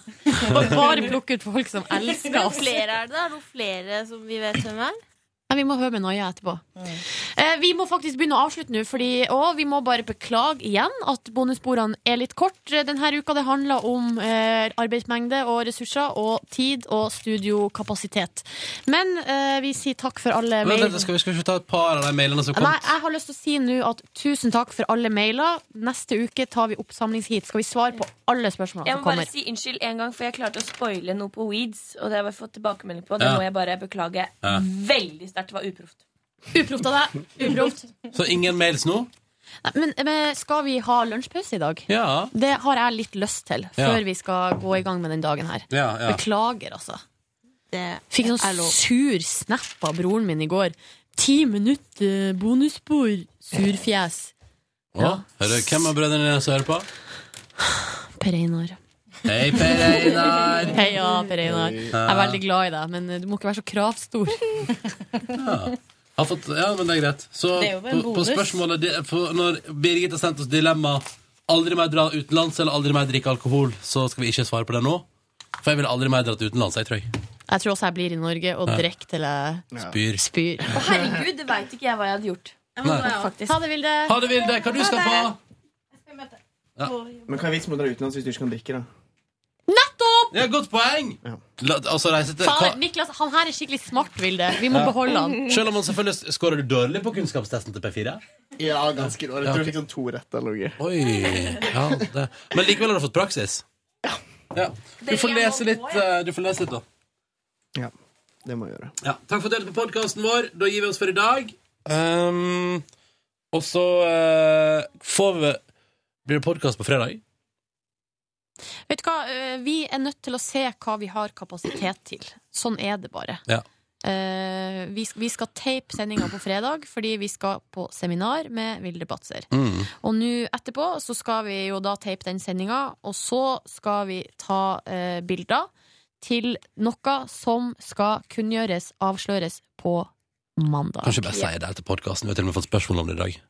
C: Og bare plukke ut folk som elsker
O: Hvor
C: oss.
O: flere er det? da? Er det noen flere som vi vet hvem er?
C: Nei, vi må høre med Naja etterpå. Eh, vi må faktisk begynne å avslutte nå, fordi, og vi må bare beklage igjen at bonussporene er litt kort eh, denne uka. Det handler om eh, arbeidsmengde og ressurser og tid og studiokapasitet. Men eh, vi sier takk for alle
B: Vent,
C: mail.
B: vent, skal vi skal vi ikke ta et par av de mailene som kom?
C: Nei, jeg har lyst til å si nå at tusen takk for alle mailer. Neste uke tar vi oppsamlingsheat. Skal vi svare på alle spørsmålene
D: Jeg
C: som
D: må bare
C: kommer?
D: si unnskyld en gang, for jeg klarte å spoile noe på Weeds. Og det har jeg fått tilbakemelding på. Det
B: Ja.
D: må jeg bare beklage
B: Ja.
D: veldig sterkt. Det var uproft.
C: Uproft av deg. Uproft.
B: Så ingen mails nå?
C: Nei, Men, men skal vi ha lunsjpause i dag?
B: Ja.
C: Det har jeg litt lyst til
B: Ja.
C: før vi skal gå i gang med den dagen her.
B: Ja, ja.
C: Beklager, altså.
O: Det
C: Fikk en
O: er
C: sånn
O: lov.
C: sur snap av broren min i går. Ti minutter bonusspor, surfjes.
B: Å, hører, hvem av brødrene dine som hører på?
C: Per Einar.
B: Hei, Per Einar.
C: Heia, Per Einar.
B: Hei.
C: Jeg er veldig glad i deg, men eh, du må ikke være så kravstor.
B: Har fått, ja, men det er greit. Så
C: Det er jo bare en
B: på, på
C: bonus.
B: spørsmålet de, for Når Birgit har sendt oss dilemma Aldri mer dra utenlands eller aldri mer drikke alkohol, så skal vi ikke svare på det nå. For jeg ville aldri mer dratt utenlands, jeg tror jeg.
C: Jeg tror også jeg blir i Norge og
B: Ja.
C: drikker til jeg
B: Spyr.
C: spyr.
D: Å, herregud, det veit ikke jeg hva jeg hadde gjort.
B: Nei.
D: Faktisk.
C: Ha det, Vilde.
B: Ha det, Vilde. Hva du skal på?
I: Men hva er vitsen med å dra utenlands hvis du ikke kan drikke? da?
B: Ja, godt poeng! La, altså, reise til hva-
C: Fader, Niklas, han her er skikkelig smart, Vilde. Vi må
B: Ja.
C: beholde han.
B: Selv om han selvfølgelig skårer du dårlig på kunnskapstesten til P4.
I: Ja, ganske dårlig. Jeg tror jeg fikk sånn to rett eller noe.
B: Oi, ja, det. Men likevel har du fått praksis. Ja. Du får lese litt, eh, du får lese litt da.
I: Ja, det må jeg gjøre.
B: Ja, takk for at du delte på podkasten vår. Da gir vi oss for i dag. Ehm, og så eh, får vi Blir det podkast på fredag?
C: Vet du hva, eh, vi er nødt til å se hva vi har kapasitet til. Sånn er det bare.
B: Ja.
C: Eh, vi, vi skal tape sendinga på fredag, fordi vi skal på seminar med Vilde Batzer.
B: Mm.
C: Og nå etterpå så skal vi jo da tape den sendinga, og så skal vi ta eh, bilder til noe som skal kunngjøres, avsløres, på mandag.
B: Kanskje bare si det etter podkasten. Vi har til og med fått spørsmål om det i dag.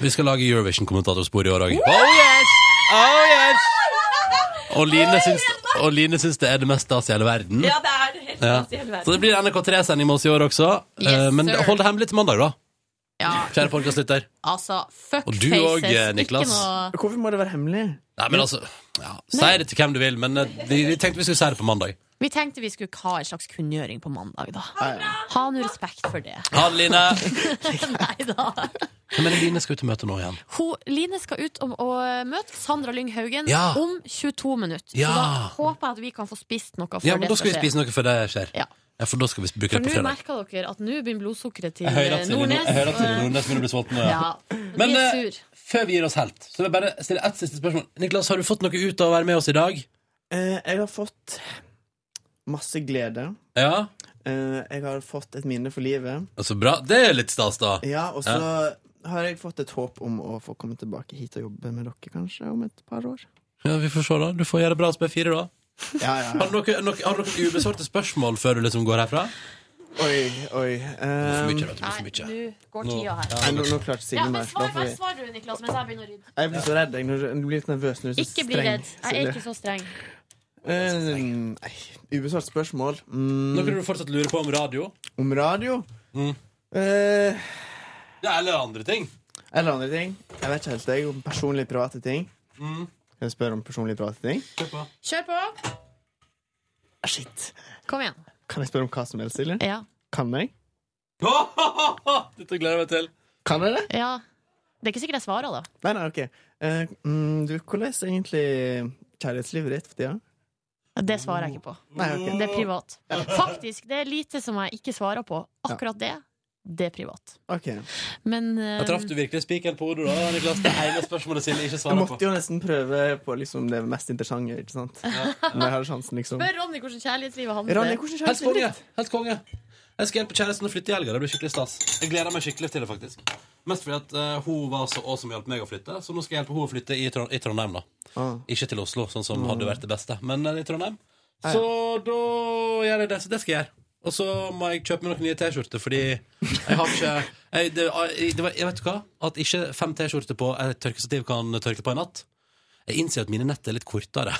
B: Vi skal lage Eurovision-kommentatorspor i år òg. Oh, yes! Oh, yes! Og Line syns, og Line syns det er det mest stas i hele verden.
D: Ja, det er det helt
B: Ja.
D: stas i hele verden.
B: Så det blir NRK3-sending med oss i år også. Eh,
C: Yes,
B: Men
C: sir.
B: hold det hemmelig til mandag, da.
C: Ja.
B: Kjære podkastlytter.
C: Altså, fuck
B: Og du
C: faces.
B: òg,
C: Ikke
B: Niklas.
C: noe
I: Hvorfor må det være hemmelig?
B: Nei, men altså ja, Si det til hvem du vil, men eh, vi, vi tenkte vi skulle si det på mandag.
C: Vi tenkte vi skulle ha en slags kunngjøring på mandag, da. Ha nå respekt for det.
B: Ha det, Line.
C: Nei da.
B: Hvem er det Line skal ut og møte nå igjen?
C: Hun, Line skal ut og, og møte Sandra Lyng Haugen
B: Ja.
C: om 22 minutter.
B: Ja.
C: Så da håper jeg at vi kan få spist noe før
B: Ja, men
C: det
B: Da skal vi spise noe før det skjer.
C: Ja.
B: Ja, For da skal vi bruke
C: For
B: det på
C: nå
B: fredag.
C: merker dere at nå begynner blodsukkeret til eh,
B: Jeg hører at Silje
C: Nordnes. Eh,
B: jeg hører at Silje Nordnes begynner å bli sulten. nå,
C: Ja.
B: Men
C: Vi er
B: eh,
C: sur.
B: før vi gir oss helt, så vil jeg bare stille ett siste spørsmål. Niklas, har du fått noe ut av å være med oss i dag?
I: Eh, jeg har fått masse glede.
B: Ja,
I: Eh, jeg har fått et minne for livet.
B: så bra. Det er litt stas, da.
I: Ja, Og så
B: Ja.
I: har jeg fått et håp om å få komme tilbake hit og jobbe med dere kanskje om et par år.
B: Ja, Vi får se, da. Du får gjøre det bra hos B4, da. Har du noen, noen, har du noen ubesvarte spørsmål før du liksom går herfra?
I: Oi, oi.
B: For
I: Um,
B: mye, vet du. For mye.
C: Nå går
B: Nå-
C: tida her.
I: Nei, nå, nå klarte Silje
C: Ja, men
I: meg.
C: svar,
I: Da får vi-
C: svar du, Niklas, mens jeg begynner å rydde.
I: Jeg blir så redd. Jeg når du blir litt nervøs når du er så
C: Ikke bli
I: streng,
C: redd. Jeg er
I: Silje.
C: ikke så streng.
I: Eh, nei, ubesvart spørsmål. Mm,
B: Noe du fortsatt lurer på om radio?
I: Om radio?
B: Mm.
I: Eh,
B: Ja, eller andre ting.
I: eller andre ting. Jeg vet ikke helt, jeg om personlige private ting.
B: Mm.
I: Kan jeg spørre om personlige private ting?
C: Kjør på!
I: Ah, Shit.
C: Kom igjen.
I: Kan jeg spørre om hva som helst, Silje?
C: Ja.
I: Kan jeg?
B: Dette gleder jeg meg til.
I: Kan jeg det?
C: Ja. Det er ikke sikkert jeg svarer, da.
I: Nei, nei, ok. Eh, mm, du, hvordan er egentlig kjærlighetslivet ditt for tida?
C: Det svarer jeg ikke på.
I: Nei, ok.
B: Mm.
C: Det er privat. Faktisk, det er lite som jeg ikke svarer på. Akkurat det, det er privat.
I: Ok.
C: Men eh,
B: Jeg traff du virkelig spikeren på hodet da, Niklas. Det ene spørsmålet Silje ikke
I: Du
B: svarer på.
I: måtte jo nesten prøve på liksom det mest interessante, ikke sant? Når jeg hadde sjansen, liksom.
C: spør Ronny hvordan kjærlighetslivet handler.
I: Ronny, hvordan
B: Helt konge. Helt konge. Jeg skal hjelpe kjæresten å flytte i helga. Det blir skikkelig stas. Jeg gleder meg skikkelig til det, faktisk. Mest fordi at eh, hun var så awesome og hjalp meg å flytte, så nå skal jeg hjelpe henne å flytte i, Trond i Trondheim, da. Ikke til Oslo, sånn som hadde vært det beste, men eh, i Trondheim. Så da gjør jeg det. Så det skal jeg gjøre. Og så må jeg kjøpe meg noen nye T-skjorter, fordi jeg har ikke jeg, det, eh, det var, jeg Vet du hva? At ikke fem T-skjorter på et tørkestativ kan tørke på en natt. Jeg innser at mine nett er litt kortere.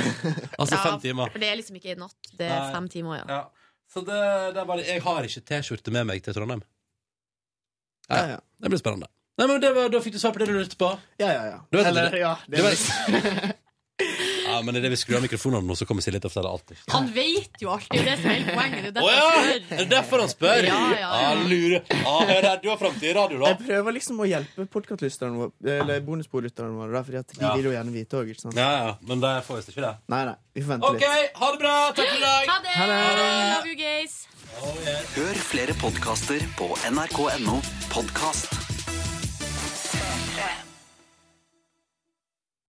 B: altså
C: Ja,
B: fem timer.
C: For det er liksom ikke i natt. Det er
B: Nei.
C: fem timer, ja.
B: Ja. Så det, det er bare Jeg har ikke T-skjorte med meg til Trondheim.
I: Ah,
B: Ja, Det blir spennende. Nei, men det var, Da fikk du svar på det du lurte på.
I: Ja, ja, ja.
B: Du vet
I: Eller,
B: det.
I: ja,
B: Du vet- ja, men det er det vi skrur av mikrofonene nå, så kommer Silje til å fortelle alt.
C: Han vet jo alt! Det er jo det som er hele poenget. Det er
B: Å ja! Er
C: derfor jeg spør.
B: det derfor han spør?
C: Ja, ja, ja.
B: Ah, lurer. Ah, jeg er redd du har framtid i radio, da.
I: Jeg prøver liksom å hjelpe podkastlytterne våre, eller bonusbordlytterne våre, da, fordi at de
B: Ja.
I: vil jo gjerne vite òg, ikke sant?
B: Ja, ja, men det får visst ikke det.
I: Nei, nei, vi får vente
B: OK, ha det bra! Takk for i dag!
C: Ha det!
I: Ha det!
C: Love you, guys!
P: Hør flere podkaster på nrk.no podkast.